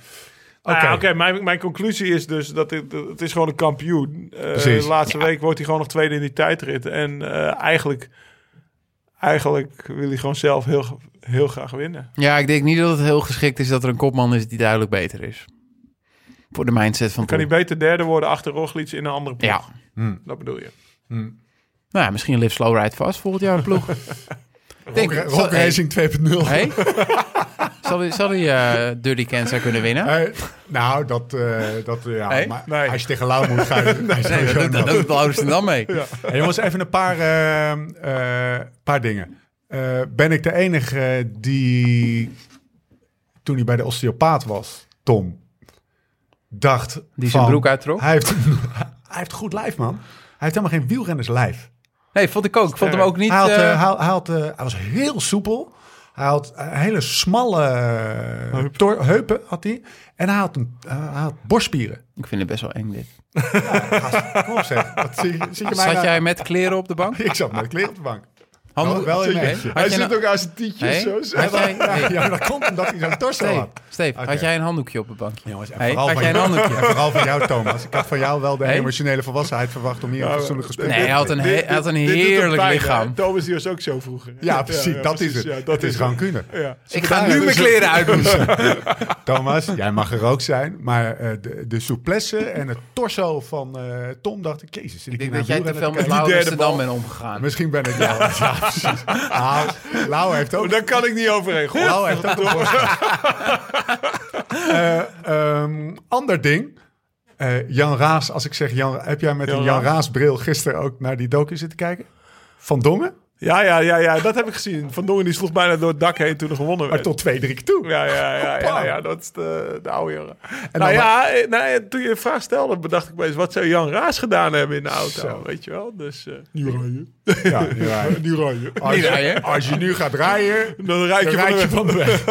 Speaker 3: Nou
Speaker 1: Oké.
Speaker 3: ja, Oké, mijn, mijn conclusie is dus dat het, het is gewoon een kampioen. Eh,
Speaker 1: Precies.
Speaker 3: de laatste week wordt hij gewoon nog tweede in die tijdrit. En eh, eigenlijk, eigenlijk wil hij gewoon zelf heel, heel graag winnen.
Speaker 4: Ja, ik denk niet dat het heel geschikt is dat er een kopman is die duidelijk beter is. Voor de mindset van
Speaker 3: Kan hij
Speaker 4: toen.
Speaker 3: beter derde worden achter Roglic in een andere ploeg?
Speaker 4: Ja.
Speaker 3: Dat bedoel je.
Speaker 4: Nou, ja, misschien live slow ride vast volgend jaar een
Speaker 3: (laughs)
Speaker 4: ploeg. Ik denk-
Speaker 1: Rock,
Speaker 4: zal-
Speaker 1: Rock
Speaker 4: hey,
Speaker 1: Racing 2.0.
Speaker 4: hey? (laughs) zal die, zal die eh, Dirty Cancer kunnen winnen?
Speaker 1: Hey, nou, dat, eh, dat eh, ja,
Speaker 4: Nee?
Speaker 1: maar
Speaker 3: Nee.
Speaker 1: als je tegen Lau moet
Speaker 4: (laughs)
Speaker 1: gaan...
Speaker 4: Nee, dat doet- dat doet Laurens er dan mee.
Speaker 1: Hey, jongens, even een paar, eh, eh, paar dingen. Eh, ben ik de enige eh, die, toen hij bij de osteopaat was, Tom, dacht
Speaker 4: Die
Speaker 1: van,
Speaker 4: zijn broek uittrok.
Speaker 1: Hij heeft, (laughs) hij heeft goed lijf, man. Hij heeft helemaal geen wielrennerslijf.
Speaker 4: Nee, vond ik ook. Ik vond hem ook niet.
Speaker 1: Hij, had, eh,
Speaker 4: eh,
Speaker 1: hij, had- hij had, eh, hij was heel soepel. Hij had een hele smalle eh, tor- heupen. Had hij. En hij had, een, eh, hij had borstspieren.
Speaker 4: ik vind het best wel eng dit.
Speaker 1: Kom op zeg. Dat zie, zie je mij
Speaker 4: Zat
Speaker 1: nou-
Speaker 4: jij met kleren op de bank?
Speaker 1: (laughs) Ik zat met kleren op de bank.
Speaker 4: Handdoek-
Speaker 1: wel in mee.
Speaker 4: Had jij
Speaker 3: Hij
Speaker 4: nou-
Speaker 3: zit ook aan zijn tietjes
Speaker 4: Hey?
Speaker 3: zo.
Speaker 4: Had jij-
Speaker 1: (laughs) Ja,
Speaker 4: nee.
Speaker 1: ja, maar dat komt omdat hij zo'n torso
Speaker 4: Steve,
Speaker 1: had.
Speaker 4: Steve,
Speaker 1: Oké.
Speaker 4: had jij een handdoekje op het bankje?
Speaker 1: Jongens, en
Speaker 4: Hey,
Speaker 1: vooral,
Speaker 4: had
Speaker 1: van
Speaker 4: jij een
Speaker 1: jou,
Speaker 4: handdoekje?
Speaker 1: en (laughs) vooral van jou, Thomas. Ik had van jou wel de
Speaker 4: Hey?
Speaker 1: emotionele volwassenheid verwacht om hier een
Speaker 3: Ja,
Speaker 1: fatsoenlijk gesprek
Speaker 4: nee, hij
Speaker 1: te
Speaker 4: had een,
Speaker 1: hebben.
Speaker 4: he- hij had een heerlijk lichaam.
Speaker 3: Thomas die was ook zo vroeger.
Speaker 1: Ja, precies. dat is het. dat is rancune.
Speaker 3: Ja.
Speaker 4: Ik ga
Speaker 1: Ja,
Speaker 4: nu
Speaker 1: dus-
Speaker 4: mijn kleren
Speaker 1: (laughs)
Speaker 4: uitdoen.
Speaker 1: Thomas, jij mag er ook zijn. Maar eh, de, de souplesse en het torso van eh, Tom dacht ik... Jezus, zit ik hier
Speaker 4: Ik denk
Speaker 1: naar
Speaker 4: dat jij
Speaker 1: een
Speaker 4: te veel
Speaker 1: wielrenner
Speaker 4: met
Speaker 1: te kijken?
Speaker 3: derde
Speaker 4: Laurens Amsterdam
Speaker 3: bal.
Speaker 4: bent omgegaan.
Speaker 1: Misschien ben ik wel. (laughs) Ja. precies. Lau, Lau heeft ook...
Speaker 3: Oh, Daar kan ik niet overheen. Goh,
Speaker 1: Lau heeft ook een Eh, ehm, ander ding. Eh, Jan Raas, als ik zeg Jan... Heb jij met
Speaker 3: Jan
Speaker 1: een Jan
Speaker 3: Raas.
Speaker 1: Raas bril gisteren ook naar die docu zitten kijken? Van Dongen?
Speaker 3: Ja, ja, ja, ja, dat heb ik gezien. Van Dongen die sloeg bijna door het dak heen toen er gewonnen
Speaker 1: Maar
Speaker 3: werd.
Speaker 1: tot twee, drie keer toe.
Speaker 3: Ja, ja, ja, ja,
Speaker 1: Hoppa.
Speaker 3: ja, dat is de, de oude jongen.
Speaker 1: dan
Speaker 3: nou
Speaker 1: wa-
Speaker 3: ja, eh, nou, ja, toen je de vraag stelde, bedacht ik me eens... wat zou Jan Raas gedaan hebben in de auto,
Speaker 1: Zo.
Speaker 3: weet je wel? Dus, eh nu rijden.
Speaker 1: Ja, nu
Speaker 3: (laughs)
Speaker 1: rijden.
Speaker 3: Nu rijden.
Speaker 1: Als,
Speaker 4: Niet rijden.
Speaker 1: als je nu gaat rijden,
Speaker 3: Dan rijd je,
Speaker 1: dan rijd je van
Speaker 3: van de
Speaker 1: de
Speaker 3: weg.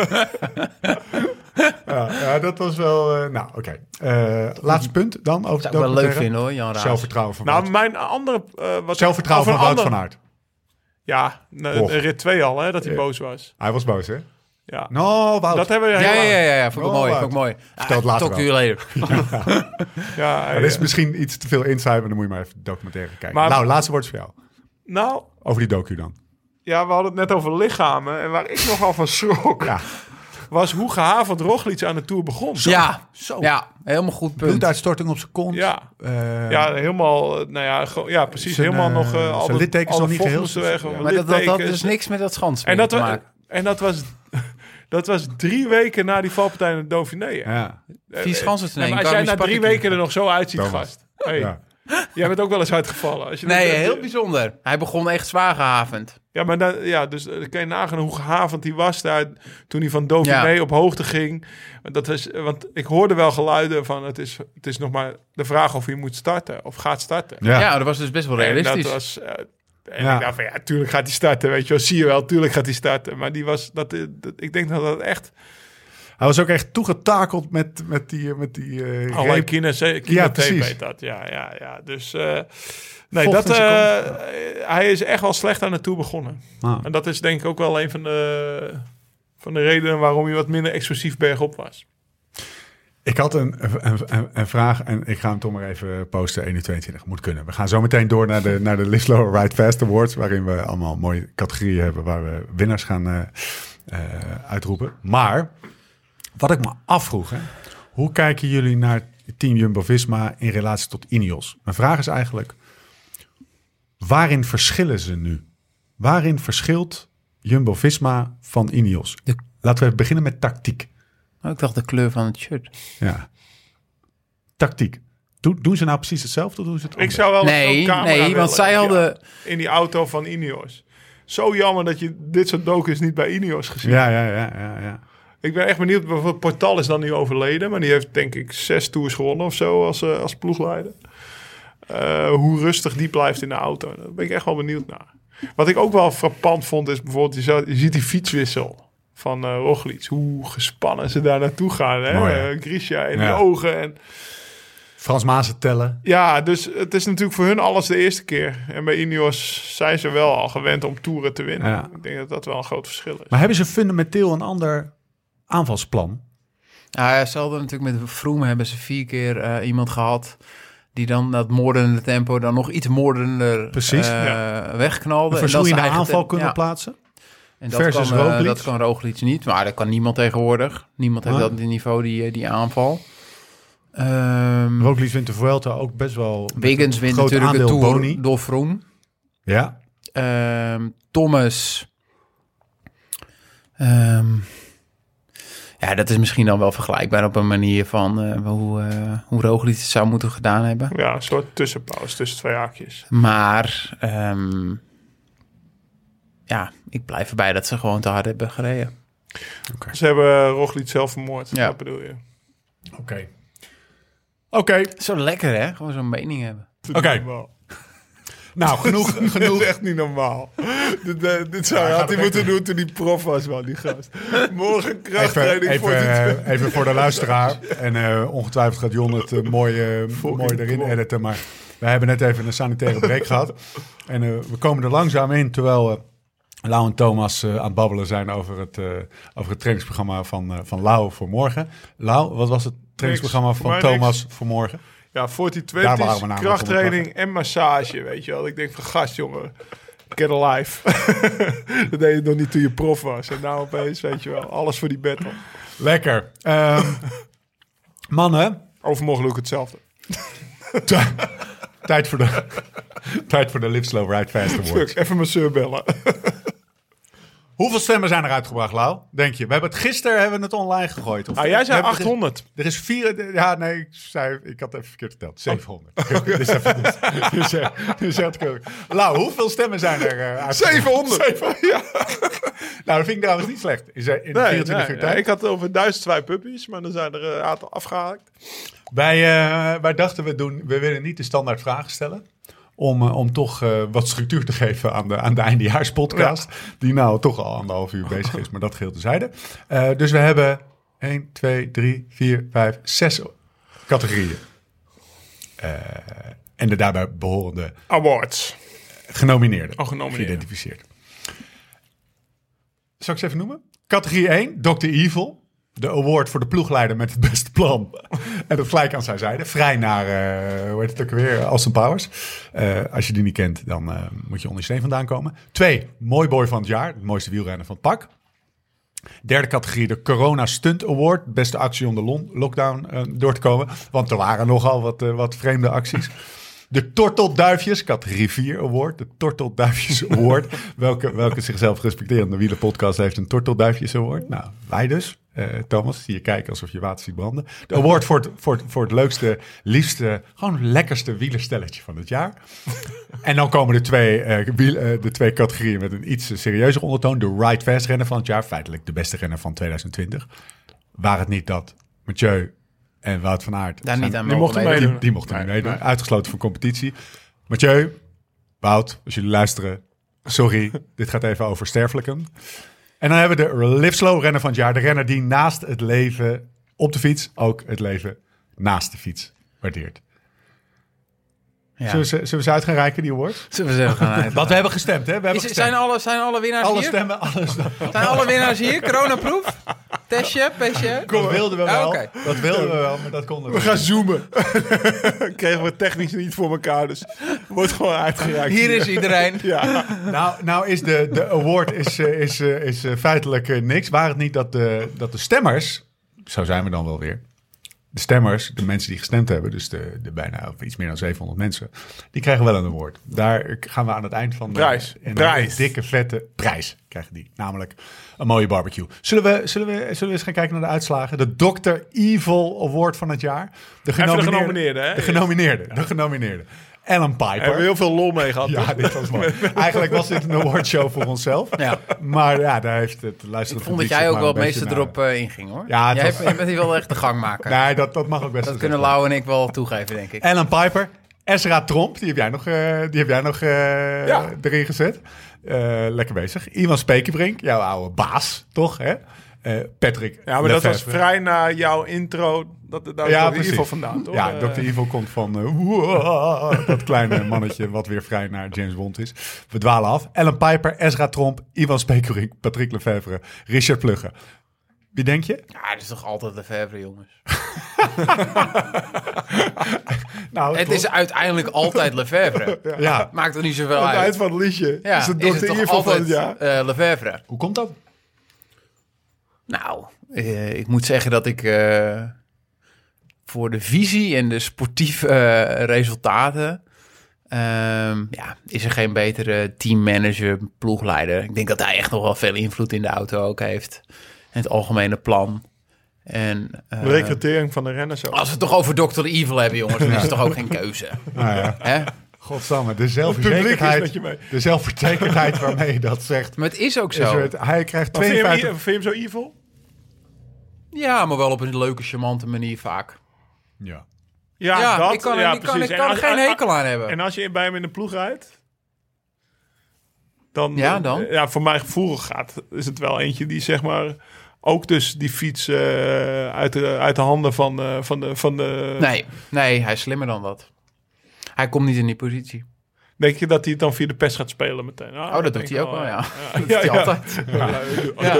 Speaker 3: (laughs)
Speaker 1: Ja, ja, dat was wel... eh, nou, oké. Eh, laatste
Speaker 3: Mm-hmm.
Speaker 1: punt dan over
Speaker 4: zou
Speaker 1: de
Speaker 4: ik wel leuk
Speaker 1: documentaire.
Speaker 4: vinden hoor, Jan Raas.
Speaker 1: Zelfvertrouwen van
Speaker 3: Nou,
Speaker 1: Wout.
Speaker 3: mijn andere... eh, wat
Speaker 1: Zelfvertrouwen
Speaker 3: of
Speaker 1: van
Speaker 3: een
Speaker 1: Wout
Speaker 3: ander-
Speaker 1: van Aert.
Speaker 3: Ja, na-
Speaker 1: Och.
Speaker 3: rit 2 al, hè, dat hij
Speaker 1: Ja.
Speaker 3: boos was.
Speaker 1: Hij was boos, hè?
Speaker 3: Ja.
Speaker 1: Nou, Wout.
Speaker 3: dat hebben we
Speaker 4: Ja, ja,
Speaker 3: helemaal-
Speaker 4: ja, ja, ja, vond ik
Speaker 1: Oh,
Speaker 4: mooi.
Speaker 1: Wout.
Speaker 4: Vond ik mooi.
Speaker 1: Vertel het later
Speaker 4: Talk to
Speaker 1: wel.
Speaker 4: you later.
Speaker 3: ja, ja.
Speaker 1: Er is misschien iets te veel insight, maar dan moet je maar even de documentaire kijken.
Speaker 3: Maar-
Speaker 1: nou, laatste woord voor jou.
Speaker 3: Nou,
Speaker 1: Over die docu dan.
Speaker 3: ja, we hadden het net over lichamen. En waar ik nogal van schrok,
Speaker 1: Ja,
Speaker 3: was hoe gehavend Roglic aan de Tour begon.
Speaker 4: Ja,
Speaker 1: Zo.
Speaker 4: ja, helemaal goed punt.
Speaker 1: bloeduitstorting op zijn kont.
Speaker 3: Ja.
Speaker 1: Eh,
Speaker 3: Ja, helemaal, eh, nou ja, gewoon- ja precies.
Speaker 1: Zijn,
Speaker 3: helemaal
Speaker 1: eh,
Speaker 3: nog eh
Speaker 1: zijn
Speaker 3: al dat-
Speaker 1: littekens
Speaker 3: alle
Speaker 1: nog niet
Speaker 3: vocht
Speaker 1: geheel.
Speaker 3: moesten weg, alle
Speaker 4: Maar dat, dat, dat had
Speaker 3: littekens.
Speaker 4: dus niks met dat schans
Speaker 3: en, dat
Speaker 4: te
Speaker 3: was,
Speaker 4: maken.
Speaker 3: en dat was, (laughs) dat was drie weken na die valpartij in het Dauphiné. hè.
Speaker 1: Ja.
Speaker 3: Eh,
Speaker 4: Vier
Speaker 3: eh,
Speaker 4: schansen te
Speaker 3: nee,
Speaker 4: nemen,
Speaker 3: maar als jij
Speaker 4: Carlos
Speaker 3: na drie
Speaker 4: Parker.
Speaker 3: weken er nog zo uitziet,
Speaker 1: Thomas.
Speaker 3: gast. Hey,
Speaker 1: Ja.
Speaker 3: Jij bent ook wel eens uitgevallen. Als je dat-
Speaker 4: Nee,
Speaker 3: dat-
Speaker 4: heel bijzonder. Hij begon echt zwaar gehavend.
Speaker 3: Ja, maar dan, ja, dus eh, kan je nagaan hoe gehavend hij was daar toen hij van Dauphiné
Speaker 4: Ja.
Speaker 3: op hoogte ging. Dat is, want ik hoorde wel geluiden van het is, het is nog maar de vraag of hij moet starten of gaat starten.
Speaker 4: Ja,
Speaker 1: Ja.
Speaker 4: dat was dus best wel
Speaker 3: En
Speaker 4: realistisch.
Speaker 3: dat was. eh, en
Speaker 1: Ja.
Speaker 3: ik dacht van ja, tuurlijk gaat hij starten, weet je wel. Zie je wel, tuurlijk gaat hij starten. Maar die was, dat, eh, dat- ik denk dat dat echt...
Speaker 1: Hij was ook echt toegetakeld met, met die... eh, Met die eh,
Speaker 3: Allerlei
Speaker 1: reep.
Speaker 3: kinese-
Speaker 1: Ja,
Speaker 3: kinetape
Speaker 1: precies.
Speaker 3: heet dat. Ja, ja, ja. Dus eh, nee,
Speaker 1: Vocht
Speaker 3: dat,
Speaker 1: in zijn
Speaker 3: eh, eh, hij is echt wel slecht aan het toe begonnen.
Speaker 1: Ah.
Speaker 3: En dat is denk ik ook wel een van de, van de redenen waarom hij wat minder explosief bergop was.
Speaker 1: Ik had een, een, een, een vraag en ik ga hem toch maar even posten. 21 moet kunnen. We gaan zo meteen door naar de, naar de Live Slow Ride Fast Awards. Waarin we allemaal mooie categorieën hebben waar we winnaars gaan eh, eh, uitroepen. Maar wat ik me afvroeg, hè, hoe kijken jullie naar Team Jumbo-Visma in relatie tot Ineos? Mijn vraag is eigenlijk, waarin verschillen ze nu? Waarin verschilt Jumbo-Visma van Ineos?
Speaker 4: De-
Speaker 1: Laten we even beginnen met tactiek.
Speaker 4: Oh, ik dacht de kleur van het shirt.
Speaker 1: Ja. Tactiek. Doen, doen ze nou precies hetzelfde? of Doen ze het
Speaker 3: Ik
Speaker 1: anders?
Speaker 3: zou wel eens zo'n
Speaker 4: Nee,
Speaker 3: camera
Speaker 4: nee,
Speaker 3: willen
Speaker 4: want zij
Speaker 3: in die-
Speaker 4: hadden...
Speaker 3: in die auto van Ineos. Zo jammer dat je dit soort docus niet bij Ineos gezien
Speaker 1: Ja, ja, ja, ja, ja.
Speaker 3: Ik ben echt benieuwd, bijvoorbeeld Portal is dan nu overleden, maar die heeft denk ik zes tours gewonnen of zo als, eh, als ploegleider. Eh, hoe rustig die blijft in de auto, daar ben ik echt wel benieuwd naar. Wat ik ook wel frappant vond is bijvoorbeeld, je, zou- je ziet die fietswissel van eh Roglic. Hoe gespannen ze daar naartoe gaan, hè?
Speaker 1: Mooi, hè?
Speaker 3: Eh, Grisha in
Speaker 1: Ja.
Speaker 3: de ogen. En,
Speaker 1: Frans Maassen tellen.
Speaker 3: ja, dus het is natuurlijk voor hun alles de eerste keer. En bij Ineos zijn ze wel al gewend om toeren te winnen.
Speaker 1: Ja.
Speaker 3: Ik denk dat dat wel een groot verschil is.
Speaker 1: Maar hebben ze fundamenteel een ander aanvalsplan?
Speaker 4: Nou ja, ze hadden natuurlijk met Vroom hebben ze vier keer eh, iemand gehad... die dan dat moordende tempo dan nog iets moordender
Speaker 1: Precies,
Speaker 4: eh,
Speaker 3: ja.
Speaker 1: Een
Speaker 4: wegknalde. En dat is
Speaker 1: verzoenende
Speaker 4: eigen
Speaker 1: aanval
Speaker 4: tem-
Speaker 1: kunnen
Speaker 4: ja.
Speaker 1: plaatsen?
Speaker 4: En dat
Speaker 1: versus
Speaker 4: kan, eh,
Speaker 1: Roglic.
Speaker 4: Dat kan Roglic niet, maar dat kan niemand tegenwoordig. Niemand heeft
Speaker 1: Ah.
Speaker 4: dat niveau, die, eh, die aanval. Ehm
Speaker 1: Roglic wint de Vuelta ook best wel... met
Speaker 4: Wiggins
Speaker 1: een
Speaker 4: wint
Speaker 1: groot
Speaker 4: natuurlijk de
Speaker 1: aandeel
Speaker 4: Tour
Speaker 1: Boni.
Speaker 4: door Vroom.
Speaker 1: Ja.
Speaker 4: Ehm, Thomas. Ehm, ja, dat is misschien dan wel vergelijkbaar op een manier van eh, hoe, eh hoe Roglic het zou moeten gedaan hebben.
Speaker 3: Ja, een soort tussenpauze tussen twee haakjes.
Speaker 4: Maar ehm, ja, ik blijf erbij dat ze gewoon te hard hebben gereden.
Speaker 3: Ze hebben eh, Roglic zelf vermoord,
Speaker 4: Ja.
Speaker 3: dat bedoel je.
Speaker 1: Oké. Oké.
Speaker 4: Zo lekker hè, gewoon zo'n mening hebben.
Speaker 3: Oké.
Speaker 1: Oké. Nou, (laughs) genoeg.
Speaker 3: Genoeg. echt niet normaal. dit, eh, dit zou
Speaker 1: Ja,
Speaker 3: hij
Speaker 1: gaat
Speaker 3: had hij
Speaker 1: er
Speaker 3: moeten doen toen hij prof was, man, die gast. Morgen
Speaker 1: Even,
Speaker 3: krachttraining voor
Speaker 1: even,
Speaker 3: dit.
Speaker 1: eh, even voor de luisteraar. En eh, ongetwijfeld gaat Jon het eh, mooi,
Speaker 3: (laughs)
Speaker 1: eh, mooi erin
Speaker 3: klopt.
Speaker 1: editen. Maar wij hebben net even een sanitaire break gehad. En eh, we komen er langzaam in terwijl eh Lau en Thomas eh, aan het babbelen zijn over het, eh, over het trainingsprogramma van, eh, van Lau voor morgen. Lau, wat was het trainingsprogramma
Speaker 3: Niks.
Speaker 1: van
Speaker 3: Voor mij
Speaker 1: Thomas voor morgen?
Speaker 3: Ja, 40
Speaker 1: Daar waren we namelijk
Speaker 3: krachttraining en massage, weet je wel. Ik denk van, gast, jongen, get alive. (laughs) dat deed je nog niet toen je prof was. En nou opeens, weet je wel, alles voor die battle.
Speaker 1: Lekker.
Speaker 3: (laughs)
Speaker 1: Ehm, mannen, (laughs)
Speaker 3: Overmorgen doe ik hetzelfde.
Speaker 1: t- (laughs) tijd voor de, tijd voor de Live Slow Ride Fast Awards.
Speaker 3: Fuck, even mijn zeur bellen.
Speaker 1: Hoeveel stemmen zijn er uitgebracht, Lau? Denk je? We hebben het gisteren hebben we het online gegooid. Of
Speaker 3: Ah, jij
Speaker 1: we
Speaker 3: zei
Speaker 1: hebben het
Speaker 3: 800.
Speaker 1: Er is vier. Ja, nee, ik, zei, ik had even verkeerd
Speaker 3: Oh.
Speaker 1: verteld. 700. (laughs) Dit is even- dus, eh, dus had ik ook- Lau, hoeveel stemmen zijn er? eh, uitgebracht?
Speaker 3: 700. (laughs) ja.
Speaker 1: Nou, dat vind ik trouwens niet slecht. Is er in de
Speaker 3: Nee,
Speaker 1: 24
Speaker 3: nee,
Speaker 1: uur
Speaker 3: nee,
Speaker 1: tijd.
Speaker 3: ik had over duizend twee puppies, maar dan zijn er eh, een aantal afgehaakt.
Speaker 1: Wij, eh, wij dachten, we, doen, we willen niet de standaard vragen stellen. Om, eh, om toch eh, wat structuur te geven aan de, aan de eindejaarspodcast. Die nou toch al anderhalf uur bezig is, maar dat geheel tezijde. Eh dus we hebben 1, 2, 3, 4, 5, 6 categorieën. Eh, en de daarbij behorende
Speaker 3: Awards.
Speaker 1: genomineerden.
Speaker 3: Oh, genomineerden.
Speaker 1: Geïdentificeerd. Zal ik ze even noemen? Categorie 1, Dr. Evil. De award voor de ploegleider met het beste plan. en dat gelijk aan zijn zijde. Vrij naar, eh, hoe heet het ook weer, Austin Powers. Eh, als je die niet kent, dan eh, moet je onder je steen vandaan komen. Twee, Mooi Boy van het jaar. Het mooiste wielrenner van het pak. Derde categorie, de Corona Stunt Award. Beste actie om de lon- lockdown eh, door te komen. Want er waren nogal wat, eh, wat vreemde acties. De Tortelduifjes, categorie 4 award. De Tortelduifjes award. welke, welke zichzelf respecterende wielerpodcast heeft een Tortelduifjes award? Nou, wij dus. Eh, Thomas, zie je kijken alsof je water ziet branden. De award voor het, voor, het, voor het leukste, liefste, gewoon lekkerste wielerstelletje van het jaar. En dan komen de twee, eh, wiel- eh, de twee categorieën met een iets serieuzer ondertoon. De Ride Fast renner van het jaar. Feitelijk de beste renner van 2020. Waar het niet dat Mathieu en Wout van Aert...
Speaker 4: Daar niet aan
Speaker 3: Die
Speaker 4: mogen
Speaker 3: mochten
Speaker 4: meedoen.
Speaker 3: meedoen.
Speaker 1: Die, die mochten niet meedoen. Uitgesloten van competitie. Mathieu, Wout, als jullie luisteren. (laughs) Sorry, dit gaat even over sterfelijken. En dan hebben we de Live Slow renner van het jaar. De renner die naast het leven op de fiets ook het leven naast de fiets waardeert.
Speaker 4: Ja.
Speaker 1: Zullen, we ze, zullen we ze uit gaan reiken, die award?
Speaker 4: Zullen we ze even gaan uit-
Speaker 1: Want we hebben gestemd, hè? We hebben
Speaker 4: Is-
Speaker 1: gestemd.
Speaker 4: zijn, alle, zijn alle winnaars
Speaker 1: alle
Speaker 4: hier?
Speaker 1: stemmen,
Speaker 4: (laughs)
Speaker 1: alles. Dat
Speaker 4: Zijn alle winnaars hier? Coronaproof?
Speaker 1: (laughs)
Speaker 4: Testje? Pestje?
Speaker 1: wilden we wel.
Speaker 4: Ja, oké.
Speaker 1: Dat wilden we wel, maar dat konden we
Speaker 3: We gaan zoomen. (laughs) Kregen we technisch niet voor elkaar, dus wordt gewoon uitgereikt.
Speaker 4: Hier is iedereen.
Speaker 3: Ja.
Speaker 1: Nou, nou is de, de award is, eh, is, eh, is eh, feitelijk eh, niks. Waar het niet dat de, dat de stemmers, zo zijn we dan wel weer. De stemmers, de mensen die gestemd hebben, dus de, de bijna of iets meer dan 700 mensen, die krijgen wel een award. Daar gaan we aan het eind van de
Speaker 3: Prijs.
Speaker 1: Een,
Speaker 3: Prijs.
Speaker 1: dikke vette prijs krijgen die. Namelijk een mooie barbecue. Zullen we, zullen we, zullen we eens gaan kijken naar de uitslagen? De Dr. Evil Award van het jaar. De genomineerde.
Speaker 3: genomineerden, hè?
Speaker 1: De genomineerde. De genomineerde. Ellen Piper.
Speaker 3: Hebben we heel veel lol mee
Speaker 1: (laughs)
Speaker 3: gehad.
Speaker 1: Ja,
Speaker 3: toch?
Speaker 1: dit was
Speaker 4: (laughs)
Speaker 1: mooi. Eigenlijk was dit een awardshow voor onszelf.
Speaker 4: Ja.
Speaker 1: Maar ja, daar heeft het luisteren.
Speaker 4: Ik vond dat jij ook wel het meeste erop eh, inging hoor.
Speaker 1: Ja, het
Speaker 4: jij
Speaker 1: was-
Speaker 4: hebt- je bent hier wel echt de
Speaker 3: (laughs)
Speaker 4: gangmaker.
Speaker 1: Nee, dat, dat mag ook best.
Speaker 4: dat
Speaker 1: wel
Speaker 4: kunnen
Speaker 1: zeggen.
Speaker 4: Lau en ik wel toegeven, denk ik.
Speaker 1: Alan Piper, Ezra Tromp, die heb jij nog, eh, die heb jij nog eh,
Speaker 3: Ja.
Speaker 1: erin gezet. Eh, lekker bezig. Iwan Spekebrink, jouw oude baas, toch? Hè? Eh, Patrick.
Speaker 3: Ja, maar dat was
Speaker 1: Lefebvre.
Speaker 3: vrij na jouw intro. Dat, daar kwam
Speaker 1: Ja,
Speaker 3: in ieder
Speaker 1: precies.
Speaker 3: geval vandaan, toch?
Speaker 1: Ja,
Speaker 3: Eh,
Speaker 1: Dr. Evil komt van eh, wow, (laughs) dat kleine mannetje wat weer vrij naar James Bond is. We dwalen af. Ellen Piper, Ezra Tromp, Ivan Spekerink, Patrick Lefevre, Richard Plugge. Wie denk je?
Speaker 4: Ja, dat is toch altijd de verre, jongens.
Speaker 1: Nou,
Speaker 4: Het is uiteindelijk
Speaker 3: (laughs)
Speaker 4: altijd Lefebvre.
Speaker 1: ja.
Speaker 4: Maakt er niet zoveel
Speaker 3: aan het eind
Speaker 4: uit.
Speaker 3: van het liedje.
Speaker 4: Ja,
Speaker 3: is het
Speaker 4: is
Speaker 3: door
Speaker 4: het
Speaker 3: de
Speaker 4: toch
Speaker 3: eer van
Speaker 4: altijd
Speaker 3: het jaar.
Speaker 4: eh, Lefebvre?
Speaker 1: Hoe komt dat?
Speaker 4: Nou, eh, ik moet zeggen dat ik eh, voor de visie en de sportieve eh, resultaten... ehm, ja, is er geen betere teammanager, ploegleider. Ik denk dat hij echt nog wel veel invloed in de auto ook heeft. En het algemene plan. En, eh,
Speaker 3: De recrutering van de renners ook.
Speaker 4: als we het toch over Dr. Evil hebben, jongens, dan is het toch ook geen keuze.
Speaker 1: Nou ja,
Speaker 4: Hè?
Speaker 1: godsamme. De
Speaker 3: Het publiek is
Speaker 1: zelfverzekerdheid,
Speaker 3: met je mee.
Speaker 1: de zelfverzekerdheid waarmee je dat zegt.
Speaker 4: Maar het is ook
Speaker 1: Is
Speaker 4: zo.
Speaker 1: er het, hij krijgt
Speaker 3: Maar Vind je, hem,
Speaker 1: 52...
Speaker 3: i- vind je hem zo evil?
Speaker 4: Ja, maar wel op een leuke, charmante manier vaak.
Speaker 1: Ja.
Speaker 4: Ja, ik kan, er- ik kan, ik
Speaker 3: precies.
Speaker 4: kan
Speaker 3: En
Speaker 4: er
Speaker 3: als-
Speaker 4: geen
Speaker 3: als-
Speaker 4: hekel aan hebben.
Speaker 3: En als je bij hem in de ploeg rijdt, dan...
Speaker 4: Ja, dan?
Speaker 3: Ja, voor mijn gevoel gaat, is het wel eentje die zeg maar... Ook dus die fiets eh, uit, de, uit de handen van, eh, van de... Van de
Speaker 4: (laughs) Nee, nee, hij is slimmer dan dat. Hij komt niet in die positie.
Speaker 3: Denk je dat hij het dan via de pest gaat spelen meteen? Ah,
Speaker 4: Oh,
Speaker 3: denk
Speaker 4: dat doet
Speaker 3: ik
Speaker 4: hij ook wel,
Speaker 3: Ja,
Speaker 4: ja. (laughs) Dat doet hij
Speaker 3: ja.
Speaker 4: altijd.
Speaker 3: Ja,
Speaker 4: Ja.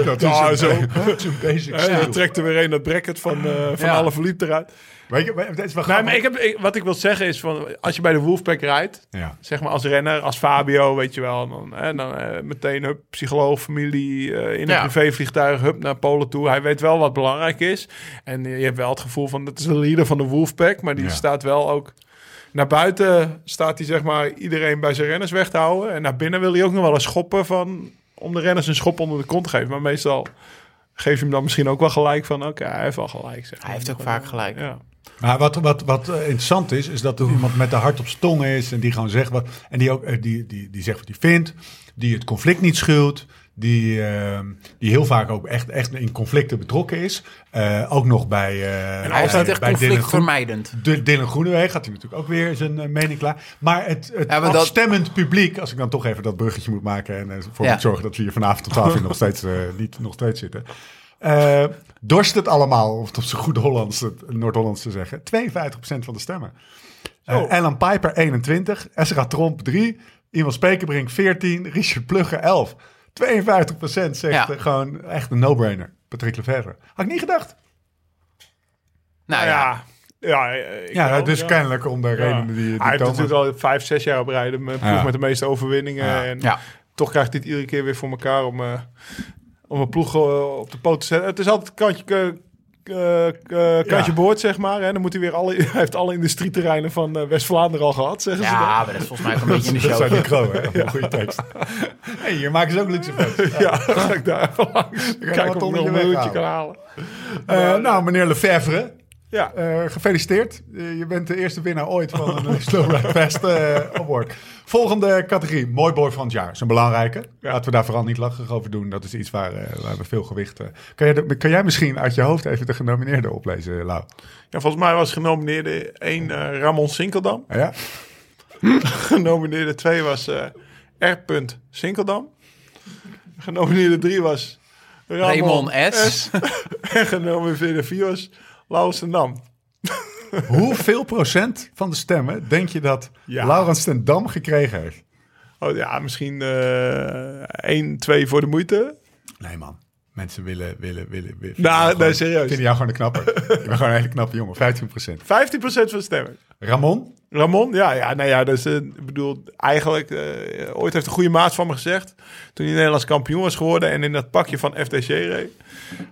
Speaker 1: (laughs) Dat
Speaker 3: Ja,
Speaker 1: is
Speaker 3: zo.
Speaker 1: een, zo'n basic
Speaker 3: Eh,
Speaker 1: skill.
Speaker 3: dan trekt er weer een dat bracket van, eh van
Speaker 4: Ja.
Speaker 3: alle verliep eruit.
Speaker 1: Weet je, het is wel
Speaker 3: Nee,
Speaker 1: grappig.
Speaker 3: maar ik heb, ik- wat ik wil zeggen is, van, als je bij de Wolfpack rijdt,
Speaker 1: Ja.
Speaker 3: zeg maar als renner, als Fabio, weet je wel. En dan, hè, dan eh, meteen hup, psycholoog, familie, eh, in een
Speaker 4: Ja.
Speaker 3: privévliegtuig, hup, naar Polen toe. Hij weet wel wat belangrijk is. En je hebt wel het gevoel van, dat is de leader van de Wolfpack. Maar die
Speaker 1: Ja.
Speaker 3: staat wel ook... Naar buiten staat hij zeg maar iedereen bij zijn renners weg te houden. En naar binnen wil hij ook nog wel eens schoppen van... om de renners een schop onder de kont te geven. Maar meestal geef je hem dan misschien ook wel gelijk van... oké, hij heeft wel gelijk. Zeg.
Speaker 4: Hij heeft ook vaak gelijk.
Speaker 3: Ja.
Speaker 1: Maar wat, wat, wat eh, interessant is, is dat er iemand met de hart op zijn tong is en die gewoon zegt wat. En die ook eh, die, die, die zegt wat hij vindt, die het conflict niet schuwt. Die, eh, die heel vaak ook echt, echt in conflicten betrokken is. Eh, ook nog bij. eh,
Speaker 4: Hij is
Speaker 1: bij-
Speaker 4: niet echt
Speaker 1: bij Dylan Groen-
Speaker 4: conflictvermijdend.
Speaker 1: De- Dylan Groeneweg had hij natuurlijk ook weer zijn eh, mening klaar. Maar het, het
Speaker 4: Ja, maar dat-
Speaker 1: afstemmend publiek, als ik dan toch even dat bruggetje moet maken en ervoor voor
Speaker 4: Ja.
Speaker 1: moet zorgen dat we hier vanavond om 12 uur
Speaker 4: (laughs)
Speaker 1: nog steeds, eh, niet, nog steeds zitten. Eh, dorst het allemaal, om het op zijn goed Hollands, eh, Noord-Hollands te zeggen, 52% van de stemmen. Eh,
Speaker 4: Oh.
Speaker 1: Alan Piper 21, Ezra Tromp 3, Iwan Spekerbrink 14, Richard Plugge 11. 52% zegt
Speaker 4: Ja.
Speaker 1: eh, gewoon echt een no-brainer. Patrick Lefevre. Had ik niet gedacht.
Speaker 4: Nou ja,
Speaker 3: Ja, ja, ik
Speaker 1: Ja,
Speaker 3: wel,
Speaker 1: dus
Speaker 3: ja.
Speaker 1: kennelijk om de redenen
Speaker 3: Ja.
Speaker 1: die, die
Speaker 3: hij heeft
Speaker 1: Thomas-
Speaker 3: natuurlijk al vijf, zes jaar op rij. De ploeg
Speaker 1: Ja.
Speaker 3: met de meeste overwinningen.
Speaker 1: Ja.
Speaker 3: En
Speaker 4: Ja.
Speaker 3: toch krijgt hij het iedere keer weer voor elkaar om, eh, om een ploeg eh, op de poot te zetten. Het is altijd kantje, ke- ke- ke- kantje
Speaker 1: Ja.
Speaker 3: boord, zeg maar. Hè. Dan moet hij weer alle, (laughs) hij heeft alle industrieterreinen van eh, West-Vlaanderen al gehad, zeggen ze.
Speaker 4: ja,
Speaker 3: dan.
Speaker 4: maar dat is volgens mij ook een beetje in
Speaker 1: (laughs)
Speaker 4: de
Speaker 1: Dat
Speaker 4: show.
Speaker 1: zijn die Kroo, hè? (laughs) Een goede tekst. Hey, hier maken ze ook luxe van.
Speaker 3: Ja, dan ga ik daar even langs.
Speaker 1: wat
Speaker 3: Kijken of ik nog
Speaker 1: onder
Speaker 3: een
Speaker 1: je
Speaker 3: miljoentje
Speaker 1: weghalen.
Speaker 3: kan halen.
Speaker 1: Eh, nou, meneer Lefevre,
Speaker 3: Ja,
Speaker 1: eh, gefeliciteerd. Eh, je bent de eerste winnaar ooit van (laughs) een Slow Ride Fest eh, Award. Volgende categorie, Mooi Boy van het Jaar. Dat is een belangrijke. Laten we daar vooral niet lachig over doen. Dat is iets waar, eh, waar we veel gewicht... eh, kan, jij de- kan jij misschien uit je hoofd even de genomineerden oplezen, Lau?
Speaker 3: ja volgens mij was genomineerde één eh, Ramon Sinkeldam.
Speaker 1: Ja?
Speaker 3: Genomineerde 2 was eh R. Sinkeldam. Genomineerde 3 was
Speaker 4: Raymond S.
Speaker 3: En genomineerde 4 was Laurens ten Dam.
Speaker 1: Hoeveel procent van de stemmen denk je dat
Speaker 3: Ja.
Speaker 1: Laurens ten Dam gekregen heeft?
Speaker 3: Oh ja, misschien eh 1, 2 voor de moeite.
Speaker 1: Nee, man. Mensen willen, willen, willen. willen
Speaker 3: Nou,
Speaker 1: vinden jou
Speaker 3: nee,
Speaker 1: gewoon-
Speaker 3: serieus.
Speaker 1: Vinden jou gewoon een knapper. Je bent gewoon een hele knappe jongen, 15%.
Speaker 3: 15% van de stemmen.
Speaker 1: Ramon?
Speaker 3: Ramon, ja, ja, nou ja, dus, eh, ik bedoel, eigenlijk, eh, ooit heeft een goede maat van me gezegd, toen hij Nederlands kampioen was geworden en in dat pakje van FDC reed.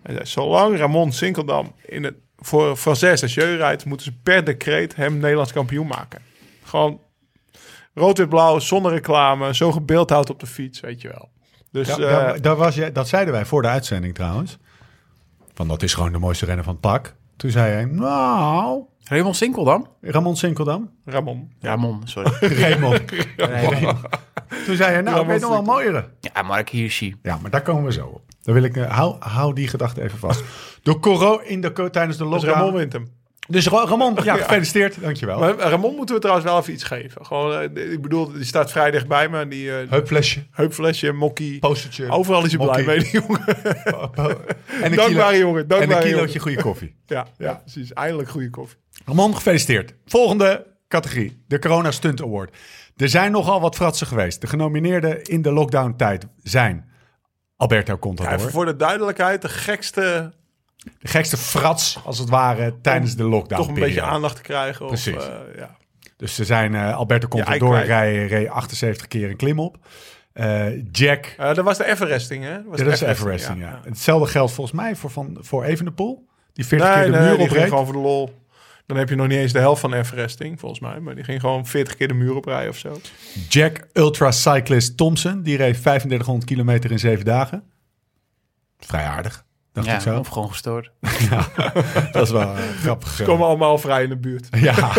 Speaker 3: Hij zei, zolang Ramon Sinkeldam in het, voor Frances en Jeu rijdt, moeten ze per decreet hem Nederlands kampioen maken. Gewoon rood-wit-blauw, zonder reclame, zo gebeeldhouwd op de fiets, weet je wel. Dus,
Speaker 1: Ja,
Speaker 3: eh,
Speaker 1: daar- daar was jij, dat zeiden wij voor de uitzending trouwens. Van dat is gewoon de mooiste renner van het pak. Toen zei hij, nou,
Speaker 4: Raymond Sinkel dan?
Speaker 1: Ramon
Speaker 3: (laughs)
Speaker 1: Sinkeldam.
Speaker 3: Ramon. Dus
Speaker 4: Ramon, sorry.
Speaker 1: Raymond. Toen zei hij, nou, ik
Speaker 3: Ramon
Speaker 1: weet nog wel mooiere.
Speaker 4: Ja, Mark Hirschi.
Speaker 1: Ja, maar daar komen we zo op. Dan wil ik, eh, hou, hou die gedachte even vast. De coro in de, co- tijdens de
Speaker 3: Dus
Speaker 1: lockdown.
Speaker 3: Ramon wint hem.
Speaker 1: Dus Ra- Ramon,
Speaker 3: (laughs)
Speaker 1: ja, gefeliciteerd. Dankjewel.
Speaker 3: Maar eh, Ramon moeten we trouwens wel even iets geven. Gewoon, eh, ik bedoel, die staat vrij dichtbij me, die... eh,
Speaker 1: Heupflesje,
Speaker 3: Heupflesje, mokkie.
Speaker 1: postertje.
Speaker 3: Overal is je blij
Speaker 1: mokkie.
Speaker 3: mee, die (laughs) jongen.
Speaker 1: En een
Speaker 3: Dankbare
Speaker 1: kilo-
Speaker 3: jongen,
Speaker 1: en een
Speaker 3: dankbare
Speaker 1: kilootje goede koffie.
Speaker 3: Ja, ja, precies. Eindelijk goede koffie.
Speaker 1: Ramon, gefeliciteerd. Volgende categorie, de Corona Stunt Award. Er zijn nogal wat fratsen geweest. De genomineerden in de lockdown-tijd zijn Alberto Contador.
Speaker 3: Even voor de duidelijkheid, de gekste
Speaker 1: de gekste frats, als het ware, tijdens de lockdown
Speaker 3: toch een beetje aandacht te krijgen. Of,
Speaker 1: Precies.
Speaker 3: eh, ja.
Speaker 1: Dus er zijn eh, Alberto Contador
Speaker 3: hij kwijt.
Speaker 1: rijden reed 78 keer een klim op. Eh, Jack,
Speaker 3: Eh, dat was de Everesting, hè? was
Speaker 1: ja, dat is
Speaker 3: Everesting,
Speaker 1: Everesting, ja. Hetzelfde geldt volgens mij voor, van, voor Evenepoel. Die 40
Speaker 3: Nee,
Speaker 1: keer de
Speaker 3: nee,
Speaker 1: muur
Speaker 3: die ging
Speaker 1: opreed.
Speaker 3: gewoon voor de lol. Dan heb je nog niet eens de helft van Everesting, volgens mij. Maar die ging gewoon 40 keer de muur oprijden of zo.
Speaker 1: Jack Ultra Cyclist Thompson. Die reed 3500 kilometer in zeven dagen. Vrij aardig, dacht ik
Speaker 4: Ja,
Speaker 1: zo.
Speaker 4: of gewoon gestoord.
Speaker 1: Dat is
Speaker 3: (laughs)
Speaker 1: wel eh, grappig. eh.
Speaker 3: Komen allemaal vrij in de buurt.
Speaker 1: Ja,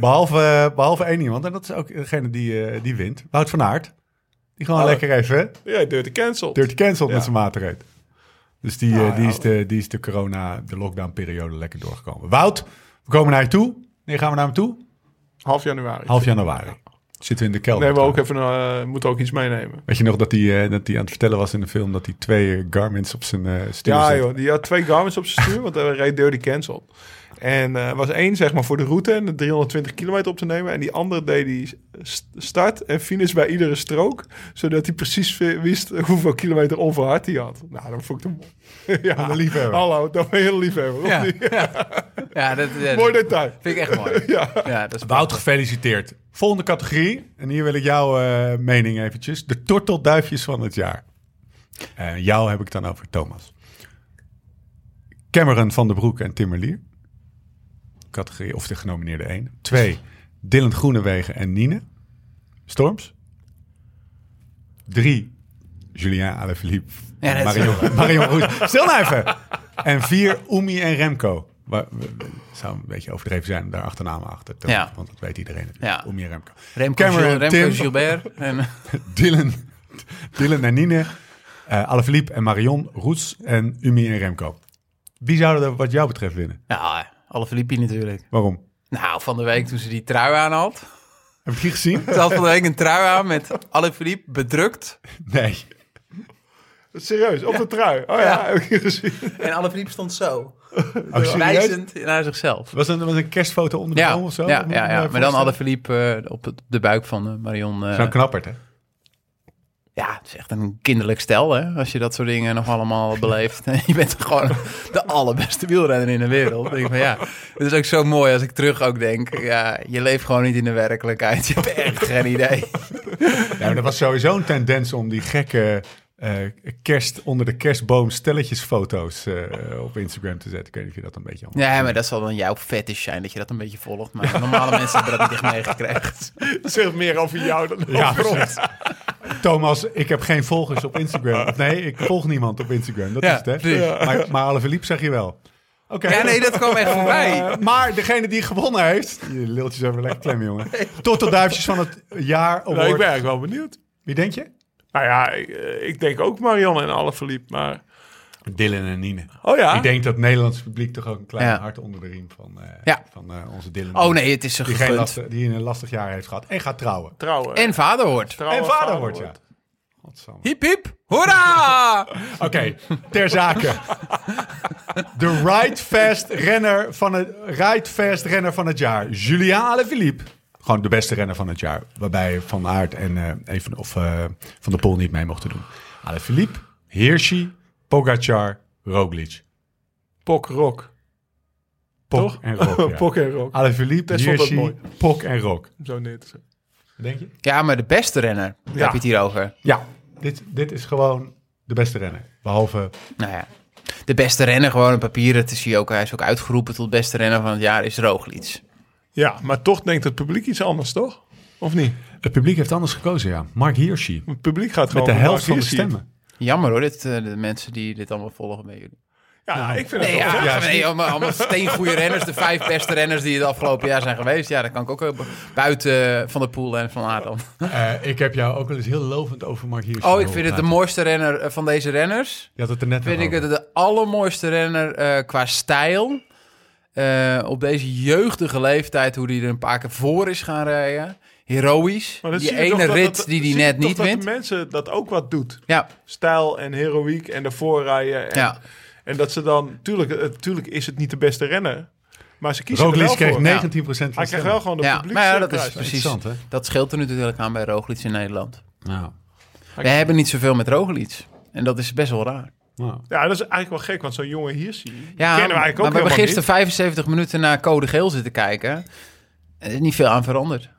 Speaker 1: behalve, eh, behalve één iemand. En dat is ook degene die, eh, die wint. Wout van Aert. Die gewoon
Speaker 3: Oh.
Speaker 1: lekker even eh,
Speaker 3: Ja, Dirty Cancel.
Speaker 1: dirty cancelled
Speaker 3: Ja.
Speaker 1: met zijn maat reed. Dus die, eh,
Speaker 3: Nou,
Speaker 1: die,
Speaker 3: ja.
Speaker 1: is de, die is de corona, de lockdown periode lekker doorgekomen. Wout, we komen naar je toe. Wanneer gaan we naar hem toe?
Speaker 3: Half januari.
Speaker 1: Half januari. Zitten we in de kelder.
Speaker 3: Nee, we ook
Speaker 1: trouwens.
Speaker 3: even, eh moeten ook iets meenemen.
Speaker 1: Weet je nog dat hij, eh, dat hij aan het vertellen was in de film... dat hij twee eh, garments op zijn eh stuur
Speaker 3: Ja,
Speaker 1: zette? (laughs)
Speaker 3: joh. Die had twee Garmin's op zijn stuur, want hij reed Dirty Cancel. En eh, er was één, zeg maar, voor de route en de 320 kilometer op te nemen. En die andere deed die st- start en finish bij iedere strook. Zodat hij precies vi- wist hoeveel kilometer onverhard hij had. Nou, dan vond ik hem... (laughs) ja,
Speaker 1: Wat een liefhebber.
Speaker 3: Hallo, dat ben je een liefhebber. of
Speaker 4: Ja,
Speaker 3: niet?
Speaker 4: ja. ja dat, ja,
Speaker 3: (laughs) Mooi
Speaker 4: dat
Speaker 3: detail.
Speaker 4: vind ik echt mooi.
Speaker 3: Ja.
Speaker 4: Ja, dat is
Speaker 1: Wout, gefeliciteerd. Volgende categorie. En hier wil ik jouw eh, mening eventjes. De tortelduifjes van het jaar. En jou heb ik dan over Thomas. Cameron van der Broek en Timmerlier. Categorie, of de genomineerde één. Twee, Dylan Groenewegen en Nine. Storms. Drie, Julien Alaphilippe,
Speaker 4: Ja, dat is-
Speaker 1: Marion, Marion Roes. Stil nou even! En vier, Umi en Remco. Waar, we- we- zou een beetje overdreven zijn om daar achternamen achter te
Speaker 4: Ja.
Speaker 1: Want dat weet iedereen.
Speaker 4: Ja.
Speaker 1: natuurlijk. Umi en Remco.
Speaker 4: Remco,
Speaker 1: Cameron,
Speaker 4: Gil- Remco
Speaker 1: Tim.
Speaker 4: Gilbert. En, (laughs)
Speaker 1: Dylan, Dylan en Nine, eh Alaphilippe en Marion Roes en Umi en Remco. Wie zouden er wat jou betreft winnen?
Speaker 4: nou, alle Filippi natuurlijk.
Speaker 1: Waarom?
Speaker 4: Nou, van de week toen ze die trui aan had.
Speaker 1: Heb je die gezien? (laughs)
Speaker 4: Ze had van de week een trui aan met alle Filippi bedrukt.
Speaker 1: Nee.
Speaker 3: Serieus, op de trui. Oh ja, (laughs) heb ik gezien.
Speaker 4: En alle Filippi stond zo.
Speaker 1: Oh, serieus?
Speaker 4: Wijzend naar zichzelf.
Speaker 1: Was dat was een kerstfoto onder de
Speaker 4: Ja,
Speaker 1: boom of zo?
Speaker 4: ja,
Speaker 1: Moet ik
Speaker 4: ja,
Speaker 1: me
Speaker 4: ja.
Speaker 1: even
Speaker 4: maar dan alle
Speaker 1: voorstellen.
Speaker 4: Filippi op het- de buik van eh, Marion. eh,
Speaker 1: Zo'n knappert, hè?
Speaker 4: Ja, het is echt een kinderlijk stel, hè? Als je dat soort dingen nog allemaal (laughs) beleeft. En je bent gewoon de allerbeste wielrenner in de wereld. Ik Denk van, ja, het is ook zo mooi als ik terug ook denk. Ja, je leeft gewoon niet in de werkelijkheid. Je hebt echt geen idee.
Speaker 1: Ja, maar er was sowieso een tendens om die gekke eh, kerst onder de kerstboom stelletjesfoto's eh, op Instagram te zetten. Ik weet niet of je dat een beetje allemaal...
Speaker 4: Ja, maar dat zal dan jouw fetish zijn, dat je dat een beetje volgt. Maar normale mensen hebben dat niet echt meegekregen.
Speaker 3: Het zegt meer over jou dan over
Speaker 1: Ja,
Speaker 3: ons.
Speaker 1: precies. Thomas, ik heb geen volgers op Instagram. Of Nee, ik volg niemand op Instagram. Dat
Speaker 4: Ja,
Speaker 1: is het, hè?
Speaker 4: precies.
Speaker 1: Maar, maar Alaphilippe zeg je wel. Oké.
Speaker 4: Ja, nee, dat kwam echt voorbij.
Speaker 1: Eh, maar degene die gewonnen heeft... Je liltjes even lekker klem, jongen. Tot de duifjes van het jaar
Speaker 3: Nou, ik
Speaker 1: award.
Speaker 3: ben eigenlijk wel benieuwd.
Speaker 1: Wie denk je?
Speaker 3: Nou ja, ik, eh, ik denk ook Marianne en alle verliep, maar...
Speaker 1: Dylan en Nine.
Speaker 3: Oh ja?
Speaker 1: Ik denk dat het Nederlands publiek toch ook een klein
Speaker 4: Ah? Ja.
Speaker 1: hart onder de riem van, eh,
Speaker 4: Ja.
Speaker 1: van eh, onze Dylan.
Speaker 4: Oh nee, het is een
Speaker 1: Die, geen
Speaker 4: gegund.
Speaker 1: lastig, die een lastig jaar heeft gehad. En gaat trouwen.
Speaker 3: Trouwen.
Speaker 4: En vader hoort.
Speaker 3: Trouwen,
Speaker 1: en vader wordt, ja.
Speaker 3: wordt.
Speaker 1: Godsamme.
Speaker 4: Hiep, hiep, hoera!
Speaker 1: Oké, ter zake. De Ride Fest renner van het, Ride Fest renner van het jaar. Julien Alaphilippe. Gewoon de beste renner van het jaar. Waarbij Van Aert en eh, even, of, eh, Van der Poel niet mee mochten doen. Alaphilippe, Hirschi, Pogacar, Roglic.
Speaker 3: Pok, Rock.
Speaker 1: Pok
Speaker 3: Toch?
Speaker 1: en
Speaker 3: (laughs)
Speaker 1: Rock. Ja.
Speaker 3: Pok en Rock.
Speaker 1: Alaphilippe,
Speaker 3: Dat vond ik
Speaker 1: Hirschi,
Speaker 3: mooi.
Speaker 1: Pok en Rock.
Speaker 3: Zo net.
Speaker 1: Denk je?
Speaker 4: Ja, maar de beste renner, daar heb je het hier over.
Speaker 1: Ja, dit, dit is gewoon de beste renner. Behalve
Speaker 4: Nou ja, de beste renner gewoon op papier. Dat is hij ook. Hij is ook uitgeroepen tot beste renner van het jaar is Roglic.
Speaker 3: Ja, maar toch denkt het publiek iets anders, toch? Of niet?
Speaker 1: Het publiek heeft anders gekozen, ja. Mark Hirschi.
Speaker 3: Het publiek gaat
Speaker 1: Met
Speaker 3: gewoon...
Speaker 1: de
Speaker 3: voor
Speaker 1: helft van de
Speaker 3: Mark Hirschi.
Speaker 1: stemmen.
Speaker 4: Jammer hoor, dit, eh, de mensen die dit allemaal volgen bij jullie.
Speaker 3: Ja,
Speaker 1: Nou,
Speaker 3: ik vind het
Speaker 4: Nee, ja,
Speaker 3: wel...
Speaker 1: ja,
Speaker 4: nee, allemaal, allemaal steengoede renners. De vijf beste renners die het afgelopen jaar zijn geweest. Ja, dat kan ik ook eh, buiten eh, Van der Poel en Van Aert dan.
Speaker 1: Eh, ik heb jou ook wel eens heel lovend over Mark Hirschi.
Speaker 4: Oh, ik
Speaker 1: horen
Speaker 4: vind het de
Speaker 1: praten.
Speaker 4: mooiste renner eh, van deze renners.
Speaker 1: Je had het er net
Speaker 4: vind
Speaker 1: nog
Speaker 4: ik
Speaker 1: over.
Speaker 4: het de allermooiste renner eh, qua stijl. Eh, op deze jeugdige leeftijd, hoe die er een paar keer voor is gaan rijden. Heroïs.
Speaker 3: Maar dan
Speaker 4: Die
Speaker 3: zie je toch
Speaker 4: ene
Speaker 3: dat-
Speaker 4: rit
Speaker 3: dat-
Speaker 4: die
Speaker 3: zie
Speaker 4: hij
Speaker 3: je
Speaker 4: net
Speaker 3: toch
Speaker 4: niet
Speaker 3: dat de
Speaker 4: wint.
Speaker 3: mensen dat ook wat doet.
Speaker 4: Ja,
Speaker 3: Stijl en heroïek en de voorrijden. En,
Speaker 4: ja.
Speaker 3: en dat ze dan... Tuurlijk, eh, tuurlijk is het niet de beste renner. Maar ze kiezen
Speaker 1: Roglic
Speaker 3: er wel
Speaker 1: kreeg
Speaker 3: voor.
Speaker 1: 19% van de stemmen.
Speaker 3: Hij krijgt wel gewoon de
Speaker 4: Ja,
Speaker 3: publiek.
Speaker 4: maar ja, dat is
Speaker 3: prijs.
Speaker 4: precies.
Speaker 1: Interessant, hè?
Speaker 4: Dat scheelt er natuurlijk aan bij Roglic in Nederland.
Speaker 1: Nou,
Speaker 4: We hebben niet zoveel met Roglic. En dat is best wel raar.
Speaker 1: nou.
Speaker 3: Ja, dat is eigenlijk wel gek, want zo'n jongen hier zie je.
Speaker 4: Ja,
Speaker 3: kennen we
Speaker 4: maar
Speaker 3: eigenlijk
Speaker 4: we
Speaker 3: ook
Speaker 4: hebben
Speaker 3: helemaal
Speaker 4: gisteren
Speaker 3: niet.
Speaker 4: 75 minuten naar Code Geel zitten kijken. Er is niet veel aan veranderd.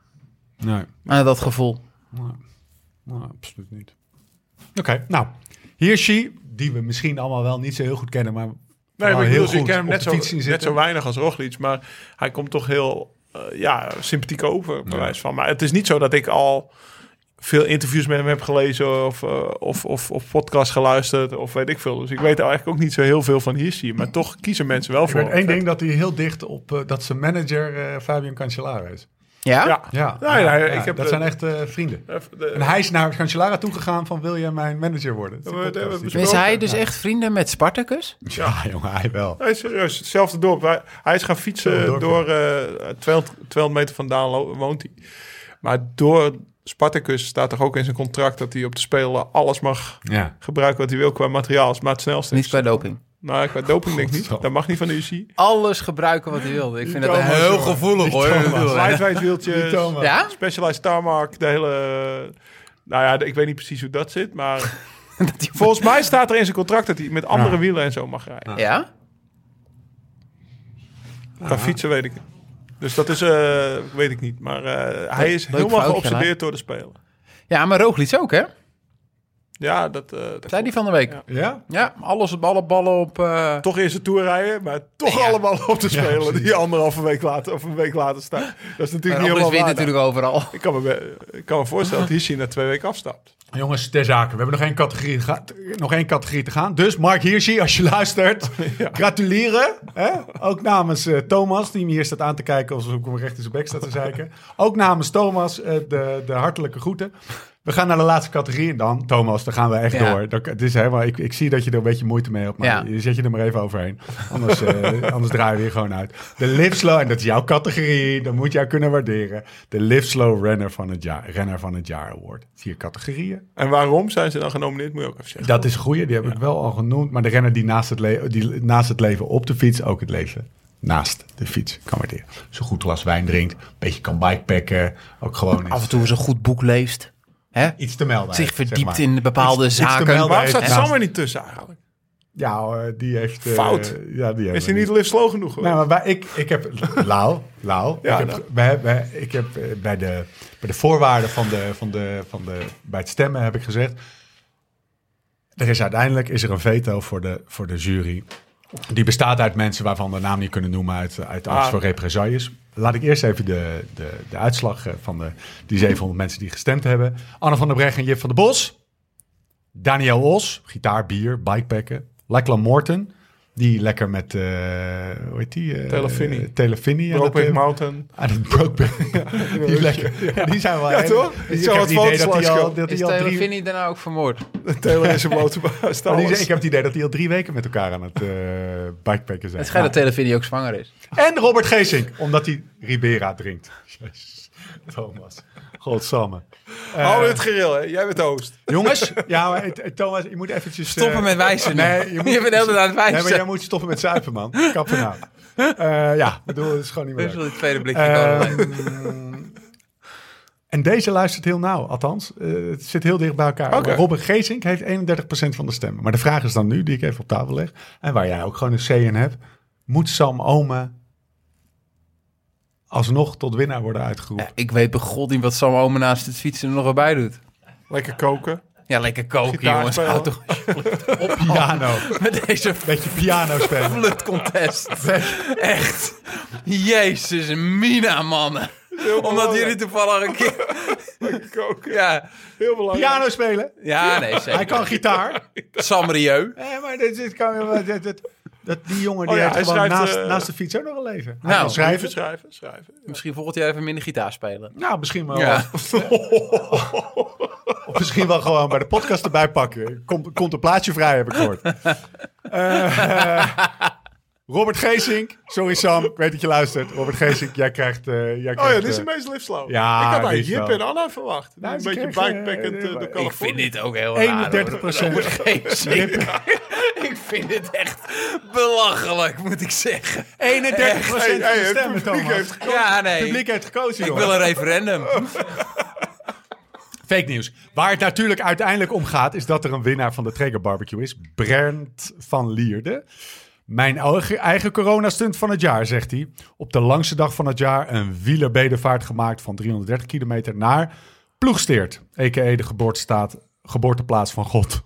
Speaker 1: Nee,
Speaker 4: Aan dat gevoel.
Speaker 1: nou, nou, absoluut niet. Oké, nou. Hirschi, die we misschien allemaal wel niet zo heel goed kennen, maar...
Speaker 3: Nee, maar
Speaker 1: wel
Speaker 3: ik
Speaker 1: heel
Speaker 3: bedoel, ik
Speaker 1: goed
Speaker 3: ken hem
Speaker 1: op
Speaker 3: net
Speaker 1: de
Speaker 3: zo,
Speaker 1: fiets zien
Speaker 3: net
Speaker 1: zitten.
Speaker 3: zo weinig als Roglic, maar hij komt toch heel eh, ja, sympathiek over, bij
Speaker 1: Ja.
Speaker 3: wijze van. Maar het is niet zo dat ik al veel interviews met hem heb gelezen of, eh, of, of, of podcast geluisterd of weet ik veel. Dus ik weet eigenlijk ook niet zo heel veel van Hirschi, maar toch kiezen mensen wel
Speaker 1: Ik
Speaker 3: voor
Speaker 1: weet
Speaker 3: hem.
Speaker 1: één ding dat hij heel dicht op... eh, dat zijn manager eh, Fabian Cancellara is.
Speaker 4: Ja?
Speaker 3: Ja,
Speaker 1: Ja,
Speaker 3: Nee, nee,
Speaker 1: ja,
Speaker 3: ik
Speaker 1: ja, dat
Speaker 3: heb de-
Speaker 1: zijn echt eh, vrienden.
Speaker 3: Even de-
Speaker 1: En hij is naar Cancellara toegegaan van wil je mijn manager worden? Dat is
Speaker 3: We-
Speaker 1: een
Speaker 3: we- we
Speaker 1: podcast die-
Speaker 3: besproken.
Speaker 4: Is hij dus echt vrienden met Spartacus?
Speaker 1: Ja, jongen, hij wel.
Speaker 3: Nee, serieus, hetzelfde dorp. Hij, hij is gaan
Speaker 1: Hetzelfde
Speaker 3: fietsen
Speaker 1: dorp,
Speaker 3: door eh 200, 200 meter vandaan lo- woont hij. Maar door Spartacus staat toch ook in zijn contract dat hij op de Spelen alles mag
Speaker 1: Ja.
Speaker 3: gebruiken wat hij wil qua materiaal. Als maar het snelste
Speaker 4: Niet
Speaker 3: is.
Speaker 4: qua doping.
Speaker 3: Nou, qua doping denk ik niet.
Speaker 1: Godsamme.
Speaker 3: Dat mag niet van de UC.
Speaker 4: alles gebruiken wat hij wilde. Ik vind dat
Speaker 3: Thomas,
Speaker 4: heel
Speaker 3: jongen.
Speaker 4: gevoelig hoor.
Speaker 1: Thomas.
Speaker 4: Ik bedoel, hè.
Speaker 3: Lightweight
Speaker 1: Die
Speaker 3: wieltjes,
Speaker 1: Thomas.
Speaker 3: (laughs)
Speaker 4: Ja?
Speaker 3: Specialized Tarmac, de hele... Nou ja, de- ik weet niet precies hoe dat zit, maar (laughs)
Speaker 4: Dat die-
Speaker 3: volgens mij staat er in zijn contract dat hij met andere
Speaker 1: Ja.
Speaker 3: wielen en zo mag rijden.
Speaker 4: (laughs) Ja?
Speaker 3: Qua fietsen weet ik het. Dus dat is, eh, weet ik niet. Maar eh, hij is
Speaker 4: leuk
Speaker 3: helemaal
Speaker 4: foutje,
Speaker 3: geobsedeerd door de Spelen.
Speaker 4: ja, maar Roglic ook hè?
Speaker 3: Ja, dat... eh, dat
Speaker 4: Zei die van de week.
Speaker 3: Ja.
Speaker 1: Ja?
Speaker 4: Ja, alles op alle ballen op... eh,
Speaker 3: toch eerst de Tour rijden, maar toch
Speaker 4: Ja.
Speaker 3: allemaal op te
Speaker 1: Ja,
Speaker 3: spelen.
Speaker 1: precies.
Speaker 3: die anderhalve week later, of een week later staan. Dat is natuurlijk
Speaker 4: Roglic
Speaker 3: niet helemaal
Speaker 4: wint
Speaker 3: waar. nou.
Speaker 4: natuurlijk overal.
Speaker 3: Ik kan, me, be- ik kan me voorstellen dat Hirschi na twee weken afstapt.
Speaker 1: Jongens, ter zake. We hebben nog één categorie, te gaan- nog één categorie te gaan. Dus Mark Hirschi, als je (laughs)
Speaker 4: (laughs)
Speaker 1: luistert, gratuleren. Hè? Ook namens eh, Thomas, die hem hier staat aan te kijken... alsof ik hem recht in zijn bek sta te
Speaker 4: (laughs)
Speaker 1: zeiken. Ook namens Thomas eh, de, de hartelijke groeten. We gaan naar de laatste categorie. En dan, Thomas, daar gaan we echt
Speaker 4: Ja.
Speaker 1: door. Dat, het is helemaal, ik, ik zie dat je er een beetje moeite mee hebt. Maar
Speaker 4: Ja.
Speaker 1: je zet je er maar even overheen. Anders, eh, (laughs) anders draaien we hier gewoon uit. De Live Slow, en dat is jouw categorie. Dat moet jij kunnen waarderen. De Live Slow Renner van het Jaar, Renner van het Jaar Award. Vier categorieën.
Speaker 3: En waarom zijn ze dan genomineerd, moet je ook even zeggen.
Speaker 1: Dat is goeie, die heb ik wel al genoemd. Maar de renner die naast, het le- die naast het leven op de fiets ook het leven naast de fiets kan waarderen. Zo'n goed glas wijn drinkt, een beetje kan bikepacken. Ook gewoon
Speaker 4: Af en
Speaker 1: eens
Speaker 4: toe eens een goed boek leest. Hè?
Speaker 1: iets te melden.
Speaker 4: Zich
Speaker 1: heeft, zeg
Speaker 4: verdiept
Speaker 1: maar.
Speaker 4: in bepaalde
Speaker 1: Iets- iets te
Speaker 4: zaken.
Speaker 1: melden
Speaker 3: Waarom
Speaker 1: heeft
Speaker 3: staat
Speaker 1: naast-
Speaker 3: Sam er niet tussen eigenlijk?
Speaker 1: Ja, eh, die heeft... eh,
Speaker 3: Fout.
Speaker 1: Ja, die
Speaker 3: Is
Speaker 1: hebben
Speaker 3: hij
Speaker 1: we
Speaker 3: niet live slow genoeg?
Speaker 1: Nou, maar
Speaker 3: geweest?
Speaker 1: wij- ik, ik heb. Lau, Lau.
Speaker 3: Ja,
Speaker 1: ik heb,
Speaker 3: nou.
Speaker 1: wij, wij- ik heb eh, bij, de, bij de voorwaarden van de, van de, van de. bij het stemmen heb ik gezegd. Er is uiteindelijk is er een veto voor de, voor de jury. Die bestaat uit mensen waarvan we de naam niet kunnen noemen uit, uit angst
Speaker 3: Ah.
Speaker 1: voor represailles. Laat ik eerst even de, de, de uitslag eh, van de, die 700 mensen die gestemd hebben. Anne van der Breggen en Jip van der Bos. Daniel Os, gitaar, bier, bikepacken. Lachlan Morton, die lekker met, eh, hoe heet die? eh,
Speaker 3: Telefinny.
Speaker 1: Telefinny. aan
Speaker 3: Brokeback
Speaker 1: het, eh,
Speaker 3: Mountain.
Speaker 1: Aan het
Speaker 3: (laughs)
Speaker 1: Brokeback. die is lekker. Die zijn wel
Speaker 3: Ja,
Speaker 1: heel-
Speaker 3: toch?
Speaker 1: Ik
Speaker 3: Ik
Speaker 1: heb
Speaker 3: zag wat
Speaker 1: het idee dat
Speaker 3: foto's
Speaker 1: die al,
Speaker 3: langskomen.
Speaker 1: dat
Speaker 4: Is
Speaker 1: die al
Speaker 4: Taylor
Speaker 1: drie...
Speaker 4: Finney daarna ook vermoord?
Speaker 3: Taylor is een blote
Speaker 1: Maar die
Speaker 3: staan.
Speaker 1: zijn- ik heb het idee dat die al drie weken met elkaar aan het eh bikepacken zijn. Nou,
Speaker 4: Het schijnt dat Taylor Finney ook zwanger is.
Speaker 1: En Robert Geesink, omdat hij Ribera drinkt. (laughs) Jezus, Thomas. Godsamme.
Speaker 3: Hou het gereel, hè? Jij bent de host.
Speaker 1: Jongens, ja, maar, eh, Thomas, je moet eventjes...
Speaker 4: Stoppen
Speaker 1: eh,
Speaker 4: met wijzen.
Speaker 1: Nee,
Speaker 4: je, bent de hele tijd aan het wijzen.
Speaker 1: Nee, maar jij moet stoppen met zuipen, man. Kap er nou. Eh, ja, ik bedoel, het is gewoon niet
Speaker 4: Dus
Speaker 1: meer
Speaker 4: wel
Speaker 1: leuk.
Speaker 4: die tweede blikje
Speaker 1: Ehm,
Speaker 4: cola.
Speaker 1: en deze luistert heel nauw, althans. eh, het zit heel dicht bij elkaar.
Speaker 3: Oké.
Speaker 1: Robin Geesink heeft 31% van de stemmen. Maar de vraag is dan nu, die ik even op tafel leg... en waar jij ook gewoon een C in hebt... moet Sam Ome alsnog tot winnaar worden uitgeroepen?
Speaker 4: Ja, (laughs) ik weet bij god niet wat Sam Omen naast het fietsen er nog wel bij doet.
Speaker 3: Lekker koken.
Speaker 4: Ja, lekker koken,
Speaker 3: Gitaar
Speaker 4: jongens.
Speaker 3: spelen.
Speaker 4: Houd toch alsjeblieft op
Speaker 1: Piano.
Speaker 4: met deze (laughs)
Speaker 1: Beetje piano spelen.
Speaker 4: flutcontest.
Speaker 1: (laughs)
Speaker 4: Echt. Jezus, mina, mannen. Omdat
Speaker 3: belangrijk.
Speaker 4: jullie toevallig een keer...
Speaker 3: Lekker koken.
Speaker 4: Ja,
Speaker 3: Heel belangrijk.
Speaker 1: Piano spelen.
Speaker 4: ja nee, zeker.
Speaker 1: Hij kan gitaar.
Speaker 4: Sam Rieu.
Speaker 1: (laughs) Nee, maar dit, dit kan, dit, dit- dat, die jongen die
Speaker 3: Oh ja,
Speaker 1: heeft
Speaker 3: hij
Speaker 1: gewoon
Speaker 3: schrijft,
Speaker 1: naast,
Speaker 3: eh,
Speaker 1: naast de fiets ook nog een leven. Hij
Speaker 4: Nou,
Speaker 1: kan
Speaker 3: schrijven,
Speaker 1: schrijven.
Speaker 3: schrijven, schrijven.
Speaker 4: Misschien volgend jaar even minder gitaar spelen.
Speaker 1: Nou, misschien wel.
Speaker 4: Ja.
Speaker 1: (laughs) Of misschien wel gewoon bij de podcast erbij pakken. Komt, komt een plaatje vrij, heb ik gehoord. Eh, Robert Geesink. Sorry Sam, ik weet dat je luistert. Robert Geesink, jij krijgt... eh, jij
Speaker 3: Oh ja,
Speaker 1: krijgt,
Speaker 3: dit is de
Speaker 1: eh,
Speaker 3: meest liftslow.
Speaker 1: ja,
Speaker 3: ik had
Speaker 1: die is
Speaker 3: eigenlijk Jip
Speaker 1: wel.
Speaker 3: en Anna verwacht.
Speaker 1: Nou,
Speaker 3: een
Speaker 1: ze
Speaker 3: beetje
Speaker 1: kregen,
Speaker 3: bikepackend
Speaker 1: eh,
Speaker 3: eh, door
Speaker 1: ik
Speaker 4: Ik vind
Speaker 3: Californië.
Speaker 4: dit ook heel raar. hoor. (laughs)
Speaker 1: 31%.
Speaker 4: Robert Geesink. (laughs) Ik vind dit echt belachelijk, moet ik zeggen.
Speaker 1: 31% van
Speaker 3: Hey, hey,
Speaker 1: de
Speaker 3: het
Speaker 1: stemmen,
Speaker 3: publiek
Speaker 1: Thomas.
Speaker 3: heeft
Speaker 1: Het
Speaker 4: Ja, nee.
Speaker 1: publiek heeft gekozen,
Speaker 4: Ik
Speaker 1: jongen.
Speaker 4: wil een referendum.
Speaker 1: Fake nieuws. Waar het natuurlijk uiteindelijk om gaat, is dat er een winnaar van de Traeger Barbecue is. Brent van Lierde. Mijn eigen, eigen coronastunt van het jaar, zegt hij. Op de langste dag van het jaar een wielerbedevaart gemaakt van 330 kilometer naar Ploegsteert. A.k.a. de geboortestaat, geboorteplaats van God.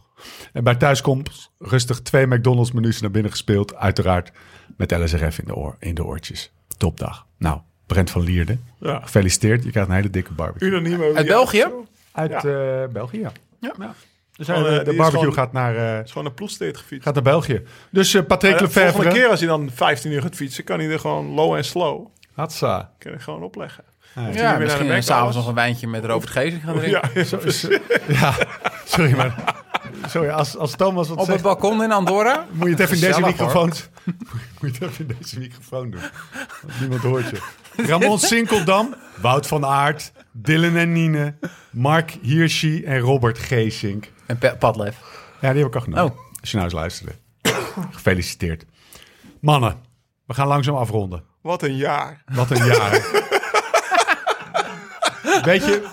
Speaker 1: En bij thuiskomst rustig twee McDonald's menus naar binnen gespeeld. Uiteraard met LSRF in de, oor, in de oortjes. Topdag. Nou, Brent van Lierde,
Speaker 3: Ja.
Speaker 1: gefeliciteerd. Je krijgt een hele dikke barbecue.
Speaker 3: Unaniem. over
Speaker 4: Uit
Speaker 3: die
Speaker 4: België?
Speaker 3: auto. Het
Speaker 1: Uit eh, België, ja.
Speaker 4: Ja.
Speaker 1: Dus
Speaker 3: Gewoon,
Speaker 1: hij-
Speaker 3: eh,
Speaker 1: de
Speaker 3: die is
Speaker 1: barbecue
Speaker 3: gewoon-
Speaker 1: gaat, naar, eh,
Speaker 3: is gewoon een ploegsteed gefietst.
Speaker 1: gaat naar België. Dus eh Patrick
Speaker 3: Maar de volgende
Speaker 1: Lefevre.
Speaker 3: keer als hij dan 15 uur gaat fietsen, kan hij er gewoon low en slow.
Speaker 1: Hatsa.
Speaker 3: Kan hij gewoon opleggen.
Speaker 4: Ja,
Speaker 3: naar de
Speaker 4: misschien
Speaker 3: McDonald's.
Speaker 4: s'avonds nog een wijntje met Robert Geesink gaan drinken.
Speaker 3: Ja,
Speaker 1: Zo- zo- ja, (laughs) sorry, maar sorry, als, als Thomas wat
Speaker 4: Op het
Speaker 1: zegt,
Speaker 4: balkon in Andorra?
Speaker 1: moet je het even in deze
Speaker 4: Gezellig,
Speaker 1: microfoon... (laughs) Moet je het even in deze microfoon doen. Want niemand hoort je. (laughs) Ramon Sinkeldam, Wout van Aert, Dylan en Nine, Mark Hirschi en Robert Geesink.
Speaker 4: En Pe- Padlef.
Speaker 1: Ja, die heb ik al genomen.
Speaker 4: Oh.
Speaker 1: Als je nou eens luisterde. (coughs) Gefeliciteerd. Mannen, we gaan langzaam afronden.
Speaker 3: wat een jaar.
Speaker 1: Wat een jaar. weet, je,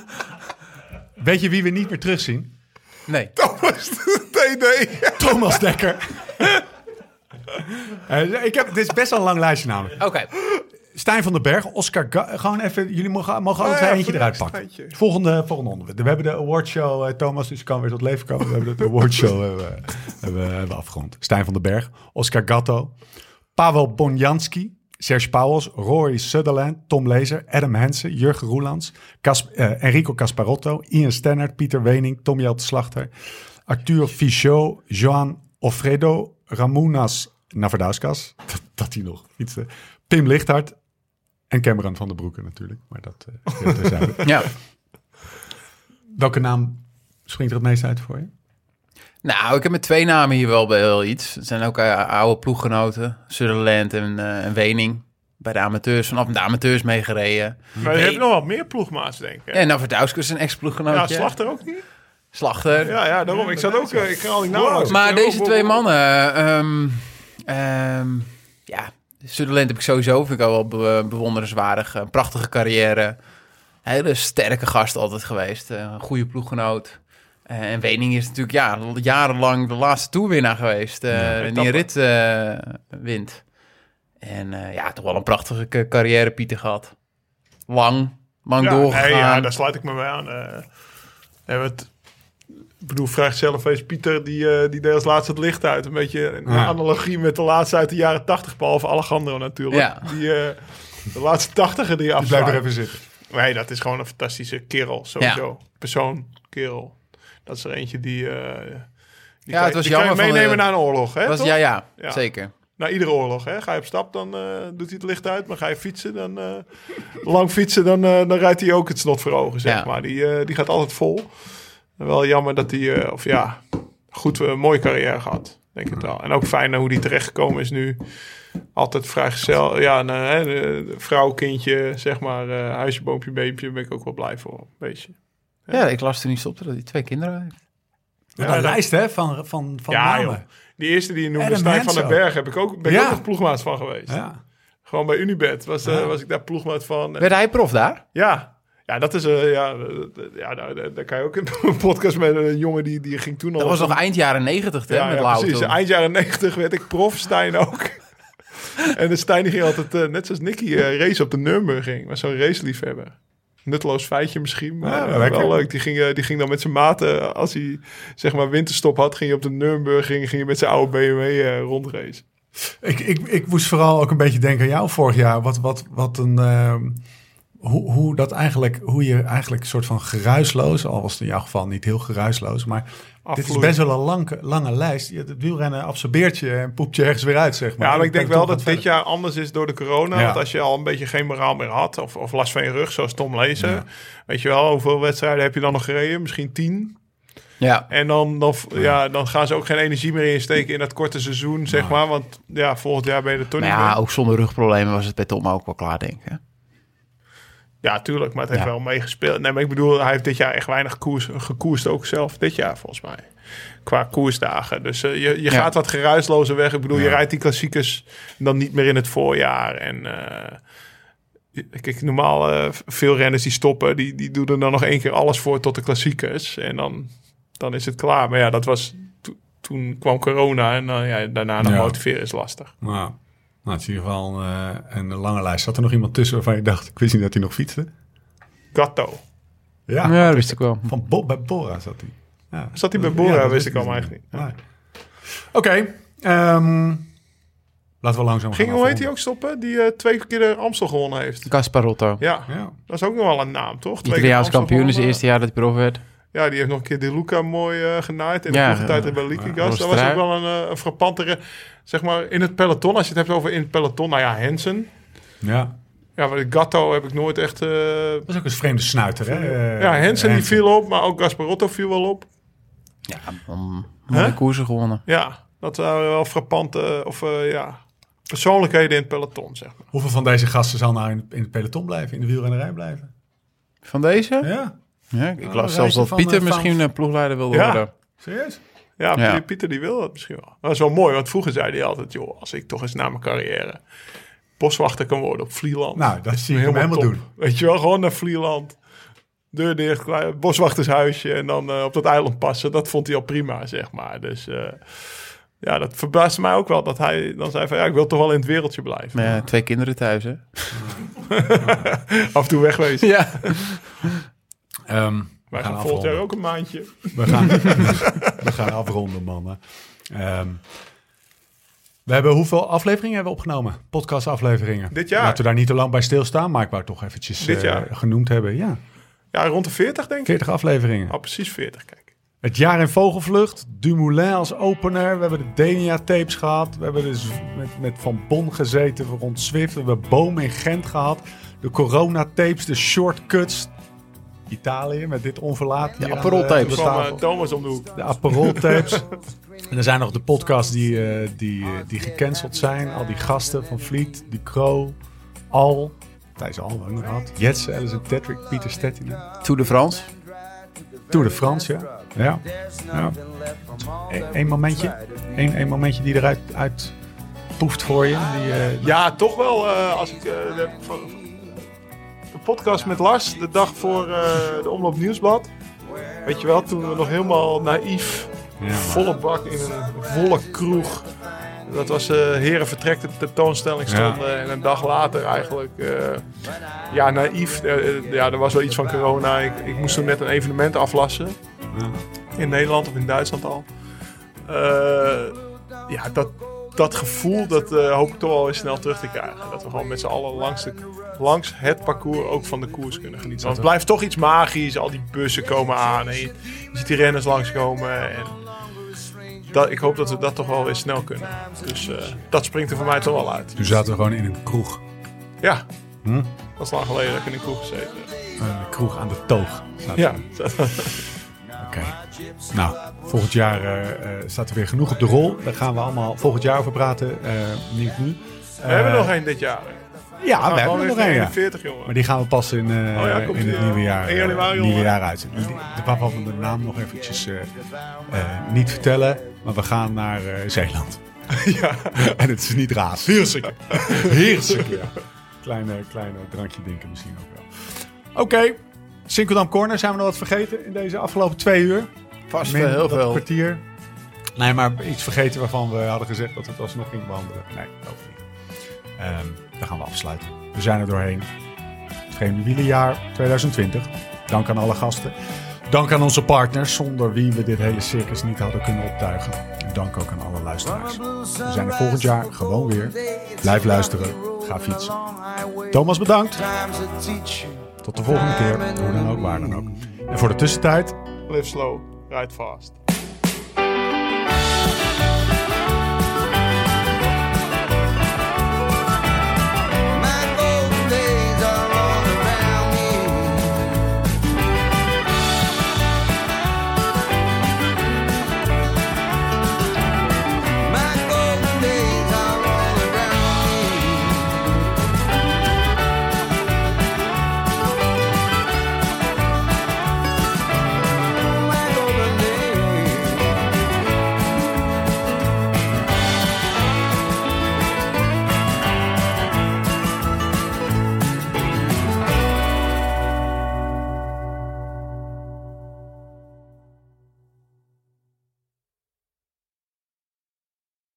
Speaker 1: weet je wie we niet meer terugzien?
Speaker 4: Nee.
Speaker 3: Thomas de TD.
Speaker 1: Thomas Dekker. (laughs) Eh, ik heb, dit is best wel een lang lijstje namelijk.
Speaker 4: Oké.
Speaker 1: Stijn van den Berg, Oscar... Ga- gewoon even, jullie mogen, mogen altijd
Speaker 3: Ja, ja,
Speaker 1: eentje
Speaker 3: voor
Speaker 1: eruit
Speaker 3: de rest
Speaker 1: pakken.
Speaker 3: eentje.
Speaker 1: Volgende, volgende onderwerp. We hebben de awardshow, eh Thomas, dus je kan weer tot leven komen. We hebben de awardshow eh, hebben, hebben, hebben we afgerond. Stijn van den Berg, Oscar Gatto, Pavel Bonjanski, Serge Pauwels, Rory Sutherland, Tom Lezer, Adam Hensen, Jurgen Roelands, Cas- eh, Enrico Casparotto, Ian Stennert, Pieter Wening, Tom Jelp Slachter, Arthur Fichot, Joan Ofredo, Ramunas Navardauskas, (laughs) dat, dat die nog iets, eh, Pim Lichthart en Cameron van der Broeken natuurlijk. Maar dat eh, geheel terzijde.
Speaker 4: Ja.
Speaker 1: (laughs) Welke naam springt er het meest uit voor je?
Speaker 4: Nou, ik heb met twee namen hier wel bij wel iets. Het zijn ook eh, oude ploeggenoten. Sutherland en, eh, en Wening. Bij de amateurs, vanaf de amateurs meegereden.
Speaker 3: Maar je hebt nog wat meer ploegmaats, denk ik. hè?
Speaker 4: En Navardausko is een ex-ploeggenootje.
Speaker 3: Ja, Slachter ook niet.
Speaker 4: Slachter.
Speaker 3: Ja, ja, daarom. Ik zat ook... eh, Ik ga al niet
Speaker 1: Wow.
Speaker 3: nauwelijks.
Speaker 4: Maar
Speaker 3: Ik-
Speaker 4: deze
Speaker 3: oh,
Speaker 4: twee
Speaker 3: oh, oh.
Speaker 4: mannen, ehm, ehm, ja, Sutherland heb ik sowieso, vind ik al wel be- bewonderenswaardig. Een prachtige carrière, hele sterke gast altijd geweest, eh, een goede ploeggenoot. Eh, en Wening is natuurlijk ja, l- jarenlang de laatste toerwinnaar geweest, eh, en die
Speaker 3: etappe.
Speaker 4: een rit eh, wint. En eh, ja, toch wel een prachtige ca- carrière Pieter gehad. Lang, lang
Speaker 3: Ja,
Speaker 4: doorgegaan.
Speaker 3: nee, ja, daar sluit ik me bij aan. eh. hebben we het... Ik bedoel, vraag zelf eens Pieter, die, eh, die deed als laatste het licht uit. Een beetje een
Speaker 1: Ja.
Speaker 3: analogie met de laatste uit de jaren tachtig, behalve Alejandro natuurlijk.
Speaker 4: Ja.
Speaker 3: Die, eh, de laatste tachtiger die
Speaker 1: Dus blijf er
Speaker 3: afsluit.
Speaker 1: even zitten.
Speaker 3: Nee, dat is gewoon een fantastische kerel, sowieso. Persoon, kerel. Dat is er eentje die... eh, die
Speaker 4: Ja,
Speaker 3: kan,
Speaker 4: het was
Speaker 3: die kan je
Speaker 4: jammer van de-
Speaker 3: meenemen naar een oorlog, hè?
Speaker 4: Was,
Speaker 3: toch?
Speaker 4: ja, ja,
Speaker 3: Ja.
Speaker 4: zeker.
Speaker 3: Na iedere oorlog, hè? Ga je op stap, dan eh, doet hij het licht uit. Maar ga je fietsen, dan... eh, lang fietsen, dan, eh, dan rijdt hij ook het snot voor ogen, zeg
Speaker 4: Ja.
Speaker 3: maar. Die, eh, die gaat altijd vol. Wel jammer dat hij... eh, of ja, goed, eh, een mooie carrière gehad. Denk ik wel. En ook fijn eh, hoe hij terechtgekomen is nu. Altijd vrijgezel. Ja, een, eh, een vrouw, kindje, zeg maar. eh, huisje, boompje, beempje. Daar ben ik ook wel blij voor, een beetje.
Speaker 4: Ja, ik las toen niet stopte dat hij twee kinderen heeft.
Speaker 1: Wat
Speaker 3: Ja,
Speaker 1: een
Speaker 3: dat-
Speaker 1: lijst hè, van, van, van
Speaker 3: Ja,
Speaker 1: namen.
Speaker 3: joh. Die eerste die je noemde,
Speaker 1: Adam
Speaker 3: Stijn van
Speaker 1: Hensel.
Speaker 3: den Berg, heb ik ook, ben
Speaker 1: Ja.
Speaker 3: ik ook nog ploegmaat van geweest.
Speaker 1: Ja.
Speaker 3: Gewoon bij Unibed was, eh,
Speaker 1: Ja.
Speaker 3: was ik daar ploegmaat van. En-
Speaker 4: Werd hij prof daar?
Speaker 3: ja. ja, dat is... eh, ja, eh, ja nou, daar, daar kan je ook een (laughs) podcast met een jongen die, die ging toen al...
Speaker 4: Dat was nog eind jaren negentig, hè,
Speaker 3: ja,
Speaker 4: met
Speaker 3: ja,
Speaker 4: Lau
Speaker 3: precies.
Speaker 4: toen.
Speaker 3: Eind jaren negentig werd ik prof, Stijn ook. (laughs) en de Stijn die ging altijd, eh, net zoals Nicky, eh, race op de Nürburgring. Was zo'n raceliefhebber. Nutteloos feitje misschien, maar
Speaker 1: Ja,
Speaker 3: eh,
Speaker 1: lekker.
Speaker 3: wel leuk. Die ging, eh, die ging dan met zijn maten, als hij zeg maar winterstop had, ging hij op de Nürburgring, ging hij met zijn oude BMW eh, rondrace.
Speaker 1: Ik, ik, ik moest vooral ook een beetje denken aan jou vorig jaar. Wat, wat, wat een. ehm, hoe, hoe, dat eigenlijk, hoe je eigenlijk een soort van geruisloos, al was het in jouw geval niet heel geruisloos, maar dit is
Speaker 3: Afvloeien.
Speaker 1: best wel een lange, lange lijst. Je- Het wielrennen absorbeert je en poept je ergens weer uit, zeg maar.
Speaker 3: Ja, maar ik denk
Speaker 1: Peloton
Speaker 3: wel dat
Speaker 1: gaat
Speaker 3: dit
Speaker 1: verder.
Speaker 3: jaar anders is door de corona.
Speaker 1: Ja.
Speaker 3: Want als je al een beetje geen moraal meer had, of, of last van je rug, zoals Tom Lezer. Weet je wel, hoeveel wedstrijden heb je dan nog gereden? Misschien tien.
Speaker 4: Ja.
Speaker 3: En dan, dan, ja, dan gaan ze ook geen energie meer insteken in dat korte seizoen, zeg maar. Want ja, volgend jaar ben je er toch
Speaker 4: Maar
Speaker 3: niet
Speaker 4: Nou ja,
Speaker 3: meer.
Speaker 4: ook zonder rugproblemen was het bij Tom ook wel klaar, denk ik. hè.
Speaker 3: Ja, tuurlijk, maar het heeft
Speaker 4: Ja.
Speaker 3: wel meegespeeld. Nee, maar ik bedoel, hij heeft dit jaar echt weinig koers, gekoerst ook zelf. Dit jaar volgens mij. Qua koersdagen. Dus eh, je, je
Speaker 4: Ja.
Speaker 3: gaat wat geruislozer weg. Ik bedoel, je rijdt die klassiekers dan niet meer in het voorjaar. En eh, kijk, normaal eh, veel renners die stoppen, die, die doen er dan nog één keer alles voor tot de klassiekers. En dan, dan is het klaar. Maar ja, dat was... to- toen kwam corona en dan, ja, daarna nog
Speaker 1: Ja.
Speaker 3: motiveren is lastig.
Speaker 1: Nou, nou, het is in ieder geval eh, een lange lijst. Zat er nog iemand tussen waarvan je dacht, ik wist niet dat hij nog fietste?
Speaker 3: Gatto.
Speaker 1: Ja,
Speaker 4: dat wist ik wel.
Speaker 1: van Bo- bij Bora zat hij. Ja.
Speaker 3: Zat hij bij Bora?
Speaker 1: dat
Speaker 3: wist ik
Speaker 1: dus
Speaker 3: allemaal eigenlijk niet.
Speaker 1: Nee. Oké, ehm, laten we langzaam
Speaker 3: Ging,
Speaker 1: gaan
Speaker 3: hoe heet hij
Speaker 1: afronden.
Speaker 3: ook stoppen? Die eh, twee keer de Amstel gewonnen heeft.
Speaker 4: Casparotto.
Speaker 3: Ja,
Speaker 1: Ja.
Speaker 3: dat is ook nog wel een naam, toch? Twee keer
Speaker 4: Italiaans
Speaker 3: Amstel
Speaker 4: kampioen is het
Speaker 3: gewonnen.
Speaker 4: eerste jaar dat hij prof werd.
Speaker 3: Ja, die heeft nog een keer De Luca mooi eh, genaaid. En
Speaker 4: Ja,
Speaker 3: de tijd
Speaker 4: eh,
Speaker 3: bij Likigas.
Speaker 4: Ross
Speaker 3: Dus Dat was ook
Speaker 4: Trui.
Speaker 3: wel een, eh, een frappantere... Zeg maar, in het peloton, als je het hebt over in het peloton... Nou ja, Hansen.
Speaker 1: ja.
Speaker 3: Ja, maar de Gatto heb ik nooit echt... eh,
Speaker 1: Dat was ook een vreemde snuiter, hè? Eh,
Speaker 3: ja, Hansen die viel op, maar ook Gasparotto viel wel op.
Speaker 4: Ja, dan mooie
Speaker 3: Huh?
Speaker 4: koersen gewonnen.
Speaker 3: Ja, dat waren wel frappante... eh, of eh, ja, persoonlijkheden in het peloton, zeg maar.
Speaker 1: Hoeveel van deze gasten zal nou in, in het peloton blijven, in de wielrennerij blijven?
Speaker 4: Van deze?
Speaker 1: Ja,
Speaker 4: Ja, ik
Speaker 1: Oh,
Speaker 4: las zelfs
Speaker 1: rijtje
Speaker 4: dat
Speaker 1: van,
Speaker 4: Pieter
Speaker 1: eh, van-
Speaker 4: misschien eh, ploegleider wilde
Speaker 3: Ja.
Speaker 4: worden.
Speaker 1: serieus?
Speaker 3: Ja,
Speaker 4: Ja.
Speaker 3: Pieter, Pieter die wil dat misschien wel. Maar Dat is wel mooi, want vroeger zei hij altijd... joh, als ik toch eens na mijn carrière boswachter kan worden op Vlieland...
Speaker 1: Nou, dat zie ik hem helemaal
Speaker 3: top.
Speaker 1: doen.
Speaker 3: Weet je wel, gewoon naar Vlieland. Deur dicht, klein boswachtershuisje en dan eh, op dat eiland passen. Dat vond hij al prima, zeg maar. Dus eh, ja, dat verbaasde mij ook wel dat hij dan zei van... ja, ik wil toch wel in het wereldje blijven.
Speaker 4: Met twee kinderen thuis, hè?
Speaker 3: Af en toe
Speaker 1: (laughs)
Speaker 3: wegwezen.
Speaker 4: Ja.
Speaker 1: Ehm, we,
Speaker 3: Wij gaan
Speaker 1: gaan
Speaker 3: volgend jaar
Speaker 1: afronden.
Speaker 3: ook een maandje.
Speaker 1: (laughs) we gaan We gaan afronden, mannen. Ehm, We hebben hoeveel afleveringen hebben we opgenomen? Podcastafleveringen.
Speaker 3: Dit jaar.
Speaker 1: Laten we daar niet te lang bij stilstaan, maar ik wou het toch eventjes
Speaker 3: Dit
Speaker 1: eh,
Speaker 3: jaar.
Speaker 1: genoemd hebben. Ja,
Speaker 3: Ja, rond de 40 denk ik.
Speaker 1: 40 afleveringen.
Speaker 3: Ah, precies 40, kijk.
Speaker 1: Het jaar in vogelvlucht, Dumoulin als opener. We hebben de Denia-tapes gehad. We hebben dus met, met Van Bon gezeten we rond Zwift. We hebben Boom in Gent gehad. De corona-tapes, de shortcuts. Italië met dit onverlaat. hier aan
Speaker 5: Aperol
Speaker 1: de-
Speaker 5: tapes.
Speaker 1: de
Speaker 3: Kwam eh,
Speaker 1: tafel.
Speaker 3: Thomas om de hoek.
Speaker 1: De Aperol-tapes. en er zijn nog de podcasts die, eh, die, eh, die gecanceld zijn. Al die gasten van Vliet, Die Kroo, Al. Thijs Al hebben we ook nog gehad. Jetsen, Alison Tetrick, Pieter Stettiner.
Speaker 4: Tour de France.
Speaker 1: Tour de France, ja. Ja. ja. Eén één momentje. Eén één momentje die eruit uit poeft voor je. Die, eh,
Speaker 3: Ja, toch wel. eh, als ik, eh, de, de podcast met Lars, de dag voor eh, de Omloop Nieuwsblad. Weet je wel, toen we nog helemaal naïef,
Speaker 1: ja.
Speaker 3: volle bak in een volle kroeg. Dat was eh Heren Vertrek, de tentoonstelling
Speaker 1: Ja.
Speaker 3: stond. En een dag later eigenlijk, eh, ja, naïef. eh, eh, ja, er was wel iets van corona. Ik, ik moest toen net een evenement aflassen. In Nederland of in Duitsland al. Eh, ja, dat, dat gevoel, dat eh, hoop ik toch wel eens snel terug te krijgen. Dat we gewoon met z'n allen langs, de, langs het parcours ook van de koers kunnen genieten. Want het blijft toch iets magisch. Al die bussen komen aan en je, je ziet die renners langskomen. En dat, ik hoop dat we dat toch wel eens snel kunnen. Dus eh, dat springt er voor mij toch wel uit.
Speaker 1: Toen zaten we gewoon in een kroeg.
Speaker 3: Ja,
Speaker 1: Hm?
Speaker 3: dat is lang geleden dat ik in een kroeg gezeten heb.
Speaker 1: Eh, Een kroeg aan de toog. zaten
Speaker 3: Ja,
Speaker 1: we.
Speaker 3: dat-
Speaker 1: Oké. Nou, volgend jaar eh, eh, staat er weer genoeg op de rol. Daar gaan we allemaal volgend jaar over praten. eh, niet nu. Eh,
Speaker 3: we hebben er nog Nou, één dit jaar.
Speaker 1: Ja, we hebben er nog één. ja.
Speaker 3: 40, jongen.
Speaker 1: Maar die gaan we pas in, eh,
Speaker 3: Oh ja, komt
Speaker 1: in
Speaker 3: die,
Speaker 1: het
Speaker 3: eh,
Speaker 1: nieuwe jaar,
Speaker 3: in januari,
Speaker 1: eh, nieuwe
Speaker 3: jongen.
Speaker 1: jaar uit. Die- De papa van de naam nog eventjes eh, eh, niet vertellen. Maar we gaan naar eh, Zeeland. ja. (laughs) En het is niet raas. Heerlijk. (laughs) Heerlijk, ja. Kleine, kleine drankje denken misschien ook wel. Oké. Sinkeldam Corner, zijn we nog wat vergeten in deze afgelopen twee uur?
Speaker 4: Vast
Speaker 1: Min
Speaker 4: wel heel
Speaker 1: dat
Speaker 4: veel.
Speaker 1: kwartier. Nee, maar iets vergeten waarvan we hadden gezegd dat we het alsnog gingen behandelen. Nee, dat hoeft niet. Ehm dan gaan we afsluiten. We zijn er doorheen. Het Geen wielenjaar 2020. Dank aan alle gasten. Dank aan onze partners, zonder wie we dit hele circus niet hadden kunnen optuigen. En dank ook aan alle luisteraars.
Speaker 2: We zijn er volgend jaar gewoon weer. Blijf luisteren. Ga fietsen.
Speaker 1: Thomas, bedankt.
Speaker 2: Thomas.
Speaker 1: Tot de volgende keer. Hoe dan ook, waar dan ook. En voor de tussentijd,
Speaker 3: Live slow, ride fast.